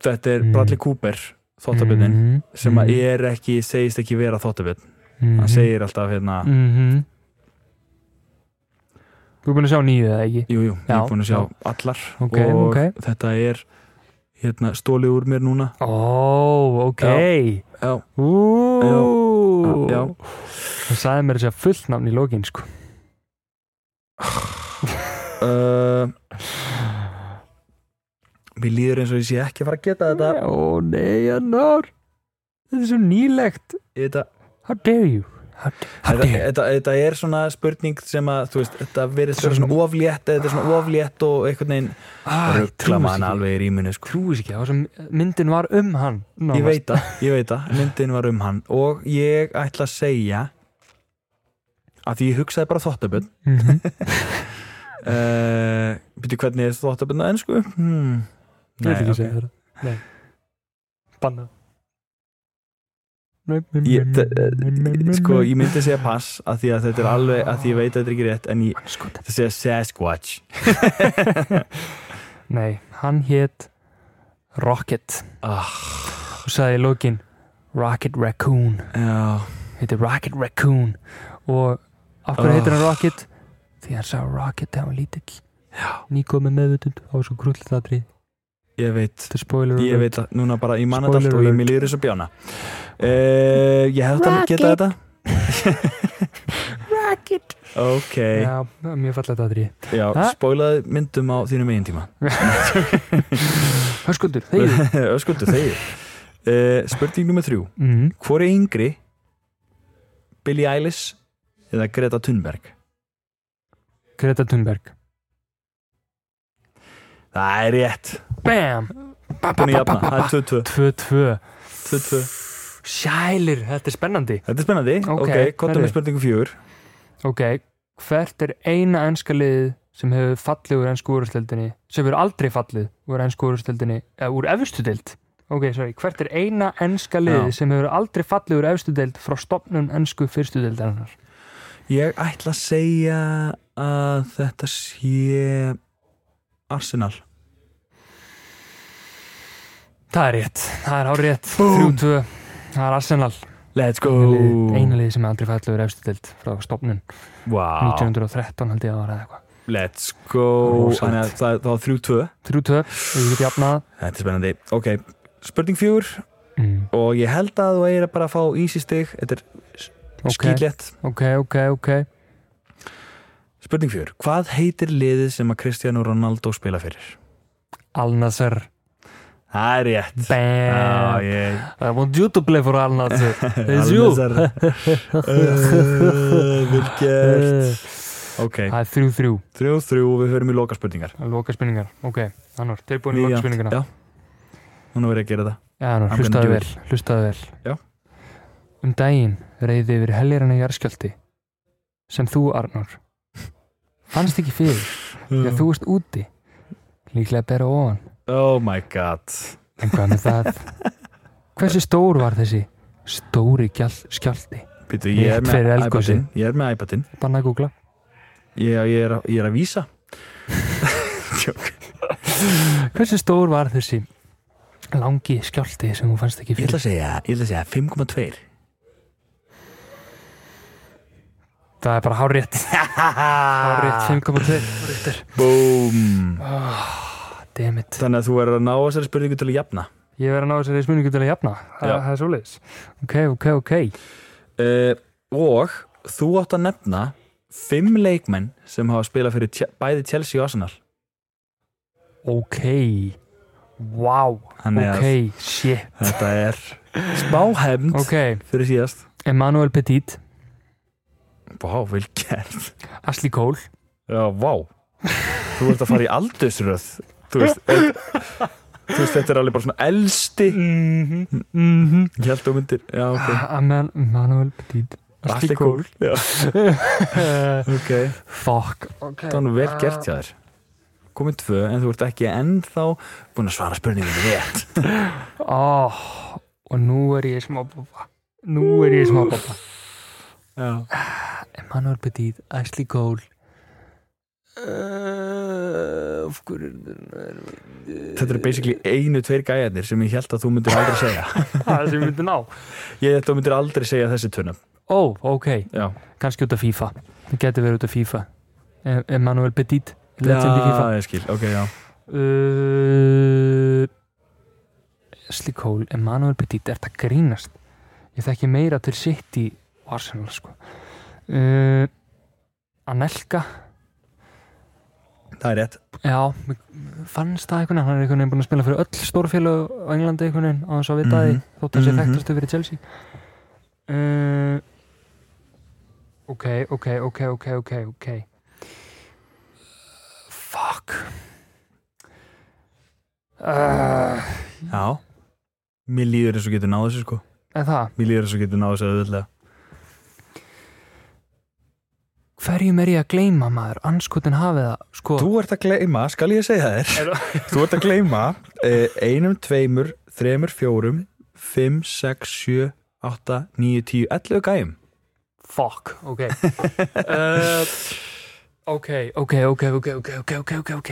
[SPEAKER 1] Þetta er
[SPEAKER 2] Mm.
[SPEAKER 1] Bradley Cooper Þóttabjörnin
[SPEAKER 2] Mhm,
[SPEAKER 1] sem að
[SPEAKER 2] mhm,
[SPEAKER 1] er ekki, segist ekki vera þóttabjörn
[SPEAKER 2] mhm,
[SPEAKER 1] hann segir alltaf hérna
[SPEAKER 2] mhm. þú er búin að sjá nýju eða ekki
[SPEAKER 1] Jú, jú, ég
[SPEAKER 2] Já,
[SPEAKER 1] er búin að sjá
[SPEAKER 2] já.
[SPEAKER 1] allar
[SPEAKER 2] Ok,
[SPEAKER 1] og
[SPEAKER 2] ok.
[SPEAKER 1] þetta er hérna, stólið úr mér núna
[SPEAKER 2] ó, ok
[SPEAKER 1] Já,
[SPEAKER 2] úúúú
[SPEAKER 1] já.
[SPEAKER 2] það sagði mér þess að fullt nafn í lokin sko
[SPEAKER 1] uh, Mér líður eins og ég sé ekki að fara að geta
[SPEAKER 2] Mm.
[SPEAKER 1] þetta
[SPEAKER 2] Ó nei, Annar Þetta er svo nýlegt
[SPEAKER 1] Þetta,
[SPEAKER 2] How dare you How, how
[SPEAKER 1] þetta,
[SPEAKER 2] dare you
[SPEAKER 1] þetta, þetta er svona spurning sem að, þú veist, þetta verið svona, svona oflétt, þetta er svona oflétt og einhvern veginn
[SPEAKER 2] ah, ég
[SPEAKER 1] ruggla
[SPEAKER 2] trúi þessu
[SPEAKER 1] mann
[SPEAKER 2] ekki.
[SPEAKER 1] alveg í rýminu sko.
[SPEAKER 2] Trúi þessu ekki, það var sem myndin var um hann
[SPEAKER 1] Ég veit það, ég veit það, myndin var um hann og ég ætla að segja að því ég hugsaði bara þóttabjörn
[SPEAKER 2] það
[SPEAKER 1] uh, Býtu hvernig er þóttabjörn á ennsku? Hmm.
[SPEAKER 2] Ég veit ekki að
[SPEAKER 1] ok.
[SPEAKER 2] segja þetta Nei Banna Nei, nei,
[SPEAKER 1] Ég-
[SPEAKER 2] nei,
[SPEAKER 1] þe-
[SPEAKER 2] nei, nei, nei, nei.
[SPEAKER 1] Sko, ég myndi segja pass að því að þetta er alveg, að því ég veit að þetta er ekki rétt en ég
[SPEAKER 2] Sko, þetta-
[SPEAKER 1] ætla að segja Sasquatch
[SPEAKER 2] Nei, hann hét Rocket
[SPEAKER 1] ah,
[SPEAKER 2] og sagði í lokin Rocket Raccoon
[SPEAKER 1] Já,
[SPEAKER 2] heitir Rocket Raccoon og af hverju
[SPEAKER 1] Ah.
[SPEAKER 2] heitir hann Rocket? því hann sá Rocket þegar hann var lítill
[SPEAKER 1] Já.
[SPEAKER 2] nýkoð með meðvutund á svo grullit aðri
[SPEAKER 1] ég veit
[SPEAKER 2] þetta er spoiler
[SPEAKER 1] Ég
[SPEAKER 2] alert.
[SPEAKER 1] veit það, núna bara, ég manna þetta allt
[SPEAKER 2] Spoiler
[SPEAKER 1] og ég
[SPEAKER 2] alert.
[SPEAKER 1] mér líður eins og bjána uh, Ég held að geta þetta
[SPEAKER 2] Rocket
[SPEAKER 1] Ok,
[SPEAKER 2] já, mjög fallegt aðri
[SPEAKER 1] já,
[SPEAKER 2] Ha?
[SPEAKER 1] spólaði myndum á þínum eigin tíma
[SPEAKER 2] hörskundur, þeir
[SPEAKER 1] Öskuldu, þegir uh, Spurning nummer þrjú
[SPEAKER 2] mm.
[SPEAKER 1] Hvor er yngri Billie Eilish eða Greta Thunberg?
[SPEAKER 2] Greta Thunberg
[SPEAKER 1] Það er rétt
[SPEAKER 2] bam Ba, ba,
[SPEAKER 1] Búin að
[SPEAKER 2] ba, ba,
[SPEAKER 1] jafna,
[SPEAKER 2] ba,
[SPEAKER 1] það
[SPEAKER 2] ba.
[SPEAKER 1] er 2-2
[SPEAKER 2] tvö, tvö
[SPEAKER 1] 2-2.
[SPEAKER 2] sælir, þetta er spennandi
[SPEAKER 1] Þetta er spennandi,
[SPEAKER 2] Ok,
[SPEAKER 1] ok, hvað er
[SPEAKER 2] herri.
[SPEAKER 1] með spurningu fjögur?
[SPEAKER 2] ok, hvert er eina ennska liðið sem hefur fallið úr ennsku úrstildinni sem hefur aldrei fallið úr ennsku úrstildinni eða úr efstu deild ok, sorry, hvert er eina ennska liðið
[SPEAKER 1] Já.
[SPEAKER 2] sem hefur aldrei fallið úr efstu deild frá stopnun ennsku fyrstu deildarinnar
[SPEAKER 1] Ég ætla að segja að þetta sé Arsenal
[SPEAKER 2] það er rétt, það er hár rétt
[SPEAKER 1] Búm.
[SPEAKER 2] 3-2, það er Arsenal
[SPEAKER 1] Let's go
[SPEAKER 2] Eina liðið- eina liðið sem hefur aldrei fallið úr efstu deild frá stopnun
[SPEAKER 1] wow.
[SPEAKER 2] 1913 held ég að var eða eitthvað
[SPEAKER 1] Let's go
[SPEAKER 2] Rosalegt.
[SPEAKER 1] Þannig að það, það var 3-2
[SPEAKER 2] 3-2, við getum jafnað
[SPEAKER 1] Þetta er spennandi Ok, spurning fjögur
[SPEAKER 2] mm,
[SPEAKER 1] og ég held að þú eigir að bara fá easy stig Þetta er okay.
[SPEAKER 2] ok, ok, ok, ok
[SPEAKER 1] Spurning fjögur Hvað heitir liðið sem að Cristiano Ronaldo spila fyrir?
[SPEAKER 2] Al-Nasser,
[SPEAKER 1] Það er rétt
[SPEAKER 2] bam
[SPEAKER 1] Já, ég
[SPEAKER 2] I want you to play for Al Nassr It's you
[SPEAKER 1] Al-Nassr. Uh, Vel gert Ok,
[SPEAKER 2] Eh, Það er þrjú þrjú
[SPEAKER 1] 3-3 við höfum í loka spurningar
[SPEAKER 2] Loka spurningar, ok Þannig, tilbúin í loka spurningina
[SPEAKER 1] Já, núna verður ég að gera það
[SPEAKER 2] Já, þannig,
[SPEAKER 1] I'm
[SPEAKER 2] hlustaðu
[SPEAKER 1] gonna do
[SPEAKER 2] vel, hlustaðu vel
[SPEAKER 1] Já.
[SPEAKER 2] Um daginn reyði yfir heljarana jarðskjöldi sem þú, Arnór fannst ekki fyrir því að þú veist úti líklega bera ofan
[SPEAKER 1] Oh my god
[SPEAKER 2] en hvað með það Hversu stór var þessi stóri gjall- skjálfti?
[SPEAKER 1] Býtu, ég er
[SPEAKER 2] Rétt
[SPEAKER 1] með
[SPEAKER 2] fyrir eldgosið.
[SPEAKER 1] iPadin Ég er með iPadin
[SPEAKER 2] Banna að googla
[SPEAKER 1] Ég, ég, er, ég er að vísa Tjók.
[SPEAKER 2] Hversu stór var þessi langi skjálfti sem þú fannst ekki
[SPEAKER 1] Ég
[SPEAKER 2] fyrir?
[SPEAKER 1] ætla að segja, ég ætla að segja 5,2
[SPEAKER 2] Það er bara hárétt Hárétt 5,2
[SPEAKER 1] Búm
[SPEAKER 2] Dammit
[SPEAKER 1] Þannig að þú verður að ná þessari spurningu til að jafna
[SPEAKER 2] Ég verði að ná þessari spurningu til að jafna
[SPEAKER 1] Já.
[SPEAKER 2] Það það er svoleiðis Ok, ok, ok
[SPEAKER 1] uh, Og þú átt að nefna Fimm leikmenn sem hafa spilað fyrir Che- bæði Chelsea og Arsenal
[SPEAKER 2] Ok Wow
[SPEAKER 1] Þannig að
[SPEAKER 2] Ok, shit
[SPEAKER 1] þetta er spáhefnd
[SPEAKER 2] Ok,
[SPEAKER 1] fyrir síðast
[SPEAKER 2] Emmanuel Petit
[SPEAKER 1] Vá, vel gert
[SPEAKER 2] Ashley Cole
[SPEAKER 1] Já, vá Þú ert að fara í aldursröð Þú veist, e- þú veist þetta er alveg bara svona elsti
[SPEAKER 2] Mhm, mhm
[SPEAKER 1] Ég held þú myndir Já, ok
[SPEAKER 2] Amen- Emmanuel Petit Ashley Cole
[SPEAKER 1] Já,
[SPEAKER 2] Eh,
[SPEAKER 1] ok
[SPEAKER 2] Fuck
[SPEAKER 1] Það var nú vel gert hjá þér komið tvö en þú ert ekki ennþá búin að svara spurningum rétt
[SPEAKER 2] oh, og nú er ég smá búba nú er ég smá búba
[SPEAKER 1] Já.
[SPEAKER 2] Emmanuel Petit, Ashley Cole uh, af hverju
[SPEAKER 1] Þetta eru basically einu, tveir gæjarnir sem ég held að þú myndir aldrei segja
[SPEAKER 2] það sem ég myndi ná
[SPEAKER 1] Ég held að þú myndir aldrei segja þessi tunna
[SPEAKER 2] ó, ok,
[SPEAKER 1] Já,
[SPEAKER 2] kannski út af FIFA það getur verið út af FIFA Em- Emmanuel Petit legend í FIFA
[SPEAKER 1] Já, ég skil, ok, já
[SPEAKER 2] uh, Ashley Cole, Emmanuel Petit er þetta grínast ég þekki meira til sitt í Arsenal sko uh, Anelka
[SPEAKER 1] Það er rétt
[SPEAKER 2] Já, mér fannst það einhvern veginn, hann er einhvern veginn búin að spila fyrir öll stórfélag á Englandi einhvern veginn á þess að vita mm
[SPEAKER 1] Mhm.
[SPEAKER 2] -hmm. því þótt að sé
[SPEAKER 1] Mhm.
[SPEAKER 2] þekktastu fyrir Chelsea uh, Ok, ok, ok, ok, ok, ok Fuck uh,
[SPEAKER 1] Já Mér líður eins og getur náðu þessu sko
[SPEAKER 2] Er það?
[SPEAKER 1] Mér líður eins og getur náðu þessu auðvitað
[SPEAKER 2] Hverjum er ég að gleyma maður? Anskotin hafið það sko,
[SPEAKER 1] Þú ert að gleyma, skal ég segja þér Þú ert að gleyma eh, einum, tveimur, þremur, fjórum fimm, sex, sjö, átta níu, tíu, ellu gæjum
[SPEAKER 2] Fuck, ok uh, Ok, ok, ok, ok, ok, ok, ok, ok, ok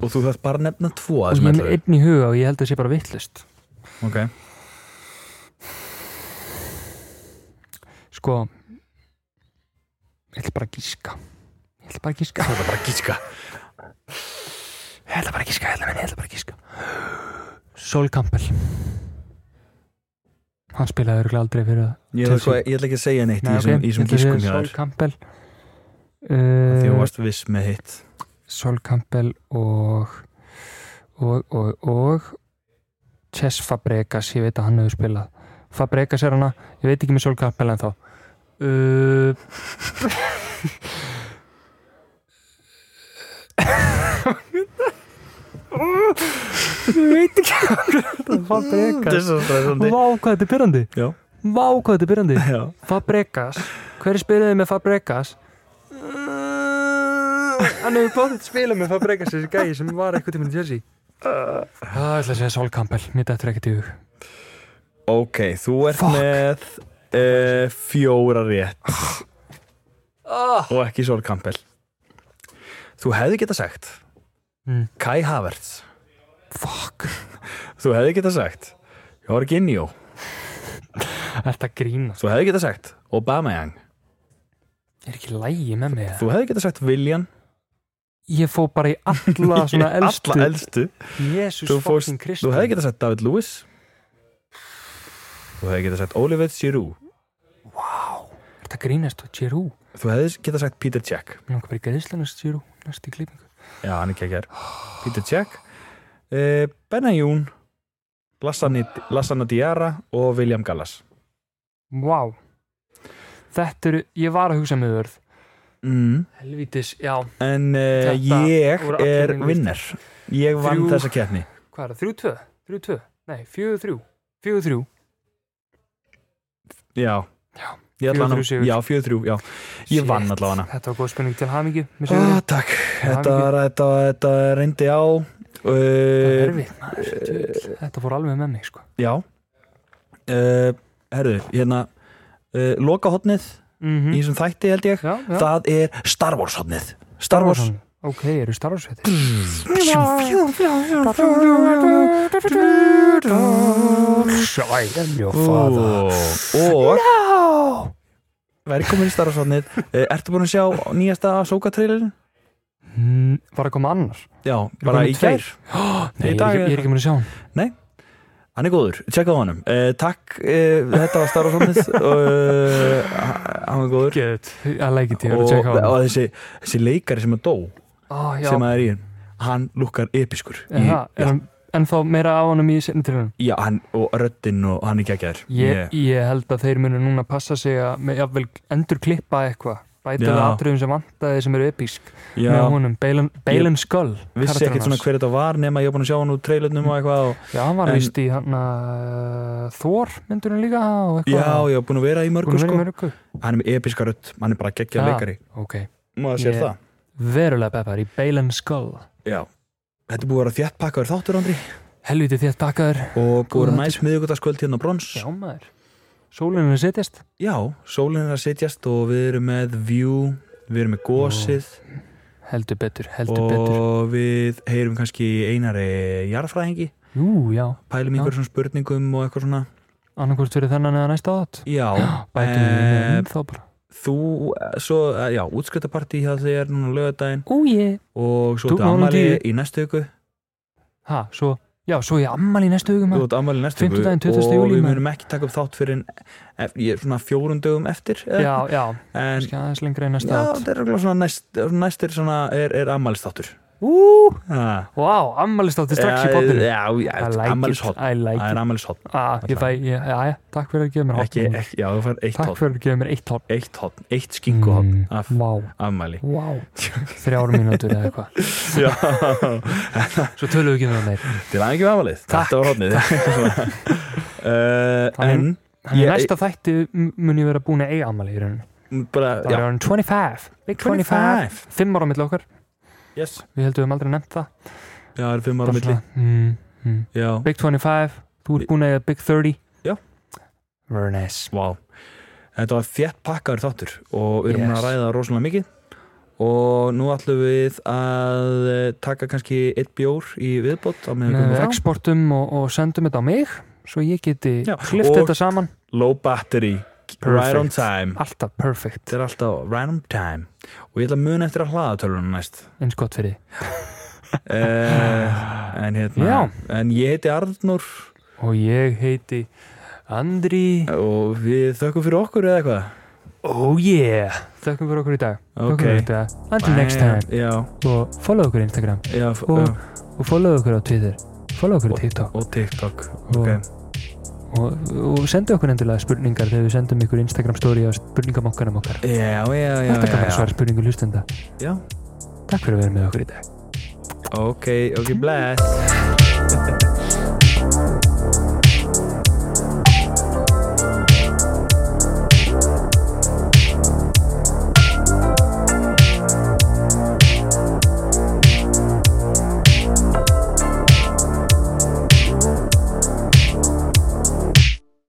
[SPEAKER 1] og þú þarf bara að nefna tvo að
[SPEAKER 2] og Mm, ég
[SPEAKER 1] þessum
[SPEAKER 2] er með
[SPEAKER 1] ellu
[SPEAKER 2] einn í huga og ég held að það sé bara vittlust
[SPEAKER 1] Ok,
[SPEAKER 2] sko ég ætla bara að gíska ég ætla bara að gíska
[SPEAKER 1] þú ert að bara að gíska
[SPEAKER 2] ég ætla bara að gíska, ég ætla, ég ætla bara að gíska Sol Campbell hann spilaði örgulega aldrei fyrir það
[SPEAKER 1] Ég ætla, sko, ég ætla ekki að segja neitt í þessum,
[SPEAKER 2] ok,
[SPEAKER 1] í þessum
[SPEAKER 2] ég ætla
[SPEAKER 1] gískum
[SPEAKER 2] að segja
[SPEAKER 1] hjá
[SPEAKER 2] Sol
[SPEAKER 1] þér
[SPEAKER 2] Campbell
[SPEAKER 1] Því þú
[SPEAKER 2] uh,
[SPEAKER 1] varst viss með hitt
[SPEAKER 2] Sol Campbell og og, og, og Chess Fabregas, ég veit að hann hefur spilað Fabregas er hana, ég veit ekki með Sol Campbell en þá uh, Ég veit ekki Fabregas
[SPEAKER 1] svo stressandi
[SPEAKER 2] Vá hvað þetta er byrjandi
[SPEAKER 1] Já.
[SPEAKER 2] Vá hvað þetta er byrjandi
[SPEAKER 1] Já,
[SPEAKER 2] Fabregas Hver spilaði með Fabregas? Hann hefur bóðið spilað með Fabregas þessi gæi sem var eitthvað tíma í Jersey Það Ah, ætla að segja Sol Campbell Mér dættur ekkert í hug
[SPEAKER 1] Ok, þú ert
[SPEAKER 2] Fuck.
[SPEAKER 1] með uh, fjóra rétt
[SPEAKER 2] Ah.
[SPEAKER 1] og ekki Sol Campbell Þú hefði geta sagt
[SPEAKER 2] Mm.
[SPEAKER 1] Kai Havertz
[SPEAKER 2] Fuck
[SPEAKER 1] Þú hefði geta sagt Jorginho
[SPEAKER 2] Þetta grínast
[SPEAKER 1] Þú hefði geta sagt Obameyang
[SPEAKER 2] Er ekki lægi með mig?
[SPEAKER 1] Þú hefði geta sagt Willian
[SPEAKER 2] Ég fó bara í alla svona elstu
[SPEAKER 1] Alla elstu
[SPEAKER 2] Jésús
[SPEAKER 1] Þú, fórst,
[SPEAKER 2] fokkin Kristi
[SPEAKER 1] þú hefði geta sagt David Lewis Þú hefði geta sagt Oliver Giroud
[SPEAKER 2] Þetta grínast og Jirú
[SPEAKER 1] Þú hefði geta sagt Peter Cech
[SPEAKER 2] Mér langar bara í gæðslanast Jirú Næst í klippingu
[SPEAKER 1] Já, hann er kekkjar Peter Cech uh, Benajún Lassana Diara og William Gallas
[SPEAKER 2] Vá Þetta eru Ég var að hugsa um með vörð
[SPEAKER 1] mm.
[SPEAKER 2] Helvítis, já
[SPEAKER 1] En uh,
[SPEAKER 2] Þetta
[SPEAKER 1] ég
[SPEAKER 2] voru allir
[SPEAKER 1] er
[SPEAKER 2] mínir.
[SPEAKER 1] vinnar Ég vann
[SPEAKER 2] Þrjú.
[SPEAKER 1] þessa keppni
[SPEAKER 2] Hvað er það? Þrjú tvö? Þrjú tvö? Nei, fjögur þrjú Fjögur þrjú
[SPEAKER 1] Já,
[SPEAKER 2] Já.
[SPEAKER 1] Ég ætla
[SPEAKER 2] 4-3
[SPEAKER 1] hana-
[SPEAKER 2] sigur.
[SPEAKER 1] Já, 4-3 já. Ég
[SPEAKER 2] Shit.
[SPEAKER 1] vann allavega hana
[SPEAKER 2] Þetta var góð spenning til hamingju með
[SPEAKER 1] ah,
[SPEAKER 2] sigurinn.
[SPEAKER 1] Takk, þetta,
[SPEAKER 2] hamingju.
[SPEAKER 1] var, þetta, þetta reyndi á
[SPEAKER 2] Það er
[SPEAKER 1] uh,
[SPEAKER 2] erfitt maður, djöfull. Þetta fór alveg með mig sko
[SPEAKER 1] Já uh, Herðu, hérna uh, Loka hotnið í
[SPEAKER 2] Já,
[SPEAKER 1] þessum þætti held ég
[SPEAKER 2] Mhm. Hmm? já
[SPEAKER 1] Það er Star Wars hotnið Star Wars
[SPEAKER 2] Ok, eru Star Wars fettir Sæðan jó faða
[SPEAKER 1] Og Velkomin í Star Wars hotnið uh, Ertu búin að sjá nýjasta Soka trailerin?
[SPEAKER 2] Var að koma annar?
[SPEAKER 1] Já, bara
[SPEAKER 2] komið
[SPEAKER 1] í gær
[SPEAKER 2] Nei,
[SPEAKER 1] Í
[SPEAKER 2] ég
[SPEAKER 1] dag
[SPEAKER 2] er ekki-
[SPEAKER 1] er-
[SPEAKER 2] ég er ekki mér að sjá hann
[SPEAKER 1] Hann er góður, tjekka á honum uh, Takk, uh, þetta var Star Wars hotnið uh, Hann er góður
[SPEAKER 2] Get I like it, ég er
[SPEAKER 1] og,
[SPEAKER 2] að checka á
[SPEAKER 1] og
[SPEAKER 2] hann
[SPEAKER 1] þessi, þessi leikari sem að dó
[SPEAKER 2] Á, já.
[SPEAKER 1] sem að er í hann hann lukkar episkur
[SPEAKER 2] Er
[SPEAKER 1] Ég-
[SPEAKER 2] það- er hann ennþá meira á honum í sinni til hann
[SPEAKER 1] já, hann, og röddinn og hann er geggjær
[SPEAKER 2] Ég, ég held að þeir munu núna passa sig að með jafnvel endur klippa eitthvað bæta
[SPEAKER 1] Já.
[SPEAKER 2] við atriðum sem vantaði sem eru episk
[SPEAKER 1] já,
[SPEAKER 2] með honum, Balen, Balen Skull
[SPEAKER 1] vissi ekkert svona hver þetta var nema ég er búin að sjá hann úr trailernum og eitthvað og,
[SPEAKER 2] Já, hann var
[SPEAKER 1] en-
[SPEAKER 2] vist í hann uh, Thor myndurinn líka og
[SPEAKER 1] já,
[SPEAKER 2] eitthvað
[SPEAKER 1] ég er búin að vera í mörgu
[SPEAKER 2] Hún er í
[SPEAKER 1] sko.
[SPEAKER 2] mörgu
[SPEAKER 1] hann er með episka rödd, hann er bara geggjær
[SPEAKER 2] Já.
[SPEAKER 1] leikari
[SPEAKER 2] Ok,
[SPEAKER 1] maður sér
[SPEAKER 2] Ég-
[SPEAKER 1] það
[SPEAKER 2] verulega peppar í Balen Skull
[SPEAKER 1] Já Þetta er búið að vera þjætt pakkaður þáttur andri
[SPEAKER 2] helviti þétt pakkaður
[SPEAKER 1] og búið að vera
[SPEAKER 2] Góður
[SPEAKER 1] næs miðugutaskvöld hérna á brons
[SPEAKER 2] já maður, sólinu sittist
[SPEAKER 1] Já, sólinn er að setjast og við erum með view, við erum með gósið
[SPEAKER 2] heldur betur, heldur betur
[SPEAKER 1] og við heyrum kannski í einari jarðfræðingi,
[SPEAKER 2] jú, já,
[SPEAKER 1] pælum
[SPEAKER 2] Já.
[SPEAKER 1] einhverjum svona spurningum og eitthvað svona
[SPEAKER 2] annarkvort fyrir þennan eða næsta átt
[SPEAKER 1] Já,
[SPEAKER 2] bætum við
[SPEAKER 1] eh,
[SPEAKER 2] inn þá bara
[SPEAKER 1] þú, eh, svo, eh, já, útskrittapartí hjá þér núna á lögadaginn
[SPEAKER 2] ó ég,
[SPEAKER 1] og svo
[SPEAKER 2] Þú-
[SPEAKER 1] þetta
[SPEAKER 2] mánudag
[SPEAKER 1] ammali
[SPEAKER 2] tíu.
[SPEAKER 1] í næstu viku
[SPEAKER 2] ha, svo já, svo ég ammali í næstu hugum
[SPEAKER 1] Þú ert ammali í næstu viku
[SPEAKER 2] 15. 20.
[SPEAKER 1] og
[SPEAKER 2] júlí,
[SPEAKER 1] við
[SPEAKER 2] maður.
[SPEAKER 1] munum ekki taka upp þátt fyrir en, ef, ég, svona fjórun dögum eftir eða
[SPEAKER 2] já, já,
[SPEAKER 1] en
[SPEAKER 2] kannski aðeins lengra í
[SPEAKER 1] já,
[SPEAKER 2] næsta átt
[SPEAKER 1] þetta er örugglega svona næst, næstir svona er, er ammælstáttur
[SPEAKER 2] ú,
[SPEAKER 1] ah.
[SPEAKER 2] vá, ammalist átti strax í bóttinu
[SPEAKER 1] já, Eh, já,
[SPEAKER 2] I like it,
[SPEAKER 1] ammælshot
[SPEAKER 2] I like
[SPEAKER 1] það
[SPEAKER 2] it
[SPEAKER 1] er ammælshot
[SPEAKER 2] ah, ég fæ, ég, já, já, takk fyrir að gefa mér
[SPEAKER 1] ekki,
[SPEAKER 2] hotn.
[SPEAKER 1] ekki, já, þú fær eitt
[SPEAKER 2] takk
[SPEAKER 1] hot
[SPEAKER 2] fyrir að gefa mér eitt hot
[SPEAKER 1] eitt hot, eitt skinguhot
[SPEAKER 2] Mm,
[SPEAKER 1] af
[SPEAKER 2] vá,
[SPEAKER 1] ammæli
[SPEAKER 2] vá, þrjár mínútur eða eitthvað
[SPEAKER 1] já,
[SPEAKER 2] Svo tölum við ekki með það meir
[SPEAKER 1] til aðeins með ammælið
[SPEAKER 2] Takk.
[SPEAKER 1] þetta var hotnið uh, en
[SPEAKER 2] Þannig- Þannig
[SPEAKER 1] Ég-
[SPEAKER 2] að næsta þætti m- mun ég vera búin að eiga ammali í rauninu
[SPEAKER 1] bara,
[SPEAKER 2] Það
[SPEAKER 1] já,
[SPEAKER 2] er orðin 25 Big 25 Fimm ára á milli okkar
[SPEAKER 1] yes.
[SPEAKER 2] Við heldum við höfum aldrei nefnt það
[SPEAKER 1] já, það er fimm ára á
[SPEAKER 2] Bara
[SPEAKER 1] milli
[SPEAKER 2] svona, mm, mm.
[SPEAKER 1] já,
[SPEAKER 2] Big 25 Þú ert búin að eiga Big 30
[SPEAKER 1] Já.
[SPEAKER 2] Very nice
[SPEAKER 1] Vá, þetta var þétt pakkaður þáttur og við erum
[SPEAKER 2] Yes.
[SPEAKER 1] að ræða rosalega mikið og nú ætlum við að eh, taka kannski eitt bjór í viðbót á meðan við
[SPEAKER 2] Með
[SPEAKER 1] komum frá.
[SPEAKER 2] exportum og, og sendum þetta á mig Svo ég geti
[SPEAKER 1] Já,
[SPEAKER 2] klift
[SPEAKER 1] og-
[SPEAKER 2] þetta saman
[SPEAKER 1] Low battery, right on
[SPEAKER 2] Perfect.
[SPEAKER 1] time
[SPEAKER 2] Alltaf perfect
[SPEAKER 1] Þetta er alltaf right on time og ég ætla að muna eftir að hlaða tölunum næst
[SPEAKER 2] Eins gott fyrir þig.
[SPEAKER 1] uh, en hérna
[SPEAKER 2] Já.
[SPEAKER 1] en ég heiti Arnur
[SPEAKER 2] Og ég heiti Andri
[SPEAKER 1] og við þökkum fyrir okkur eða eitthvað
[SPEAKER 2] Oh yeah Þökkum fyrir okkur í dag Þökkum
[SPEAKER 1] Ok.
[SPEAKER 2] fyrir í dag. Until next time
[SPEAKER 1] Já,
[SPEAKER 2] Og follow okkur Instagram
[SPEAKER 1] já,
[SPEAKER 2] Og-
[SPEAKER 1] já,
[SPEAKER 2] og follow okkur á Twitter follow okkur á TikTok
[SPEAKER 1] og TikTok
[SPEAKER 2] og,
[SPEAKER 1] okay.
[SPEAKER 2] og, og sendu okkur endilega spurningar þegar við sendum ykkur Instagram story á spurningamokkanum okkar
[SPEAKER 1] Já, já, já, já,
[SPEAKER 2] þetta kan vera
[SPEAKER 1] já.
[SPEAKER 2] svara spurningu hlustenda
[SPEAKER 1] Já.
[SPEAKER 2] takk fyrir að vera með okkur í dag
[SPEAKER 1] Ok, ok, bless